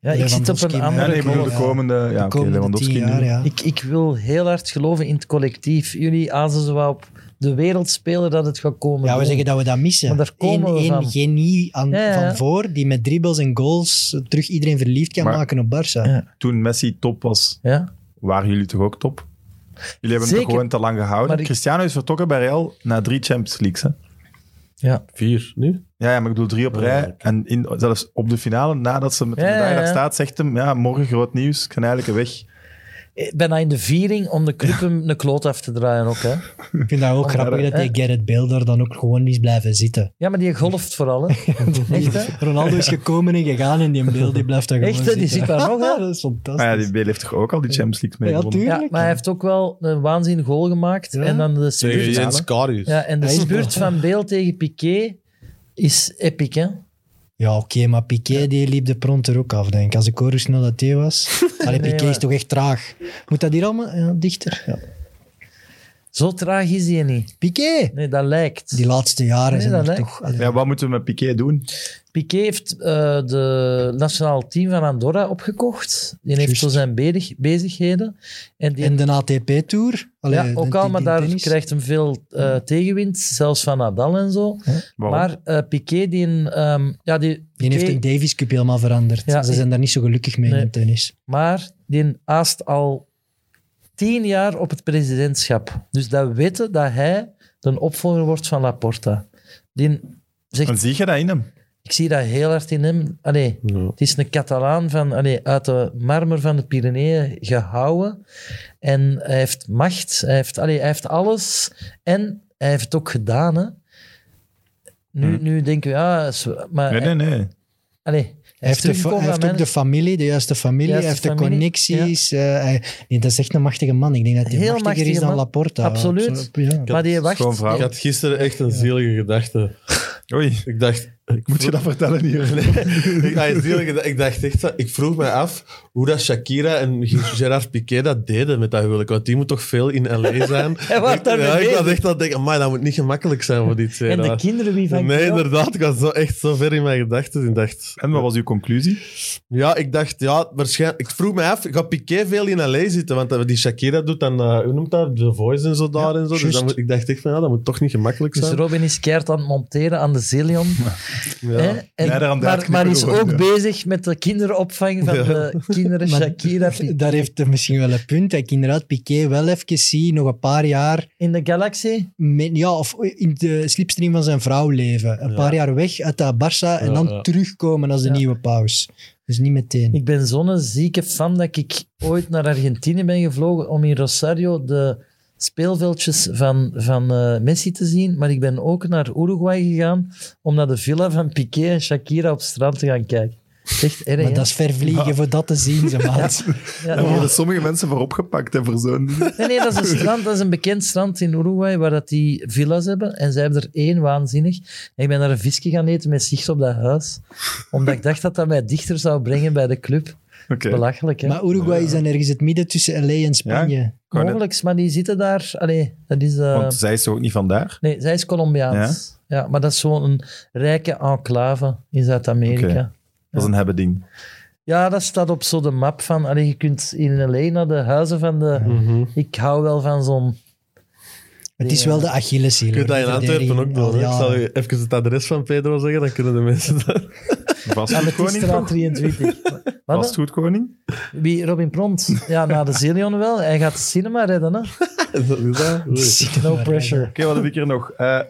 Ja, ik zit op Lewandowski, maar- een Ja, andere nee, ik bedoel de golf. komende... Ja, oké, De komende Lewandowski tien jaar, niet. ja. Ik, ik wil heel hard geloven in het collectief. Jullie azen zo wat op de wereldspeler dat het gaat komen. Ja, we doen. zeggen dat we dat missen. Maar daar komen Eén- we één van. genie aan, Ja, ja. van voor die met dribbles en goals terug iedereen verliefd kan Maar- maken op Barça. Ja. Toen Messi top was, Ja? waren jullie toch ook top? Jullie hebben hem Zeker. toch gewoon te lang gehouden. Maar ik- Cristiano is vertrokken bij Real na drie Champions Leagues. Hè? Ja. Vier, nu? Ja, ja, maar ik bedoel drie op rij. oké. En in, zelfs op de finale, nadat ze met de Ja, ja, medaille daar ja. staat, zegt hem, ja, morgen groot nieuws, ik ga eigenlijk weg. Eh, Bijna in de viering om de club hem een kloot af te draaien ook. Hè? Ik vind dat ook grappig dat die Gerrit Bale daar dan ook gewoon is blijven zitten. Ja, maar die golft vooral. *laughs* Hè? *laughs* Echt, hè? Ronaldo is gekomen en gegaan en die Bale die blijft daar gewoon Echt, hè? Die zitten. zit daar nog, hè? *laughs* dat is fantastisch. Maar Ah ja, die Bale heeft toch ook al die Champions League mee Ja, gewonnen? tuurlijk. Ja, maar hij heeft ook wel een waanzinnig goal gemaakt. Ja. En dan de Tegen spurt, Jens Karius. ja, en de Hij is- spurt van Beel tegen Piqué is epic, hè? Ja, oké, maar Piqué die liep de pront er ook af, denk ik. Als ik hoor hoe snel dat hij *laughs* was. Allee, Nee, Piqué maar- is toch echt traag. Moet dat hier allemaal ja, dichter? Ja. Zo traag is hij niet. Piqué! Nee, dat lijkt. Die laatste jaren Nee, zijn dat er lijkt- toch... allee, Ja, wat moeten we met Piqué doen? Piqué heeft eh de nationaal team van Andorra opgekocht. Die heeft Juist. zo zijn bedig- bezigheden. En die, En eh, de ATP-tour. ja, ook al, maar daar krijgt hem veel eh, tegenwind, zelfs van Nadal en zo. Waarom? Maar eh, Piqué, die, ehm, ja, die, Die heeft Piqué- de Davis Cup helemaal veranderd. Ja, Ze ik- zijn daar niet zo gelukkig mee Nee. in tennis. Maar die aast al tien jaar op het presidentschap. Dus dat weten dat hij de opvolger wordt van Laporta. Die Dan zegt, zie je dat in hem. ik zie dat heel hard in hem. Allee, Ja. het is een Catalaan van, allee, uit de marmer van de Pyreneeën gehouden. En hij heeft macht, hij heeft, allee, hij heeft alles. En hij heeft het ook gedaan. Hè. Nu, nu denken we, ja, is- maar... Nee, nee, nee. Allee, hij Hmm. Hij heeft, de, fa- teruggekomen hij heeft van ook de mensen- familie, de juiste familie. hij Juiste heeft de familie, connecties. eh, hij- nee, dat is echt een machtige man. Ik denk dat hij Heel machtiger machtige is dan man. Laporta. Absoluut. Op- ja. Maar die wacht... Schoon vrouw. Ik had gisteren echt een zielige gedachte. Oei, Ik dacht... Ik moet je dat vertellen *laughs* hier? ik, ah, een zielige gedachte. ik dacht echt... dat- Ik vroeg mij af hoe dat Shakira en Gerard Piqué dat deden met dat huwelijk. Want die moet toch veel in *laughs* L.A. zijn. Hij was Ik- daarmee ja, ik bezig. had echt dat denken, amai, dat moet niet gemakkelijk zijn voor die twee. En de daar." kinderen, wie van Nee, die ook? inderdaad. Ik was zo, echt zo ver in mijn gedachten. Ik dacht... En wat was uw conclusie? Ja, ik dacht, ja, waarschijnlijk. Ik vroeg me af, gaat Piqué veel in LA zitten? Want eh, die Shakira doet dan, eh, hoe noemt dat? The Voice en zo daar en zo. Dus juist. dan moet- ik dacht echt van, ja, dat moet toch niet gemakkelijk Dus zijn. Robin is keihard aan het monteren aan de Zillion. Hè? Ja. En- Nee, daaraan draait maar het maar niet is meer ook gewoon, bezig met de kinderopvang van Ja. de kinderen Maar Shakira Daar heeft hij misschien wel een punt. Dat ik inderdaad Piqué wel even zie, nog een paar jaar... in de galaxie. Met, ja, of in de slipstream van zijn vrouw leven. Een Ja. paar jaar weg uit dat Barça en Ja, dan ja. terugkomen als de Ja. nieuwe paus. Dus niet meteen. Ik ben zo'n zieke fan dat ik ooit naar Argentinië ben gevlogen om in Rosario de speelveldjes van, van eh, Messi te zien. Maar ik ben ook naar Uruguay gegaan om naar de villa van Piqué en Shakira op het strand te gaan kijken. Echt erg, maar hè? dat is ver vliegen voor dat te zien, ze maat. *laughs* Ja, Daar ja. worden sommige mensen voor opgepakt en voor zo'n... Nee, nee, dat is een strand, dat is een bekend strand in Uruguay waar dat die villa's hebben. En zij hebben er één waanzinnig. En ik ben daar een visje gaan eten met zicht op dat huis. Omdat ik dacht dat dat mij dichter zou brengen bij de club. Oké. Belachelijk, hè? Maar Uruguay is dan ergens het midden tussen LA en Spanje. kan het- Mogelijks, maar die zitten daar... Allee, dat is... eh, Want zij is toch ook niet vandaar? Nee, zij is Colombiaans. Ja? maar dat is zo'n rijke enclave in Zuid-Amerika. Oké. Dat is een hebben ding. Ja, dat staat op zo de map van... Allee, je kunt in LA naar de huizen van de... Mhm. Ik hou wel van zo'n... Het is Ja. wel de Achilleshiel. Je kunt dat in hoor, Antwerpen ook doen. al hè. Ik oh, jaren. zal je even het adres van Pedro zeggen, dan kunnen de mensen *laughs* dat... Ja, met die Vastgoedkoning? straat 23. *laughs* Wat? dan? Vastgoedkoning? Wie? Robin Pront? Ja, na de Zillion wel. Hij gaat het cinema redden, hè. dat is *laughs* dat. No pressure. Oké, wat heb ik hier nog? Eh,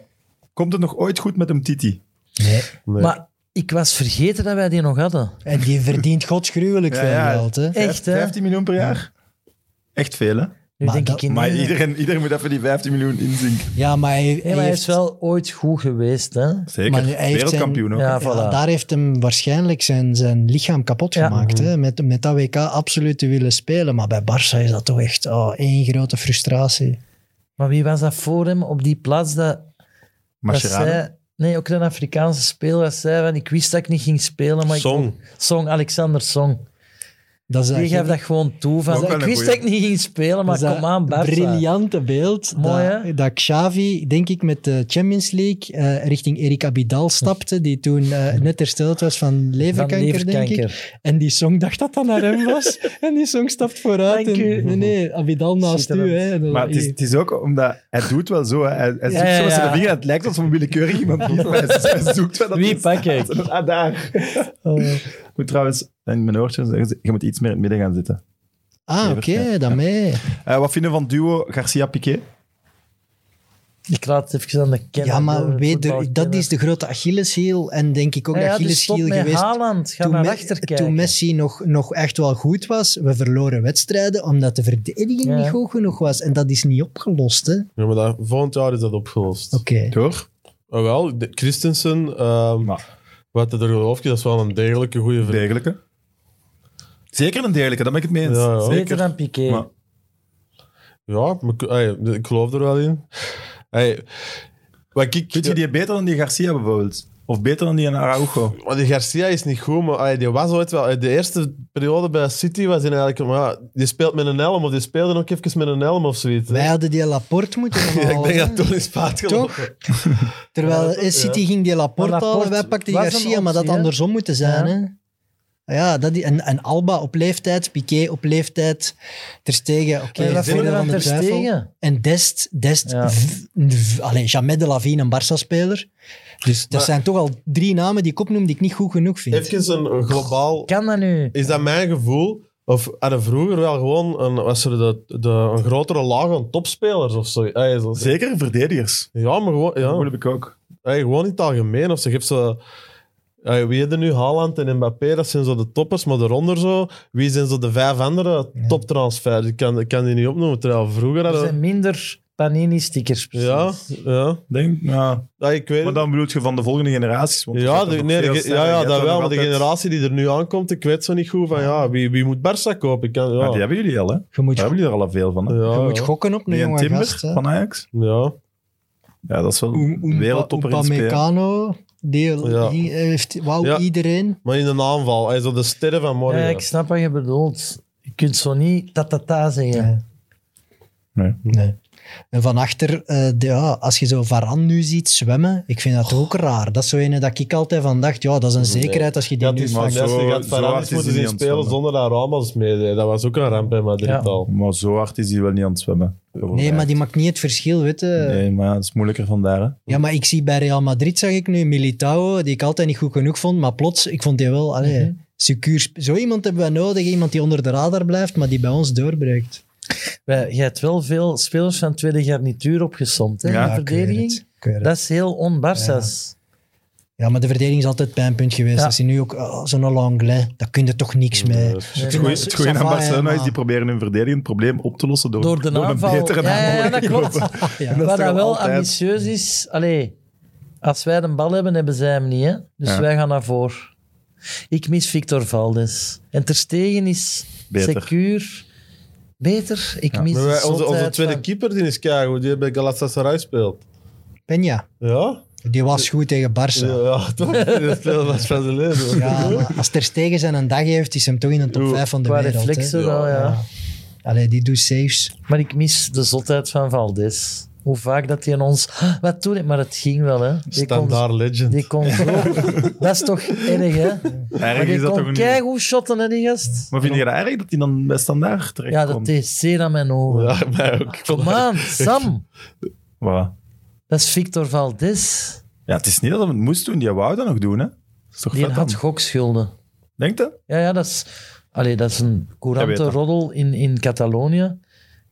komt het nog ooit goed met hem, Titi? Nee. Nee. Maar ik was vergeten dat wij die nog hadden. En die verdient godsgruwelijk Ja, veel ja. geld. Hè. Echt, Vijf- hè? 15 miljoen per jaar? Echt veel, hè? Nu Maar denk dat- ik in... Maar iedereen, iedereen moet even die 15 miljoen inzinken. Ja, maar hij, Nee, maar hij hij heeft is wel ooit goed geweest, hè. Zeker. Maar hij heeft Wereldkampioen ook. Ja, Ja, voilà. daar heeft hem waarschijnlijk zijn, zijn lichaam kapot Ja. Mhm. gemaakt. Hè? Met, met dat WK absoluut te willen spelen. Maar bij Barça is dat toch echt oh, één grote frustratie. Maar wie was dat voor hem op die plaats dat... dat Mascherano. zij, nee, ook een Afrikaanse speler dat zei van... Ik wist dat ik niet ging spelen, maar ik- Song. Song, Alexander Song. Dat is Die eigenlijk- gaf dat gewoon toe Ook van... wel Ik een wist dat goeie. ik niet ging spelen, maar dat is kom aan, dat Barca. briljante beeld Mooi, hè? dat, dat Xavi, denk ik, met de Champions League eh, richting Erik Abidal stapte, die toen eh, net hersteld was van leverkanker, denk ik. En die song dacht dat dat naar hem *laughs* was. en die song stapt vooruit. Dank en- u. nee, nee, Abidal naast Schitterend. u. Hè, En dan- Maar het is, het is ook omdat hij doet wel zo. Hè. Hij, hij zoekt ja, zo met zijn ja. vinger. en Het lijkt alsof een willekeurig iemand is, maar hij, hij zoekt wel dat Wie het- pak ik? *laughs* Oh. Ah, daar. Ik moet trouwens in mijn oortjes zeggen, ze- je moet iets meer in het midden gaan zitten. ah, oké, dan mee. Eh, wat vinden we van duo Garcia-Piqué? Ik laat het even aan de kenner. Ja, de maar weet er, dat voetbalkenner. is de grote Achilleshiel. En denk ik ook Ja, de ja, dus Achilleshiel stop met geweest Haaland. Ga toen, naar Me- achter kijken. toen Messi nog, nog echt wel goed was, we verloren wedstrijden omdat de verdediging Ja. niet goed genoeg was. En dat is niet opgelost, hè? Oké. Ja, maar dat, volgend jaar is dat opgelost. Door? Ah, wel, de- Christensen, ehm Maar. wat er geloof ik, dat is wel een degelijke goede vriend. Degelijke. Zeker een degelijke, daar ben ik het mee eens. Ja, ja. Zeker. Beter dan Piqué. Maar- Ja, maar, ik- ey, ik geloof er wel in. Ey, wat ik, Vind je die beter dan die Garcia bijvoorbeeld? Of beter dan die in Araujo? Maar die Garcia is niet goed, maar ey, die was ooit wel... ey, De eerste periode bij City was hij eigenlijk... Maar, ja, die speelt met een helm, of die speelde ook even met een helm of zoiets. hè. Wij hadden die Laporte *laughs* moeten Ja, halen. ik denk dat toen is paard Toch? gelopen. Terwijl eh, City ging die Laporte, Maar Laporte halen, wij pakten die was een Garcia, maar dat optie, had hè? andersom moeten zijn, Ja. hè? Ja, dat die, en, en Alba op leeftijd, Piqué op leeftijd, Ter Stegen, oké, En voordeel wat vinden we van dan de ter twijfel. stegen? En Dest, Dest Ja. v- v- allee, Jamet de Lavine, een Barça-speler. Dus dat Maar- zijn toch al drie namen die ik opnoem die ik niet goed genoeg vind. Even een een globaal... Kan dat nu? Is dat mijn gevoel? Of hadden vroeger wel gewoon een, was er de, de, een grotere laag aan topspelers of zo? Ey, zo- Zeker verdedigers. Ja, maar gewoon... Dat Ja. heb ik ook. Hey, gewoon in het algemeen. Of ze geeft zo. Hey, wie hebben nu Haaland en Mbappé? Dat zijn zo de toppers, maar daaronder zo. Wie zijn zo de vijf andere toptransfers? Ik kan, ik kan die niet opnoemen. Terwijl vroeger Er hadden. zijn minder Panini-stickers. precies. Ja, ja. Denk, ja. Ja, ik weet Maar het. dan bedoel je van de volgende generaties? Want er Ja, gaat de, nog nee, veel de- sneller. ja, Je ja hebt dat nog wel. Maar de altijd- generatie die er nu aankomt, ik weet zo niet goed van ja, wie, wie moet Barça kopen? Ik kan, ja. Maar die hebben jullie al, hè? Je moet, Daar hebben jullie er al veel van. Hè? ja, je moet ja. gokken op een Die en jonge Timber gast. hè. van Ajax. Ja. Ja, dat is wel Um- een Umpa- wereldtopper in spelen. Upamecano, die Ja. die heeft wauw Ja. iedereen. Maar in een aanval, hey, zo de sterren van Ja, morgen. ik snap wat je bedoelt. Je kunt zo niet tatata zeggen. Ja. Nee. Nee. En van achter, eh, de- ja, als je zo Varan nu ziet zwemmen, ik vind dat ook raar. Dat is zo ene dat ik altijd van dacht, ja, dat is een zekerheid als je die Ja, nu... die maar van zo- Nessie gaat zo Varane hard is moeten hij niet zien aan het spelen zonder dat Ramos meedeed. Dat was ook een ramp bij Madrid Ja. al. Maar zo hard is hij wel niet aan het zwemmen. Nee, maar die maakt niet het verschil, weet je. Nee, maar het is moeilijker vandaar. Hè. Ja, maar ik zie bij Real Madrid, zag ik nu, Militao, die ik altijd niet goed genoeg vond, maar plots, ik vond die wel, allee, secuur. sp- Zo iemand hebben we nodig, iemand die onder de radar blijft, maar die bij ons doorbreekt. Wij- Jij hebt wel veel spelers van tweede garnituur opgesomd, hè, Ja, in Ja, de ik weet verdediging. het, ik weet het. Dat is heel on-Barça's. Ja, maar de verdediging is altijd het pijnpunt geweest. Ja. Dat is hier nu ook oh, zo'n Langlais, daar kun je toch niks mee. Nee, dat is- Het goeie- Het goede aan Savaia, Barcelona is, maar- die proberen hun verdediging het probleem op te lossen door, Door de aanval. een betere Ja, ja, ja, aanval. dat klopt. *laughs* Ja. Dat is Wat toch dat wel altijd- ambitieus is, allee, als wij de bal hebben, hebben zij hem niet. Hè? Dus Ja. wij gaan naar voor. Ik mis Victor Valdes. En Ter Stegen is Beter. secuur. Beter. Ik mis Maar de wij- onze, onze zotheid tweede van- keeper die is keigoed, die bij Galatasaray speelt. eh, Peña, Ja? die was goed tegen Barça. Ja, ja toch? *laughs* Die speelt wat van zijn leven. Ja, maar als Ter Stegen zijn een dag heeft, is hem toch in een top Oeh, 5 van de Qua wereld. hè. reflexen eh. wel, ja. Allee, die doet saves. Maar ik mis de zotheid van Valdes. Hoe vaak dat hij aan ons... "Ah, Wat doe ik? Maar het ging wel, hè. Die kon, Standaard legend. die kon zo... *laughs* dat is toch erg, hè? Maar Erg die is dat toch kon niet? keigoed shotten, hè, die gast. Maar vind je dat erg dat hij dan bij standaard terecht Ja, dat deed zeer aan mijn ogen. Ja, mij ook. Ik vond *laughs* dat- Man, Sam. Dat is Victor Valdes. Ja, het is niet dat hij het moest doen. Die wou dat nog doen, hè. Dat is toch Die vet had dan? gokschulden. Denk je? Ja, ja dat, is, allee, dat is een Jij weet courante dat. roddel in, in Catalonië.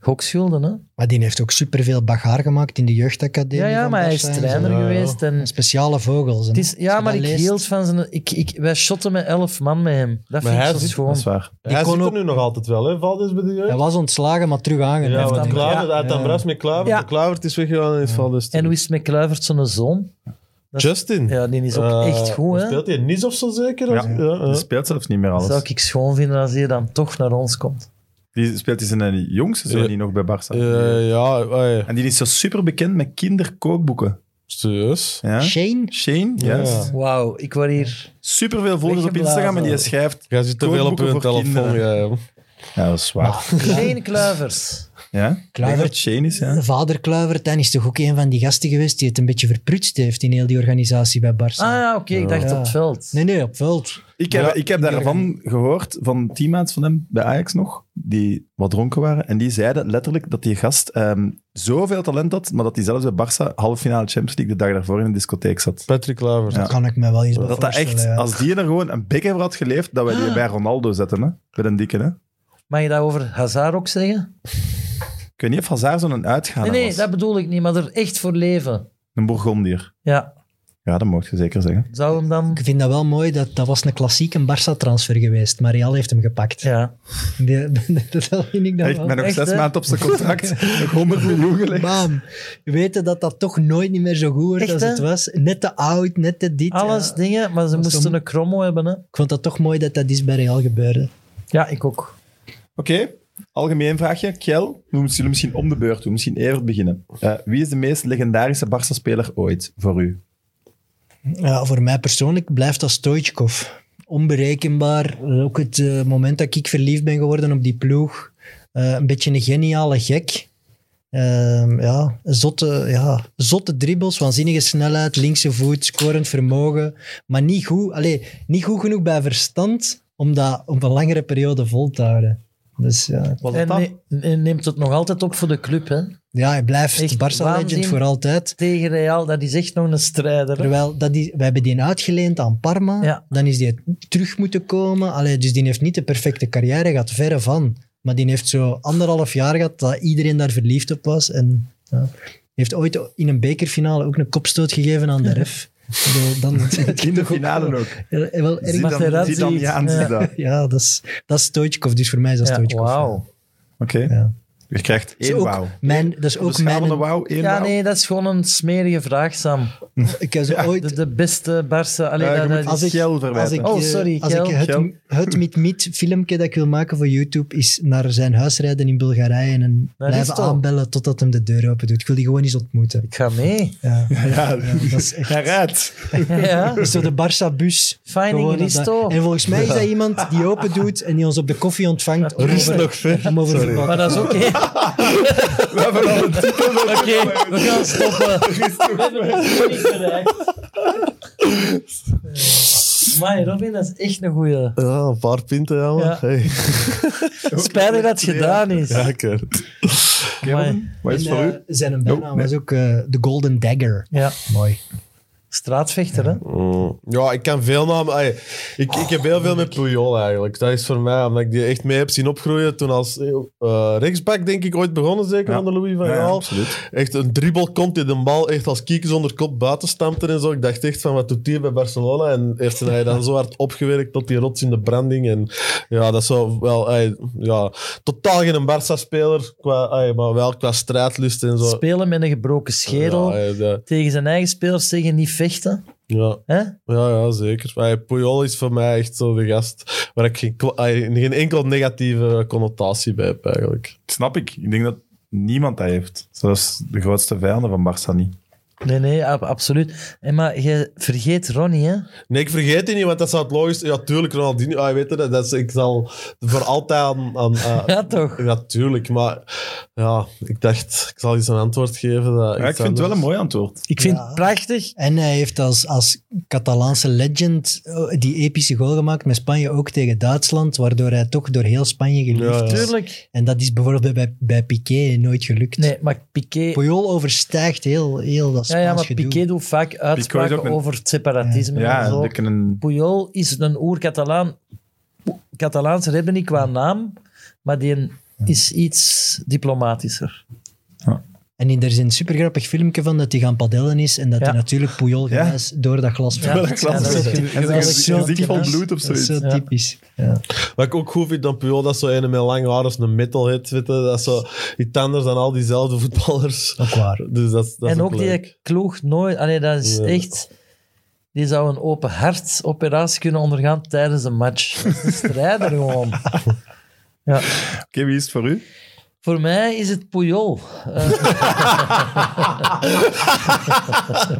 Gokschulden, hè? Maar die heeft ook superveel bagaar gemaakt in de jeugdacademie. Ja, ja van maar hij is Barça en zo. trainer Ja, ja. geweest. En En Speciale vogels. het is, ja, maar ik leest- hield van zijn... Ik, ik, wij shotten met elf man met hem. Dat vind hij ik zo zit- Dat schoon. is waar. Hij kon zit er ook- nu nog altijd wel, hè? Valdes bij de jeugd. Hij was ontslagen, maar terug aangenomen. Ja, heeft want dan- Kluivert, ja, hij had dan ja. bruis met Kluivert. Ja. De Kluivert is weggegaan en is Valdes. En hoe is het met Kluivert zijn zoon? dat- Justin. Ja, die is ook Eh, echt goed, hè? Speelt hij niet of zo zeker? Ja. Ja. Ja, Die speelt zelfs niet meer Zou alles. ik schoon vinden als hij dan toch naar ons komt. Die speelt in zijn jongste zoon Ja. die nog bij Barça. Eh, ja, oei. En die is zo super bekend met kinderkookboeken. Serieus? Ja? Shane? Shane, yes. Ja. Wauw, ik word hier... Super veel volgers op Weggeblazen. Instagram en die schrijft. Jij zit te veel op Kookboeken voor je telefoon. kinderen. Ja, ja. Ja, dat is waar. Geen Kluivers. Ja? Ik denk dat het Shane is, ja. Vader Kluivert, dan is toch ook een van die gasten geweest die het een beetje verprutst heeft in heel die organisatie bij Barça. Ah ja, oké, ik dacht Ja. op het veld. Nee, nee, op veld. Ik heb, ik heb daarvan gehoord van teammates van hem bij Ajax nog, die wat dronken waren. En die zeiden letterlijk dat die gast ehm, zoveel talent had, maar dat hij zelfs bij Barça halve finale Champions League de dag daarvoor in een discotheek zat. Patrick Kluivert. Ja. Dat kan ik me wel eens bij Dat dat echt, voorstellen, ja. als die er gewoon een bek over had geleefd, dat wij Ah. die bij Ronaldo zetten, hè? bij een dikke. Hè? Mag je dat over Hazard ook zeggen? Ik weet niet of Hazard zo'n uitgaander Nee, nee, was. dat bedoel ik niet, maar er echt voor leven. Een Bourgondier. Ja, Ja, dat mocht je zeker zeggen. Zou hem dan... Ik vind dat wel mooi, dat, dat was een klassieke Barça-transfer geweest, maar Real heeft hem gepakt. Ja. *laughs* Die- dat vind ik dan Echt, wel. met nog echt, zes hè? maanden op zijn *laughs* contract, nog 100 miljoen gelegd. Bam. We weten dat dat toch nooit niet meer zo goed wordt Echt, als hè? het was. Net te oud, net te dit. Alles ja. dingen, maar ze Dat is moesten dan- een kromo hebben. Hè? Ik vond dat toch mooi dat dat is bij Real gebeurde. Ja, ik ook. Oké, algemeen vraagje. Kjell, we moeten jullie misschien om de beurt doen, misschien even beginnen. Eh, wie is de meest legendarische Barca-speler ooit voor u? Ja, voor mij persoonlijk blijft dat Stoichkov. Onberekenbaar. Ook het eh, moment dat ik verliefd ben geworden op die ploeg. Eh, een beetje een geniale gek. Ehm, ja, zotte, ja, zotte dribbles, waanzinnige snelheid, linkse voet, scorend vermogen. Maar niet goed, allee, niet goed genoeg bij verstand om dat op een langere periode vol te houden. Dus ja, En, ne- en neemt het nog altijd op voor de club. Hè? ja hij blijft Echt Barca-legend waanzin. voor altijd. Tegen Real, dat is echt nog een strijder. hè. Terwijl dat die, we hebben die uitgeleend aan Parma. Ja. Dan is die terug moeten komen. Allee, dus die heeft niet de perfecte carrière gehad, verre van. Maar die heeft zo anderhalf jaar gehad dat iedereen daar verliefd op was. En ja, heeft ooit in een bekerfinale ook een kopstoot gegeven aan de ref. Ik bedoel, Dan, In de finale ook. Ja, wel erg- Zie dan, Materazzi. zie dan, ja, zie Ja. dat. Oké. ja, dat is, dat is Stoichkov. Dus voor mij is dat Ja, Stoichkov. wauw. Ja. Je krijgt Dat is één ook wauw. Mijn, dat is Op de ook schaal van mijn... de wauw, één Ja, wauw. nee, dat is gewoon een smerige vraag, Sam. Ik heb zo ooit... De, de beste Barça. Allee, Ja, je dat, moet dat is- als ik- Kjell Als verwijten. ik, Oh, eh, sorry, als ik Kjell. het, Kjell. het Meet Meet filmpje dat ik wil maken voor YouTube is naar zijn huis rijden in Bulgarije en hem Dat is blijven toch? aanbellen totdat hem de deur open doet. Ik wil die gewoon eens ontmoeten. Ik ga *laughs* mee. Ja, *laughs* Ja, dat is echt... hij rijdt. ja. Zo de Barça-bus. Finding Gewoon dat- Risto. En volgens mij is dat iemand die open doet en die ons op de koffie ontvangt. om Rust over- nog ver. om over Sorry. voetbal- Maar dat is ook één. *laughs* We hebben al een titel. Oké, we gaan stoppen. *laughs* We hebben het niet bereikt. Maar Robin, dat is echt een goeie. Ja, een paar pinten, ja, man. Ja. Hey. Spijtig dat het gedaan is. Ja, ik weet het. Amai. Wat is het voor En, u? eh, zijn een bijnaam Oh, nee. was ook eh, de Golden Dagger. Ja, Mooi. straatvechter, hè? Mm. Ja, ik kan veel namen. ey, ik, ik heb heel veel met Puyol eigenlijk. Dat is voor mij, omdat ik die echt mee heb zien opgroeien. Toen als eh, rechtsback, denk ik, ooit begonnen, zeker Ja. van de Louis van Ja, ja, Gaal. absoluut. echt een dribbel komt in de bal, echt als kiekers onder kop buiten stampte en zo. Ik dacht echt van, wat doet hij bij Barcelona? En eerst heb hij dan zo hard opgewerkt tot die rots in de branding. En ja, dat is zo wel... ey, ja, totaal geen Barca-speler, qua, ey, maar wel qua strijdlust en zo. Spelen met een gebroken schedel. Ja, ey, dat- Tegen zijn eigen spelers zeggen niet vechten. ja. Hè? Ja, ja, zeker. Maar Puyol is voor mij echt zo de gast waar ik geen, kla- ay, geen enkel negatieve connotatie bij heb, eigenlijk. Dat snap ik. Ik denk dat niemand dat heeft. Zelfs de grootste vijanden van Barça niet. Nee, nee, ab- absoluut. En maar jij vergeet Ronnie, hè? Nee, ik vergeet die niet, want dat zou het logisch... Ja, tuurlijk, Ronaldinho. Ah, weet je, dat is, ik zal voor altijd aan... *laughs* aan eh, Ja, toch? ja, tuurlijk. Maar ja, ik dacht, ik zal eens een antwoord geven. Dat Ja, ik vind het wel een mooi antwoord. Ik vind Ja. het prachtig. En hij heeft als, als Catalaanse legend eh, die epische goal gemaakt met Spanje ook tegen Duitsland, waardoor hij toch door heel Spanje geliefd Ja, ja. is. Tuurlijk. En dat is bijvoorbeeld bij, bij Piqué nooit gelukt. Nee, maar Piqué... Puyol overstijgt heel, heel dat Ja, Spaans ja, maar gedoe. Piqué doet vaak uitspraken ook een- over het separatisme en Ja, zo. dat kunnen... Puyol is een oer-Catalaan. Catalaans hebben niet qua naam, maar die is iets diplomatischer. En in- er is een supergrappig filmpje van dat hij gaan padellen is en dat Ja. hij natuurlijk Puyol Ja. grijs door dat glas Ja, valt. dat klopt. is zo Ja, dat is typisch. een gezicht- zo gezicht vol typisch. bloed of Dat is zo zoiets, ja. typisch. Ja. Wat ik ook goed vind dan Puyol, dat is zo een met lang haar als een metalhead. Weet je, dat is zo iets anders dan al diezelfde voetballers. Ook waar. Dus dat, is- dat is en ook leuk. die kloeg nooit... Allee, dat is Ja. echt... Die zou een open hartoperatie kunnen ondergaan tijdens een match. Dat is een strijder *laughs* gewoon. Ja. Oké, wie is het voor u? Voor mij is het Puyol. Eh. *laughs*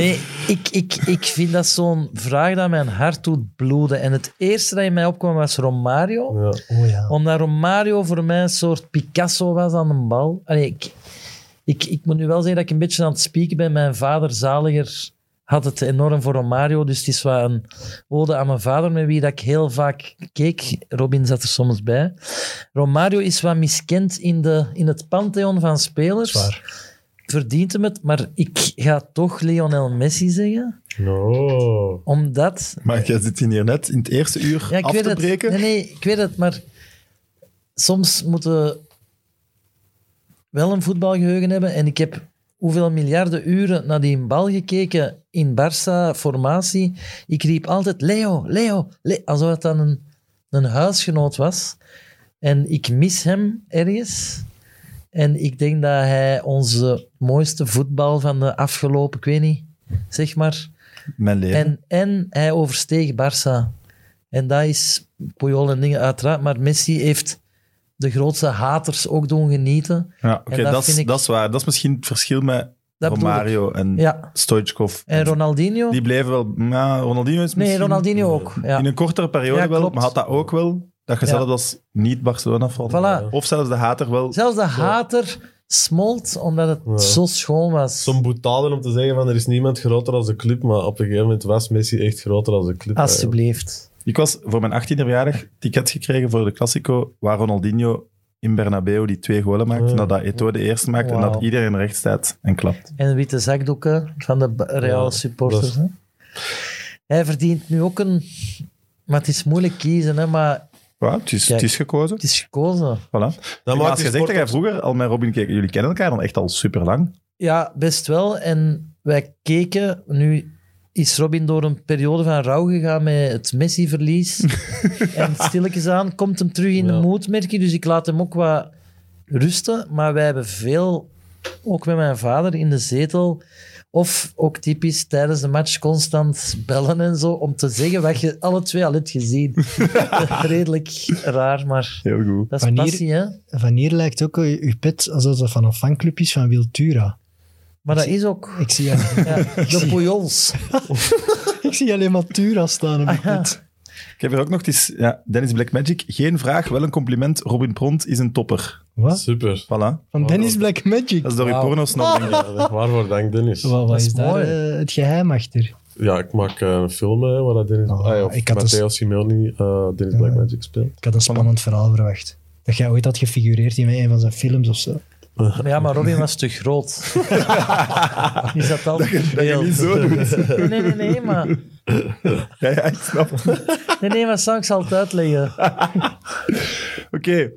nee, ik, ik, ik vind dat zo'n vraag dat mijn hart doet bloeden. En het eerste dat in mij opkwam was Romario. Ja. Oh ja. Omdat Romario voor mij een soort Picasso was aan een bal. Allee, ik, ik, ik moet nu wel zeggen dat ik een beetje aan het spieken ben. Mijn vader, zaliger, had het enorm voor Romario. Dus het is wel een ode aan mijn vader, met wie dat ik heel vaak keek. Robin zat er soms bij. Romario is wat miskend in, de, in het pantheon van spelers. Zwaar. Verdient hem het, maar ik ga toch Lionel Messi zeggen. No. Omdat Maar jij zit hier net in het eerste uur ja, ik af weet te het. breken. Nee, nee, ik weet het, maar soms moeten we wel een voetbalgeheugen hebben. En ik heb hoeveel miljarden uren naar die bal gekeken in Barça-formatie. Ik riep altijd Leo, Leo, Le-" alsof het dan een, een huisgenoot was. En ik mis hem ergens. En ik denk dat hij onze mooiste voetbal van de afgelopen, ik weet niet, zeg maar, Mijn leven. en, en hij oversteeg Barça. En dat is Puyol en dingen uiteraard. Maar Messi heeft de grootste haters ook doen genieten. ja, oké, en dat dat, is- vind ik- dat is waar. Dat is misschien het verschil met Dat bedoel ik. Romario en Ja. Stoichkov. En Ronaldinho? Die bleven wel... Ja, Ronaldinho is Nee, misschien... Ronaldinho ook. Ja. In een kortere periode Ja, wel, klopt. maar had dat ook wel. Dat je Ja. zelfs als niet-Barcelona-fan... Voilà. Of zelfs de hater wel... Zelfs de hater smolt omdat het Ja. zo schoon was. Zo'n boetade om te zeggen van er is niemand groter als de club, maar op een gegeven moment was Messi echt groter als de club. Ah, Alsjeblieft. Ik was voor mijn 18e verjaardag ticket gekregen voor de Classico, waar Ronaldinho in Bernabeu die twee golen maakt. Ja. Nadat Eto'o de eerste maakt en Ah. Wauw. dat iedereen recht staat en klapt. En witte zakdoeken van de ba- Real Ja, supporters. dat- hè. Hij verdient nu ook een... Maar het is moeilijk kiezen, hè, maar Ja, het, is, Kijk. het is gekozen. het is gekozen. Voilà. Dan maar maakt als je Nou, die zegt sport dat jij vroeger al met Robin keek, jullie kennen elkaar dan echt al super lang. Ja, best wel. En wij keken, nu is Robin door een periode van rouw gegaan met het Messi-verlies. en stilletjes aan komt hem terug in de Ja. moed, merk je. Dus ik laat hem ook wat rusten. Maar wij hebben veel, ook met mijn vader, in de zetel... Of ook typisch tijdens de match constant bellen en zo, om te zeggen wat je alle twee al hebt gezien. Redelijk raar, maar Heel goed. dat is Wanneer- passie, hè? Van hier lijkt ook uw uw pet alsof dat van een fanclub is van Wiltura. Maar dat is ook. Ik zie, *laughs* Ja, de Pujols. Ah, ik zie alleen maar Tura staan op uw pet. Ik heb er ook nog eens, ja, Dennis Black Magic. Geen vraag, wel een compliment. Robin Pront is een topper. Wat? Super. Voilà. Van Dennis Black Magic. Dat is door je Wauw. porno's nog. denk ik. Waarvoor dank, Dennis? Wat, wat is is daar mooi. eh, het geheim achter? Ja, ik maak eh, een film hè, waar dat Dennis... Oh, ah, ja, of ik had dus- Matteo Simeoni eh, Dennis Black Magic speelt. Ik had een spannend verhaal verwacht. Dat jij ooit had gefigureerd in een van zijn films of zo. Ja, maar Robin was *laughs* te groot. Is dat al beeld? niet zo Nee, nee, nee, nee, maar... Ja, ja, ik snap. het. Nee, nee, maar Sam, ik zal het uitleggen. Oké.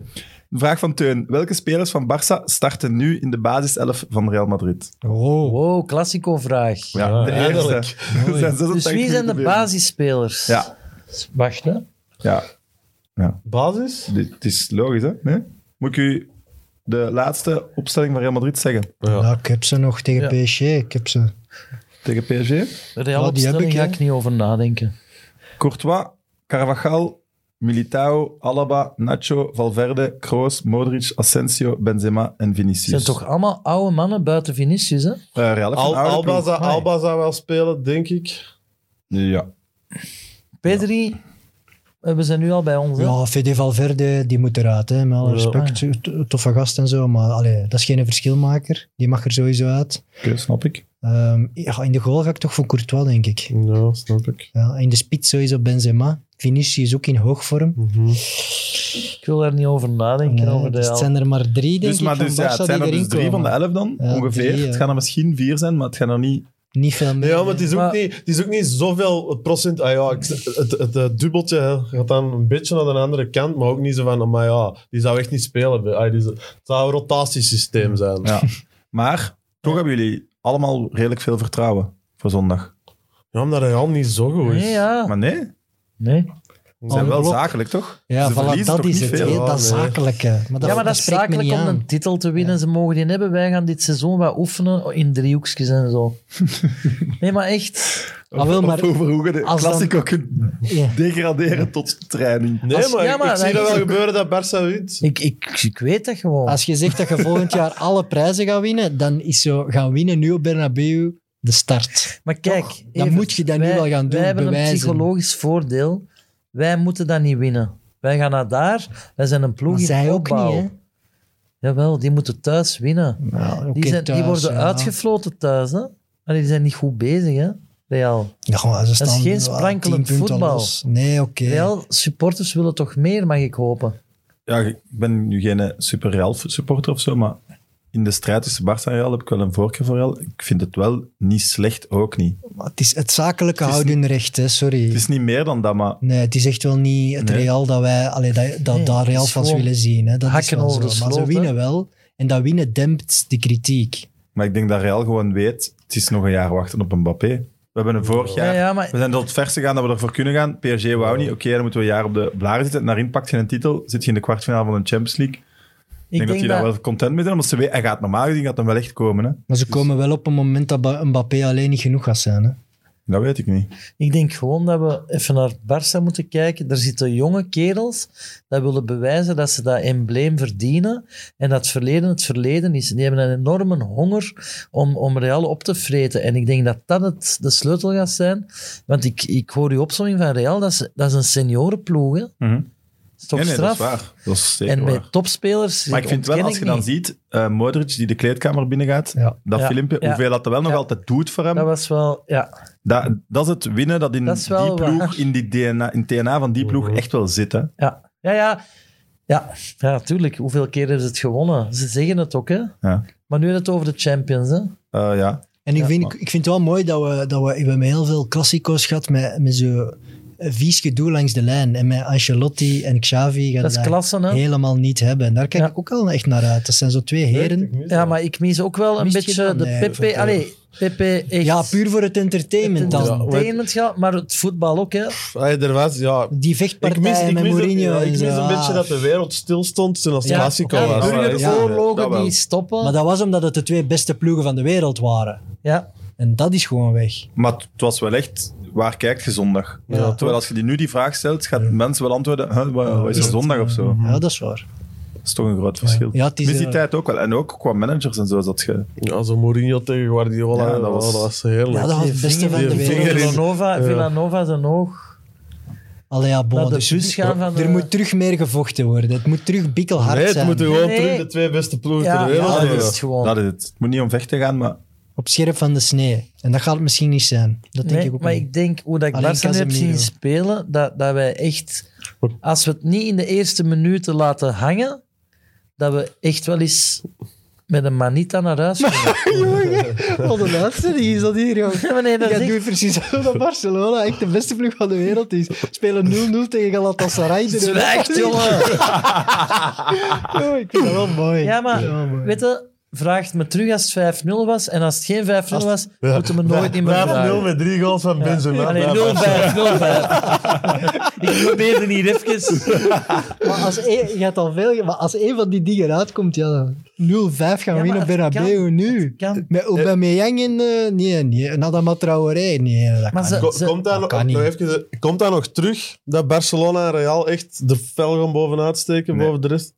Een vraag van Teun. Welke spelers van Barça starten nu in de basiself van Real Madrid? Oh. Wow, klassico-vraag. Ja, de eindelijk. eerste. Er zijn 86 Dus wie zijn de gebeurd. basisspelers? Ja, Wacht, hè. ja. Basis? Dit- Het is logisch, hè? Nee? Moet ik u de laatste opstelling van Real Madrid zeggen? Ja, ik heb ze nog tegen PSG. Ik heb ze. Tegen PSG? Real Ja, die heb opstelling ik, ga hè. ik niet over nadenken. Courtois, Carvajal, Militao, Alaba, Nacho, Valverde, Kroos, Modric, Asensio, Benzema en Het zijn Vinicius. toch allemaal oude mannen buiten Vinicius, hè? Eh, Real heeft een Al, oude Alba, ploeg. zou, Alba zou wel spelen, denk ik. Ja. Pedri, eh, we zijn nu al bij ons, hè? Ja, Fede Valverde, die moet eruit. Hè, met alle Ah, respect. T- Toffe gast en zo. Maar allee, dat is geen verschilmaker. Die mag er sowieso uit. Oké, snap ik. Ehm, ja, in de goal ga ik toch voor Courtois, denk ik. Ja, snap ik. Ja, in de spits sowieso Benzema. Vinicius is ook in hoogvorm. Ik wil daar niet over nadenken. Nee, over de dus het al- zijn er maar drie, denk Dus, ik, maar dus, van ja, Barca het die zijn er erin dus drie komen. van de elf dan, Ja, ongeveer. drie, ja. Het gaan er misschien vier zijn, maar het gaan er niet... Niet veel meer. Ja, maar het is ook, Maar- niet, het is ook niet zoveel procent. Ah ja, ik- het, het, eh, dubbeltje hè, gaat dan een beetje naar de andere kant, maar ook niet zo van, maar ja, die zou echt niet spelen. Ah, die zou- het zou een rotatiesysteem zijn. Ja, Ja. Maar toch hebben jullie allemaal redelijk veel vertrouwen voor zondag. omdat hij al niet zo goed is. Nee, Ah. ja. Maar nee, Nee. ze zijn wel Blok. zakelijk, toch? Ja, ze voilà, verliezen dat toch is niet het. veel? hè, Oh, dat Ja, zakelijke. Maar dat, ja, maar dat is spreekt me zakelijk niet om aan. een titel te winnen. Ze mogen die hebben. Wij gaan dit seizoen wat oefenen in driehoekjes en zo. Nee, maar echt. Ah, wel, maar Of over hoe je de als dan- Classico kunt Ja. degraderen tot training. Nee, Als- maar, ja, ik- maar ik zie dat dat is wel ook- gebeuren dat Barça wint. Ik, ik, ik weet dat gewoon. als je zegt dat je volgend jaar alle prijzen gaat winnen, dan is zo gaan winnen nu op Bernabeu de start. maar kijk, Toch, dan Evert, moet je dat nu wij- wel gaan doen, Wij hebben bewijzen. een psychologisch voordeel. Wij moeten dat niet winnen. Wij gaan naar daar. Wij zijn een ploeg Maar in zij ook opbouw. niet, hè? Jawel, die moeten thuis winnen. Nou, die, zijn, die worden uitgefloten thuis. Hè? Maar die zijn niet goed bezig, hè? Real. ze staan, geen ah, sprankelend 10 punten voetbal. los. Nee, oké. Real supporters willen toch meer, mag ik hopen. Ja, ik ben nu geen eh, super Real supporter of zo, maar in de strijd tussen Barça en Real heb ik wel een voorkeur voor Real. Ik vind het wel niet slecht, ook niet. Maar Het is het zakelijke Het is houden recht, hè, sorry. Het is niet meer dan dat, maar Nee, het is echt wel niet het Nee. Real dat wij allee, dat, dat, Nee, daar het Real is van gewoon willen zien. Hè. Dat is hakken wel over zo. de Maar ze sloot, hè. winnen wel. En dat winnen dempt de kritiek. Maar ik denk dat Real gewoon weet, het is nog een jaar wachten op een Mbappé. We hebben een vorig Ja, jaar... ja, maar We zijn tot het verste gegaan dat we ervoor kunnen gaan. PSG wou niet. Oké, dan moeten we een jaar op de blaren zitten. Daarin pakt je een titel. Zit je in de kwartfinale van de Champions League. Ik, ik denk dat die daar wel content mee zijn. Omdat ze weten, hij gaat normaal gezien gaat hem wel echt komen. Hè? Maar Dus- ze komen wel op een moment dat Ba- Mbappé alleen niet genoeg gaat zijn. Hè. Dat weet ik niet. Ik denk gewoon dat we even naar Barça moeten kijken. Er zitten jonge kerels dat willen bewijzen dat ze dat embleem verdienen en dat het verleden het verleden is. En die hebben een enorme honger om, om Real op te vreten. En ik denk dat dat het, de sleutel gaat zijn. Want ik, ik hoor uw opzomming van Real, dat is, dat is een seniorenploeg. Hè? Dat Mhm. is toch nee, nee, dat straf? is waar. Dat is zeker en waar. met topspelers. Maar ik vind wel, ontken als ik je dan niet. ziet, eh, Modric die de kleedkamer binnengaat, Ja. dat Ja, filmpje, ja. hoeveel dat er wel nog Ja. altijd doet voor hem, Dat dat, was wel, ja. dat, is het winnen dat in Dat is wel die ploeg, waar. in, die DNA, in het DNA van die ploeg Mhm. echt wel zit. Hè? Ja, ja, ja. Ja, ja, tuurlijk. Hoeveel keer hebben ze het gewonnen? Ze zeggen het ook, hè? Ja. Maar nu hebben we het over de Champions, hè? Eh, ja. En ik, Ja, vind, maar- ik, ik vind het wel mooi dat we, dat we, we hebben heel veel klassico's gehad met, met zo'n vies gedoe langs de lijn. En met Ancelotti en Xavi gaan Dat is dat klasse, hè? helemaal niet hebben. En daar kijk Ja. ik ook wel echt naar uit. Dat zijn zo twee heren. Ja, maar ik mis ook wel een Mist je beetje dan? de Nee, Pepe. vertel. Allee, Pepe echt... Ja, puur voor het entertainment Het dan. entertainment gehad, maar het voetbal ook, hè. Pff, ah, er was, ja. Die Ik mis, vechtpartijen ik met mis, ook- Mourinho ja, ik en mis zo. een Ah. beetje dat de wereld stilstond toen als Ja, Classico ja, was. dat is- burgeroorlogen dat wel. die stoppen. Maar dat was omdat het de twee beste ploegen van de wereld waren. ja. En dat is gewoon weg. Maar het het was wel echt, waar kijkt je zondag? Ja, Terwijl toch? als je die nu die vraag stelt, gaat mensen wel antwoorden, huh, wat, wat Oh, is er Ja, zondag of zo? Mhm. Ja, dat is waar. Dat is toch een groot verschil. Ja, het is, Mis die eh, tijd ook wel. En ook qua managers en zo zat je... Ja, zo Mourinho tegen Guardiola, Ja, dat dat, was, was- dat was heerlijk. Ja, dat was het beste van de die wereld. vinger in- Villanova, Ja. Villanova zijn oog. Allee, ja, bon, Naar de dus bus gaan van eh, de- er moet terug meer gevochten worden. Het moet terug bikkelhard Nee, het zijn. moeten gewoon Nee. terug de twee beste ploegen Ja, ter wereld ja, dat worden. is het gewoon. Ah, Dat is het. Het moet niet om vechten gaan, maar Op scherp van de snee. En dat gaat het misschien niet zijn. Dat denk Nee, ik ook maar niet. ik denk hoe dat ik Alleen Barca nu heb Casemiro. zien spelen, dat, dat wij echt, als we het niet in de eerste minuten laten hangen, dat we echt wel eens met een manita naar *laughs* huis kunnen. Wat een uitzending is dat hier, joh. Ja, maar nee, dat Ja, is echt- doe je precies *laughs* zo dat Barcelona echt de beste ploeg van de wereld is. Spelen 0-0 tegen Galatasaray. in de *laughs* Zwijgt, *laughs* Europa League. jongen! Oh, ik vind dat wel mooi. Ja, maar mooi. weet je, vraag het me terug als het 5-0 was. En als het geen 5-0 was, moeten we nooit niet meer Ja, 0 vragen. met drie goals van Benzema. Allee, Ja, 0-5, *laughs* 0-5. Ik probeerde niet even. *laughs* Maar als een, je hebt al veel, ge- maar als één van die dingen uitkomt, ja, dan 0-5 gaan maar winnen op het Bernabeu kan. nu. Kan. Met Aubameyang en... eh, nee, nee. Nadama Traoré. Nee, dat Maar kan ze- niet. Ko- ze- Komt daar, dat nog, kan niet. nog even, de- komt daar nog terug dat Barcelona en Real echt de fel gaan bovenuit steken, Nee. boven de rest?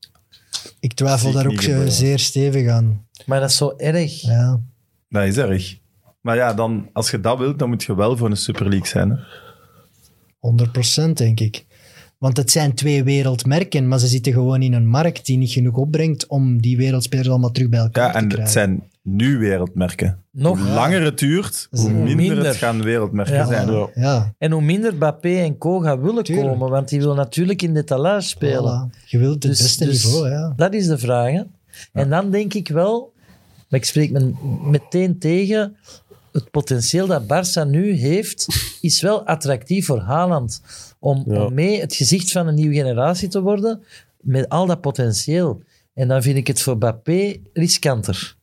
Ik twijfel Zie ik daar niet ook eh, gebeuren. zeer stevig aan. Maar dat is zo erg. Ja. dat is erg. Maar ja, dan, als je dat wilt, dan moet je wel voor een Super League zijn. Hè? 100% denk ik. Want het zijn twee wereldmerken, maar ze zitten gewoon in een markt die niet genoeg opbrengt om die wereldspelers allemaal terug bij elkaar Ja, te en krijgen. het zijn nu wereldmerken. Nog Hoe langer het duurt, hoe Hoe minder, minder. het gaan wereldmerken Ja. zijn. Ja. Ja, En hoe minder Bappé en Co gaan willen Tuurlijk. komen, want die wil natuurlijk in de talage spelen. voilà. je wilt het Dus- beste dus niveau. Ja. Dat is de vraag. hè. En dan denk ik wel, maar ik spreek me meteen tegen, het potentieel dat Barça nu heeft, is wel attractief voor Haaland. Om, Ja. om mee het gezicht van een nieuwe generatie te worden, met al dat potentieel. En dan vind ik het voor Bappé riskanter.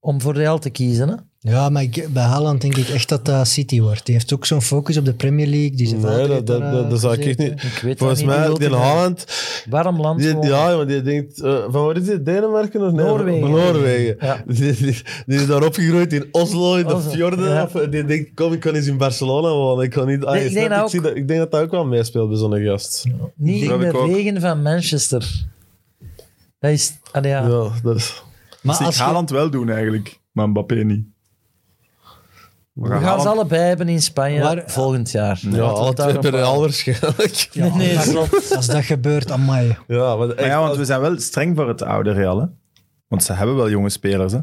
Om voor Real te kiezen. Hè? ja, maar ik, bij Haaland denk ik echt dat dat City wordt. Die heeft ook zo'n focus op de Premier League. Die ze eh, Nee, dat, dat, dat, dat zou ik echt niet... eh, Ik weet Volgens dat niet, mij, wil die te gaan. Haaland... Warm land. Die, gewoon. ja, maar die denkt... eh, van waar is dit? Denemarken of nee? Noorwegen. Noorwegen. Ja. *laughs* Die, die, die is daar opgegroeid in Oslo, in de Oslo, fjorden. ja. Of, eh, die denkt, kom, ik kan eens in Barcelona wonen. Ik, kan niet, ah, Nee, je ik denk snapt, dat ik, zie dat, ik denk dat dat ook wel meespeelt bij zo'n gast. Niet in Dat heb ik de ook. regen van Manchester. Dat is... Allee, ja. Ja, dat is... Maar Dus ik als je- Haaland wel doen eigenlijk, maar Mbappé niet. We We gaan ze allebei hebben in Spanje Waar- volgend jaar. Ja, Laten we alle het daar twee nog per maar- *laughs* al waarschijnlijk. Nee, nee, klopt. als dat gebeurt, amai. Ja, maar echt, Maar ja, want als- we zijn wel streng voor het oude Real. Hè? Want ze hebben wel jonge spelers. Hè?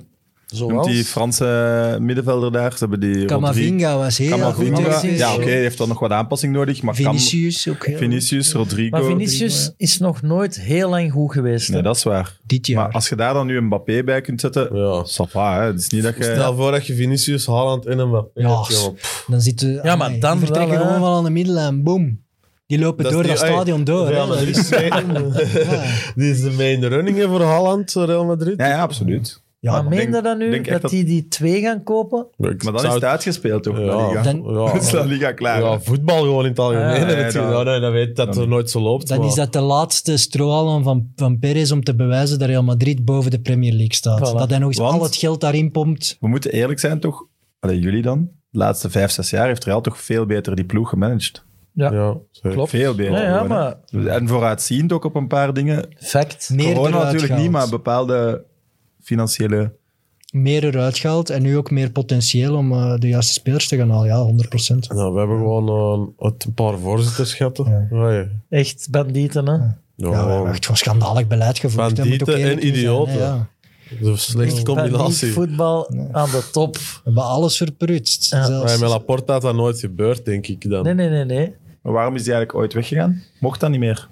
Noemt die Franse middenvelder daar. Ze hebben die Rodri- Camavinga was heel Camavinga. goed. Rodriguez. Ja, oké, die heeft dan nog wat aanpassing nodig. Maar Vinicius ook heel kan, Vinicius Rodrigo. Maar Vinicius is nog nooit heel lang goed geweest. Nee, hè. dat is waar. Dit jaar. Maar als je daar dan nu een Mbappé bij kunt zetten, Ja. sapa, hè? Het is niet dat je... Stel voor dat je Vinicius, Haaland en Mbappé Ja, hebt, s- jongen. Dan zitten Ja, maar dan die vertrekken wel, hè. gewoon wel aan de middenlijn. Boom. Die lopen Dat is door die- dat stadion ey, door. Real hè. Dat *laughs* Madrid is- is main- ja. *laughs* Die is de main running hè, voor Haaland, Real Madrid. Ja, ja, absoluut. Ja, maar ik meen je denk- dat nu? denk echt Dat dat- die die twee gaan kopen? Maar dan is het uitgespeeld, toch? La Liga. Dan- *laughs* Dan is La Liga klaar. Ja, hè? voetbal gewoon in het algemeen. Ja, nee, natuurlijk. dan- Ja, nee, dat weet dat dan- het nooit zo loopt. Dan maar- is dat de laatste strohalm van, van Perez om te bewijzen dat Real Madrid boven de Premier League staat. Voilà. Dat hij nog eens Want- al het geld daarin pompt. We moeten eerlijk zijn, toch? Allee, jullie dan? De laatste vijf, zes jaar heeft Real toch veel beter die ploeg gemanaged. Ja. Ja, zeker. Klopt. Veel beter. Ja, ja, gewoon, hè. maar- En vooruitziend ook op een paar dingen. Fact. Meer Corona eruit natuurlijk gehaald. niet, maar bepaalde financiële... Meer eruit gehaald en nu ook meer potentieel om eh, de juiste spelers te gaan halen. Ja, 100%. Nou, we hebben gewoon eh, het een paar voorzitterschappen. Ja. Ja, Echt bandieten, hè? Ja, we hebben echt gewoon schandalig beleid gevoerd. Dat moet ook Bandieten eerlijk in en zijn, idioten. hè, ja. De slechte Bandiet, combinatie. voetbal aan de top. We hebben alles verprutst. Ja. zelfs. Ja, met Laporta had dat nooit gebeurd, denk ik dan. Nee, nee, nee, nee. Maar waarom is die eigenlijk ooit weggegaan? Mocht dat niet meer?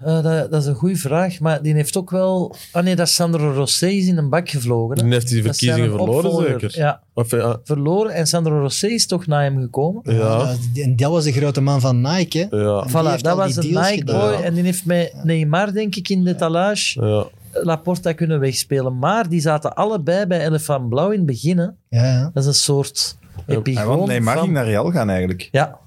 Eh, dat, dat is een goede vraag, maar die heeft ook wel... Ah nee, dat is Sandro Rosé is in een bak gevlogen. hè. Die heeft die Dat is zijn verkiezingen verloren, opvolger. zeker? Ja, Of, ja, verloren. En Sandro Rosé is toch na hem gekomen. ja, Ja, en dat was de grote man van Nike. Hè? ja. Die Voilà, heeft dat al was die een deals Nike gedaan. boy. Ja. En die heeft met Neymar, denk ik, in de talage ja. Laporta kunnen wegspelen. Maar die zaten allebei bij Elefant Blauw in het begin. hè. Ja, ja. Dat is een soort Ja, want epigoon. Neymar van- ging naar Real gaan eigenlijk. Ja,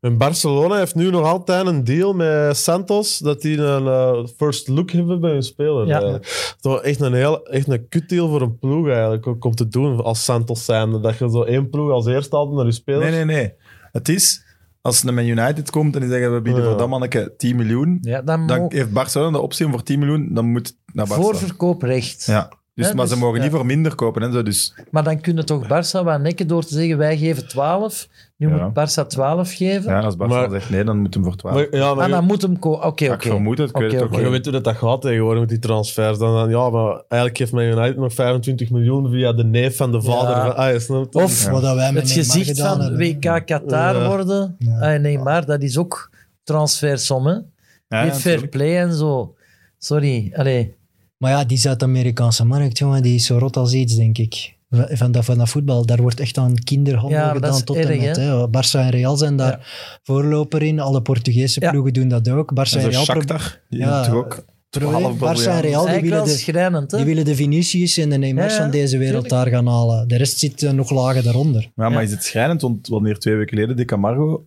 En Barcelona heeft nu nog altijd een deal met Santos, dat die een eh, first look hebben bij hun speler. Ja. Eh, Toch echt een, heel, echt een kutdeal voor een ploeg eigenlijk, ook om te doen als Santos zijnde. Dat je zo één ploeg als eerste altijd naar je speler. Nee, nee, nee. Het is, als een Man United komt en die zeggen we bieden Ja. voor dat manneke 10 miljoen, ja dan, dan mo- heeft Barcelona de optie om voor 10 miljoen, dan moet het naar Barcelona. voorverkooprecht. Ja. Dus, Ja, maar dus- ze mogen niet ja. voor minder kopen. Hè, zo, dus Maar dan kunnen toch Barça wat nekken door te zeggen, wij geven 12. Nu Ja. moet Barça 12 geven. ja, als Barcelona Maar- zegt nee, dan moet hem voor 12. Maar, ja, maar En je- dan moet hem komen. Oké, Ja, oké. ik vermoed het, ik weet het ook Oké, Maar oké. je weet hoe dat, dat gaat tegenwoordig met die transfers. Dan, dan, ja, maar eigenlijk geeft Man United nog 25 miljoen via de neef van de vader. Ja. Van, ah, je snapt het. Of Wat dat wij met het Neymar gezicht gedaan van hebben. WK Qatar Ja. worden. Ja. Ah, nee, maar dat is ook transfersom, hè. Ja, Niet fair natuurlijk. play en zo. Sorry, allee. Maar ja, die Zuid-Amerikaanse markt, jongen, die is zo rot als iets, denk ik. Van- Van dat, van dat voetbal, daar wordt echt aan kinderhandel Ja, maar dat gedaan is tot erg, en met. hè? Hè? Barça en Real zijn daar voorloper in. Alle Portugese Ja. ploegen doen dat ook. Barça en En zo Real pro- Shakhtar, die Ja, ja, toch ook pro- 12 Barça en miljard. Real die Eigenlijk willen, wel de, schrijnend, hè. dus- die willen de Vinicius en de Neymars Ja, ja, van deze wereld tuurlijk. daar gaan halen. De rest zit eh, nog lager daaronder. Ja, maar Ja. is het schrijnend? Want wanneer twee weken geleden de Camargo,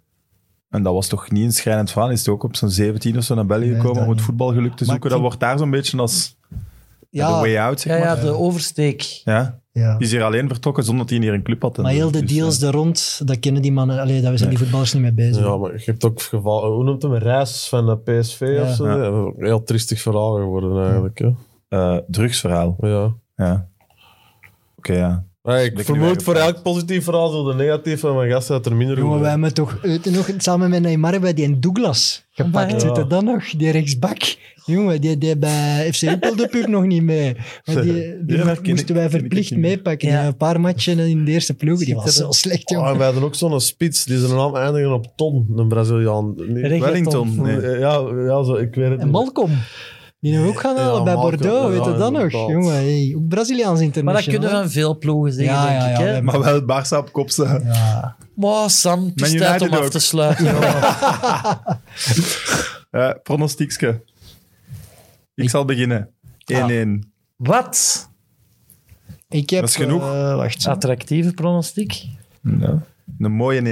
en dat was toch niet een schrijnend verhaal, is toch ook op zo'n 17 of zo naar België Nee, gekomen dat om het niet. voetbalgeluk te Maar zoeken. ik Dat vind- wordt daar zo'n beetje als de Ja, way out, zeg Ja, maar. ja, de oversteek. Ja. ja. Die is hier alleen vertrokken zonder dat hij hier een club had. en maar zo. heel de Dus, deals eh, daar rond, dat kennen die mannen. Allee, daar zijn die voetballers niet mee bezig. Ja, maar je hebt ook geval, hoe noemt hem, Reis van eh, de PSV Ja. of zo. Ja. Ja, dat is ook een heel triestig verhaal geworden eigenlijk. Hè. eh, drugsverhaal. Ja. Ja. Oké, ja. Maar Dat ik is vermoed voor eigenlijk elk positief verhaal zo de negatief van mijn gasten dat er minder Jongen, goed wij is. hebben toch eh, nog samen met Neymar hebben wij die en Douglas gepakt. Maar- Zit er dan nog? Die rechtsbak. Jongen, die, die bij FC Wimpel de pup nog niet mee. Maar die, die Ja, moest- ken ik- moesten wij ken ik verplicht niet meer. meepakken. Ja. Ja, Een paar matchen in de eerste ploeg. Die was Schitterend. zo slecht, Oh, en jongen. wij hadden ook zo'n spits, die zijn naam eindigen op Ton, een Braziliaan. Nee, Reggaeton. Wellington. Nee. Ja, ja zo, ik weet het En niet. Malcolm. Die nu ook gaan halen Ja, bij Malcolm, Bordeaux. ja, weet je dat nog? inderdaad. Jongen, hey, ook Braziliaans Maar dat kunnen international. van veel ploegen zeggen, Ja, denk ja, ik. ja, Hè? we Maar wel Barça op kop staan. Ja. Maar Sam, het is Man tijd om United af ook. te *laughs* sluiten. jongen. Eh, pronostiekske. Ik zal beginnen. Ah. 1-1. Wat? Ik heb, Dat is genoeg. eh, wacht, Ah. Attractieve pronostiek. Ja. Een mooie 1-1.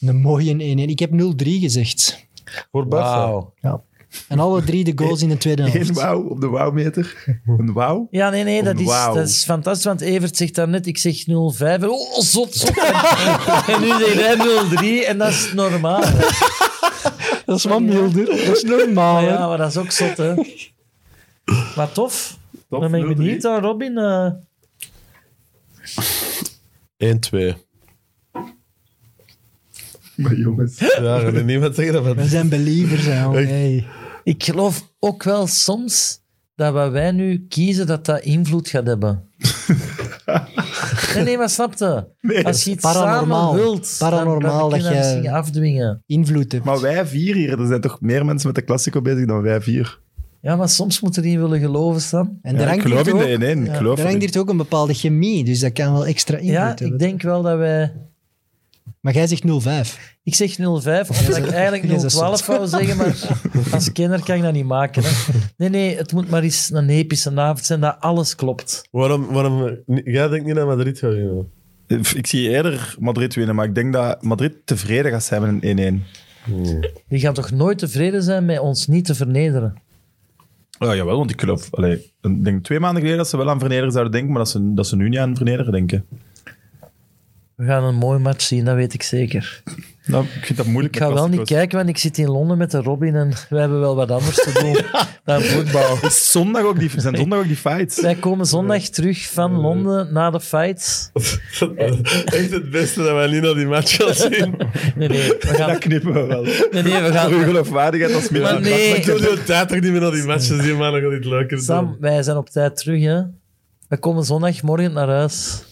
een mooie 1-1. Ik heb 0-3 gezegd. Voor Barca. Wauw. Ja. En alle drie de goals in de tweede *laughs* helft. Eén wauw op de wauwmeter. *laughs* Een wauw. Ja, nee, nee, dat is, Wauw. dat is fantastisch. Want Evert zegt daarnet, ik zeg 0-5. Oh, zot, zot. *laughs* en nu zegt hij 0-3 en dat is normaal. Dat is wat milder. Dat is normaal. Maar hè. ja, maar dat is ook zot, hè. Maar tof. Top, Dan ben ik 0-3. benieuwd aan Robin. eh, 1-2. Maar jongens. Ja, ik wil niemand zeggen dat We het zijn believers, hè. jongen. Hey. ik geloof ook wel soms dat wat wij nu kiezen, dat dat invloed gaat hebben. nee, nee, maar snap je? Nee. Als je iets Paranormaal. samen wilt, dan- Paranormaal dan, kun je dat dat jij- misschien afdwingen. Invloed hebt. Maar wij vier hier, er zijn toch meer mensen met de Classico bezig dan wij vier. Ja, maar soms moet erin willen geloven, Sam. En Ja, er ik hangt geloof hier in ook, de 1-1. ik Ja, geloof er hangt erin. hier ook een bepaalde chemie, dus dat kan wel extra invloed Ja, hebben. ik denk wel dat wij... Maar jij zegt 0-5. Ik zeg 0,5, omdat ik Jij eigenlijk bent 0,12 wou zeggen, maar als kenner kan ik dat niet maken. Hè. Nee, nee, het moet maar eens een epische avond zijn dat alles klopt. Waarom, waarom... Jij denkt niet dat Madrid gaat *laughs* winnen. Ik zie eerder Madrid winnen, maar ik denk dat Madrid tevreden gaat zijn met een 1-1. Die gaan toch nooit tevreden zijn met ons niet te vernederen? Ja, jawel, want ik geloof... Allee, ik denk twee maanden geleden dat ze wel aan vernederen zouden denken, maar dat ze, dat ze nu niet aan vernederen denken. We gaan een mooi match zien, dat weet ik zeker. Nou, ik vind dat moeilijk. Ik ga met wel niet Classico's. kijken, want ik zit in Londen met de Robin en wij hebben wel wat anders te *laughs* doen dan voetbal. Is zondag ook die, zijn zondag ook die *laughs* fights? Wij komen zondag terug van Eh. Londen na de fight. Echt het beste dat wij niet naar die match *laughs* gaan zien. Nee, nee, we Dat gaan... knippen we wel. Nee, nee, we *laughs* Voor uw gaan... geloofwaardigheid als midden- Maar nee. Ik wil de tijd toch niet meer naar die matches zien, maar dan gaat het leuker Dus Sam, wij zijn op tijd terug, hè. We komen zondagmorgen naar huis.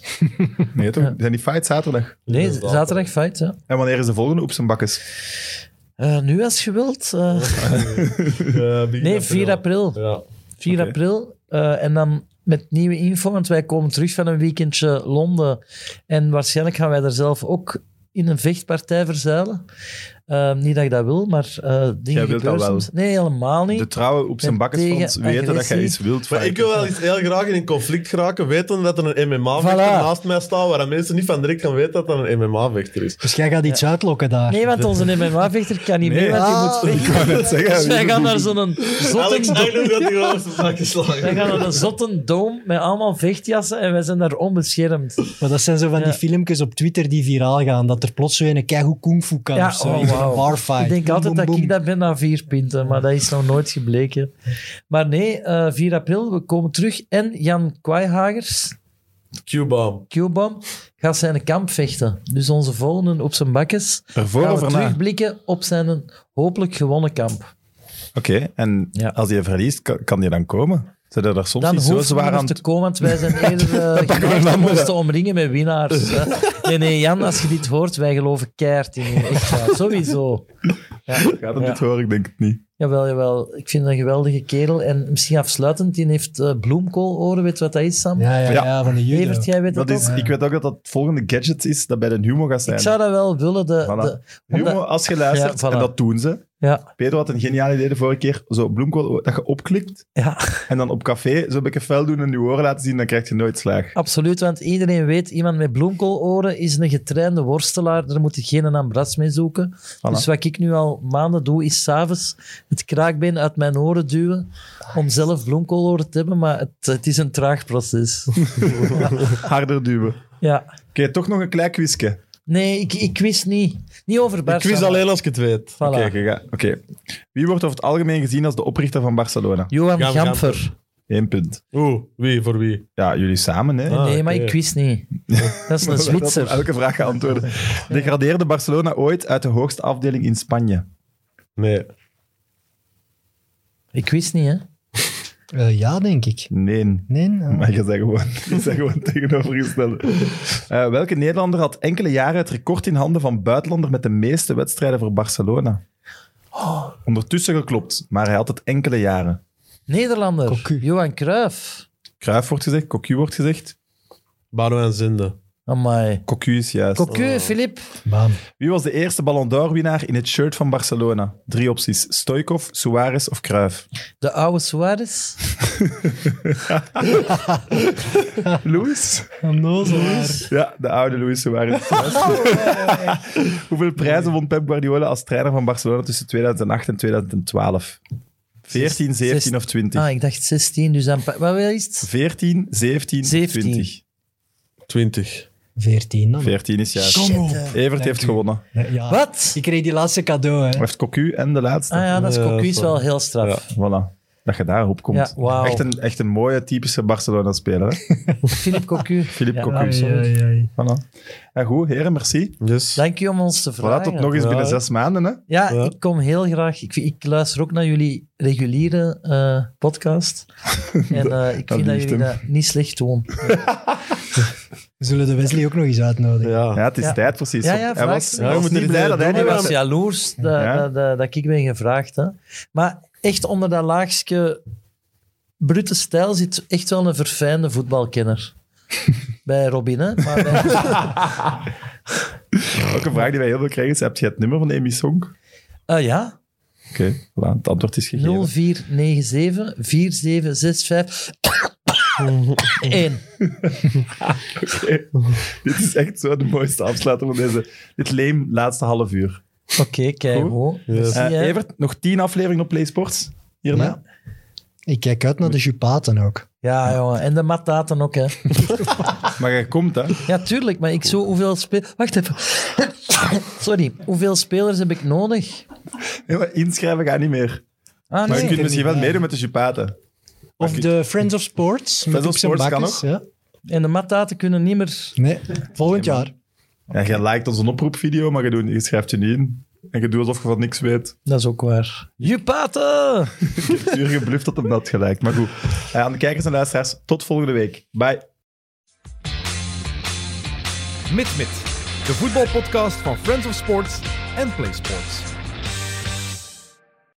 Nee, toch? Zijn die fights zaterdag? Nee, Inderdaad. zaterdag feit, ja. En wanneer is de volgende op zijn bakkes? Eh, nu als je wilt. eh, nee, 4 april. Ja. 4 Oké. april. eh, en dan met nieuwe info, want wij komen terug van een weekendje Londen. En waarschijnlijk gaan wij er zelf ook in een vechtpartij verzeilen. Eh, niet dat ik dat wil, maar eh dingen Jij wilt gebeuren dat wel. soms. Nee, helemaal niet. De trouwe op zijn Met bakkes tegen fans weten dat jij agressie. iets wilt Maar fighten. ik wil wel eens heel graag in een conflict geraken, weten dat er een MMA-vechter Voilà. naast mij staat, waar mensen niet van direct gaan weten dat dat een MMA-vechter is. Dus jij gaat iets uitlokken daar. Nee, want onze MMA-vechter kan niet Nee. mee, want die Ah. moet *laughs* vechten. Ik wou net zeggen, Dus wij wie- gaan naar zo'n zotte Alex Engels gaat die over zijn zak Wij geslagen. gaan naar een zotte dome met allemaal vechtjassen en wij zijn daar onbeschermd. Maar dat zijn zo van die Ja. filmpjes op Twitter die viraal gaan, dat er plots zo een keigoed kungfu kan Ja, of zo. oh, Iemand Wauw. barfight. Ik denk Boem, altijd boem, dat boem. ik dat ben na vier pinten, maar dat is nog nooit gebleken. Maar nee, eh 4 april, we komen terug. En Jan Kwaihagers, Q-bomb. Q-bomb, gaat zijn kamp vechten. Dus onze volgende op zijn bakjes. Ervoor gaan of we erna? Oké, terugblikken op zijn hopelijk gewonnen kamp. en Ja. als je verliest, kan, kan die dan komen? Zijn er daar soms Dan niet zo hoeft zwaar niemand aan... te komen, want wij zijn eerder *laughs* eh, geneigd om ons te omringen met winnaars. hè. Nee, nee, Jan, als je dit hoort, wij geloven keihard in je. Echt waar, sowieso. Ja. Gaat hem Ja. dit horen? Ik denk het niet. Jawel, jawel. Ik vind het een geweldige kerel. En misschien afsluitend, die heeft eh, bloemkooloren. Weet je wat dat is, Sam? Ja, ja, Ja. ja, van de judo. Evert, jij weet Dat dat is, ook? ik weet ook dat dat het volgende gadget is dat bij de Humo gaat zijn. Ik zou dat wel willen. De, Voilà. de- Humo, omdat- als je luistert, Ja, voilà. en dat doen ze. ja, Pedro had een geniaal idee de vorige keer. Zo bloemkool, dat je opklikt ja, en dan op café zo'n beetje fel doen en je oren laten zien, dan krijg je nooit slaag. absoluut. Want iedereen weet, iemand met bloemkooloren is een getrainde worstelaar. Daar moet je geen ambras mee zoeken. Dus wat ik nu al maanden doe, is s'avonds het kraakbeen uit mijn oren duwen om zelf bloemkooloren te hebben. Maar het, het is een traag *laughs* proces. Harder duwen. Oké, ja. toch nog een klein quizje. Nee, ik, ik wist niet. Niet over Barca. Ik quiz alleen als ik het weet. Voilà. Oké, je gaat- oké. Wie wordt over het algemeen gezien als de oprichter van Barcelona? Johan Gam- Gamper. Eén punt. Oeh, wie voor wie? Ja, jullie samen, hè? Ah, nee, maar oké. ik wist *laughs* niet. Dat is een *laughs* Dat we Zwitser. op elke vraag gaan antwoorden. Degradeerde Barcelona ooit uit de hoogste afdeling in Spanje? Nee. Ik wist niet, hè? Eh, ja, denk ik. Nee. Nee, nou. Maar je zei gewoon, je zei gewoon tegenovergesteld. Eh, welke Nederlander had enkele jaren het record in handen van buitenlander met de meeste wedstrijden voor Barcelona? Ondertussen geklopt, maar hij had het enkele jaren. Nederlander. Cocu. Johan Cruijff. Cruijff wordt gezegd, Cocu wordt gezegd. Boudewijn Zinde. Amai. Cocu is juist. Cocu, Oh. Filip. Bam. Wie was de eerste Ballon d'Or winnaar in het shirt van Barcelona? Drie opties. Stoikov, Suarez of Cruijff? De oude Suarez. Luis? Onnozel. Ja, de oude Luis Suarez. *laughs* Hoeveel prijzen won Pep Guardiola als trainer van Barcelona tussen 2008 en 2012? 14, 17 of 20? Ah, ik dacht 16, dus dan... pa- Wat is het? 14, 17, 17. 20. 20. 14 dan. 14 is juist. Kom op. Evert heeft u. gewonnen. Nee, ja. Wat? Ik kreeg die laatste cadeau, hè. Hij heeft Cocu en de laatste. Ah ja, dat is Ja, Cocu is sorry. wel heel straf. Voilà. Dat je daarop komt. Ja, wauw. echt, een, echt een mooie, typische Barcelona-speler. hè? Filip Cocu. *laughs* Philippe Ja, Cocu. nou, Oei, sorry. oei, oei. Voilà. Ja, goed, heren, merci. Yes. Dank je om ons te vragen. Voilà, tot nog eens binnen zes maanden. Hè. Ja, Ja. ik kom heel graag. Ik, vind- ik luister ook naar jullie reguliere eh, *laughs* podcast. En eh, ik vind dat liegt jullie hem. dat niet slecht doen. We zullen de Wesley ook nog eens uitnodigen. Ja. Ja, het is Ja. tijd precies. Ja, ja, hij vraag. was, Ja, hij we was moeten niet dit blij doen, dat hij Hij niet was was. jaloers dat, Ja. dat, dat, dat ik ben gevraagd. Hè. Maar echt onder dat laagje brute stijl zit echt wel een verfijnde *laughs* voetbalkenner. bij Robin, hè? Maar bij- Ook een vraag die wij heel veel krijgen is, heb je het nummer van Amy Song? Oké, Ah, ja, voilà, het antwoord is gegeven. *coughs* 0497-4765-1. *laughs* Dit is echt zo de mooiste afsluiter van deze, dit leem laatste half uur. Oké, kijk, Goed. hoor. Yes. Dat zie Eh, jij. Evert, nog tien afleveringen op PlaySports hierna? Ja. Ik kijk uit naar de Jupaten ook. Ja, jongen. En de mataten ook, hè. Maar je komt, hè? Ja, tuurlijk, maar ik zo hoeveel speel... Wacht even. *coughs* Sorry. Hoeveel spelers heb ik nodig? Ja, maar inschrijven gaat niet meer. Ah, Maar je nee. kunt misschien wel meedoen met de Jupaten. Of de Friends of Sports. met Friends of op zijn Sports kan bakkes, Ja. En de mataten kunnen niet meer... Nee, volgend jaar. Ja, je liked onze oproepvideo, maar je, doet, je schrijft je niet in. En je doet alsof je van niks weet. Dat is ook waar. Jupaten! Ik heb puur gebluft dat hem dat gelijk. Maar goed, Eh, aan de kijkers en luisteraars, tot volgende week. Bye. MidMid, de voetbalpodcast van Friends of Sports en PlaySports.